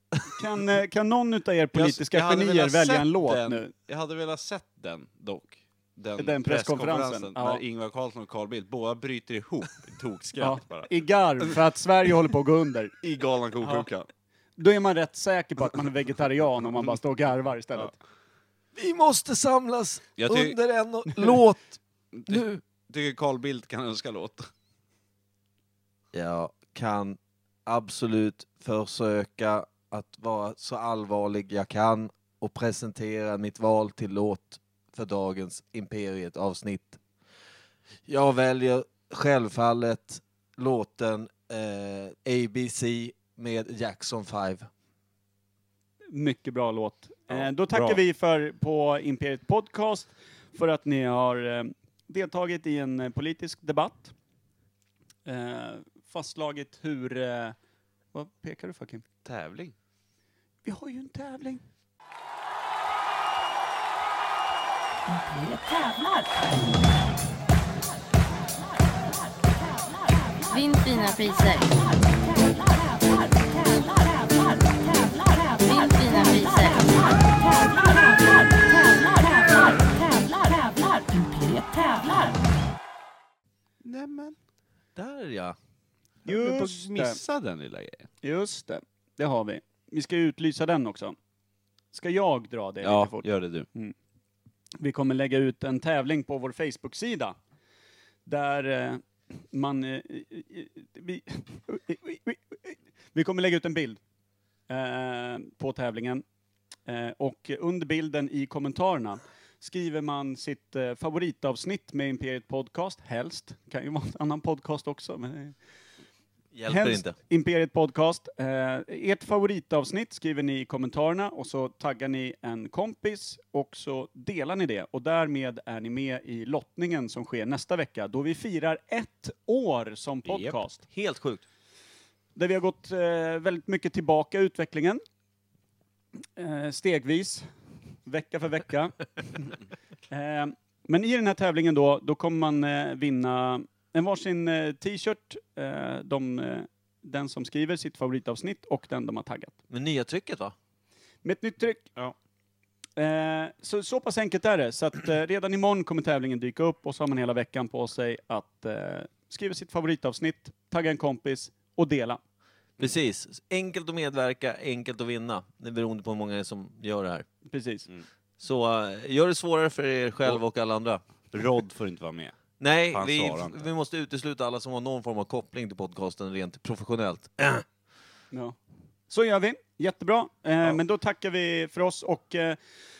Speaker 2: Kan, eh, kan någon av er politiska
Speaker 3: Jag- jag hade
Speaker 2: genier
Speaker 3: velat
Speaker 2: välja
Speaker 3: sett
Speaker 2: en låt
Speaker 3: den.
Speaker 2: nu?
Speaker 3: Jag hade velat sett den dock. Den,
Speaker 2: Den presskonferensen, ja.
Speaker 3: När Ingvar Carlsson och Carl Bildt båda bryter ihop i
Speaker 2: Ja,
Speaker 3: tokskratt bara.
Speaker 2: I garv, för att Sverige håller på att gå under.
Speaker 3: I galan ko
Speaker 2: Då är man rätt säker på att man är vegetarian om man bara står och garvar istället.
Speaker 6: Vi måste samlas
Speaker 3: Jag ty-
Speaker 6: under en och- låt nu.
Speaker 3: Tycker Carl Bildt kan önska låt.
Speaker 6: Jag kan absolut försöka att vara så allvarlig jag kan och presentera mitt val till låt för dagens Imperiet avsnitt. Jag väljer självfallet låten eh, ABC med Jackson 5.
Speaker 2: Mycket bra låt.
Speaker 3: Ja,
Speaker 2: eh, då tackar
Speaker 3: bra.
Speaker 2: vi för på Imperiet Podcast för att ni har eh, deltagit i en eh, politisk debatt. Eh, fastslagit hur... Eh, vad pekar du för Kim?
Speaker 3: Tävling.
Speaker 2: Vi har ju en tävling.
Speaker 4: Vinn fina priser. Vinn fina priser.
Speaker 3: Nämen.
Speaker 6: Där ja!
Speaker 2: Just det.
Speaker 3: Missa den lilla grejen.
Speaker 2: Just det. Det har vi. Vi ska ju utlysa den också. Ska jag dra det lite
Speaker 3: Ja,
Speaker 2: fort? Mm.
Speaker 3: gör det du.
Speaker 2: Vi kommer lägga ut en tävling på vår Facebook-sida. Där eh, man... eh, Vi, vi kommer lägga ut en bild eh, på tävlingen. Eh, Och under bilden i kommentarerna skriver man sitt eh, favoritavsnitt med Imperiet Podcast, helst. Det kan ju vara en annan podcast också, men eh,
Speaker 6: Hjälper
Speaker 2: Helst
Speaker 6: inte.
Speaker 2: Imperiet Podcast. Eh, ert favoritavsnitt skriver ni i kommentarerna och så taggar ni en kompis och så delar ni det. Och därmed är ni med i lottningen som sker nästa vecka då vi firar ett år som podcast.
Speaker 6: Helt sjukt.
Speaker 2: Där vi har gått eh, väldigt mycket tillbaka i utvecklingen. Eh, stegvis, vecka för vecka. eh, men i den här tävlingen då, då kommer man eh, vinna en varsin eh, t-shirt, eh, de, eh, den som skriver sitt favoritavsnitt och den de har taggat.
Speaker 6: Med nya trycket va?
Speaker 2: Med ett nytt tryck. Eh, så, så pass enkelt är det. Så att, eh, redan imorgon kommer tävlingen dyka upp och så har man hela veckan på sig att eh, skriva sitt favoritavsnitt, tagga en kompis och dela.
Speaker 6: Precis. Enkelt att medverka, enkelt att vinna. Det är beroende på hur många det är som gör det här.
Speaker 2: Precis.
Speaker 6: Så eh, gör det svårare för er själv och alla andra.
Speaker 3: Rod får inte vara med.
Speaker 6: Nej,
Speaker 3: Han
Speaker 6: vi,
Speaker 3: svarar inte.
Speaker 6: vi måste utesluta alla som har någon form av koppling till podcasten rent professionellt.
Speaker 2: Ja. Så gör vi. Jättebra. Eh, Men då tackar vi för oss och eh,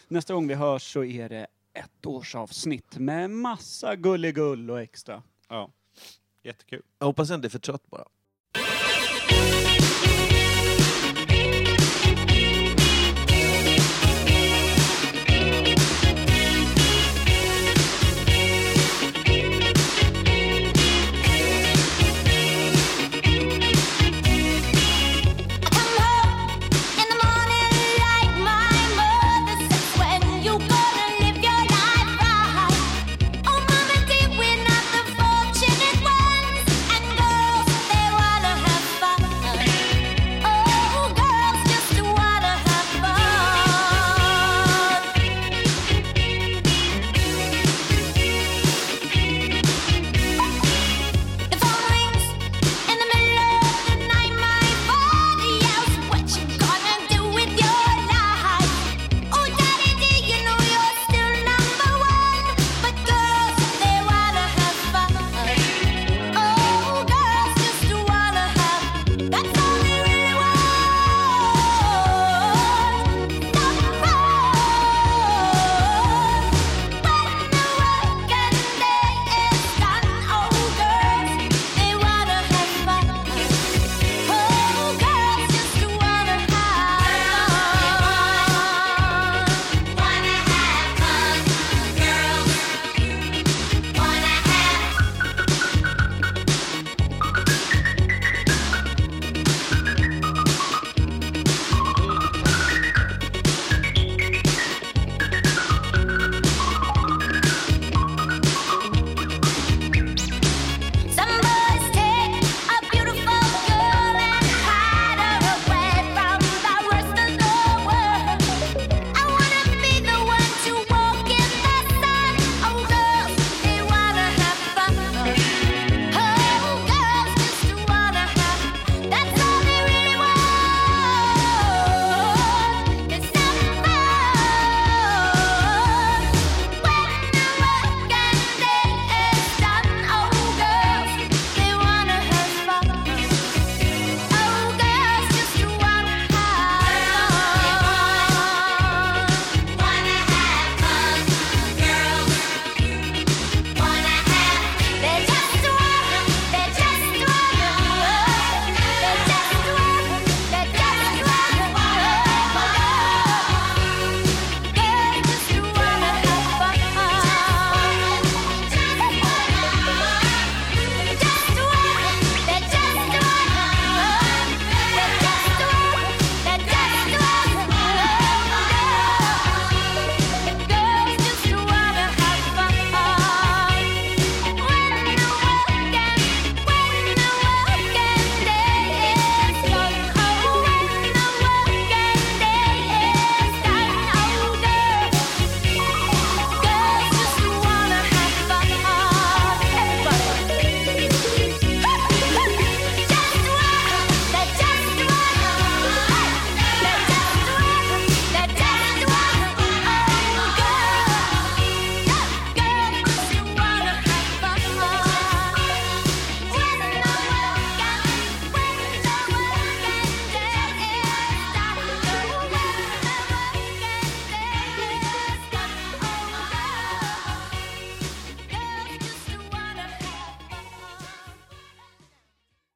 Speaker 2: nästa gång vi hörs så är det ett årsavsnitt med massa gulligull och extra.
Speaker 3: Ja. Jättekul.
Speaker 6: Jag hoppas jag inte är för trött bara.
Speaker 4: Oh, Oh, Oh, Oh, oh,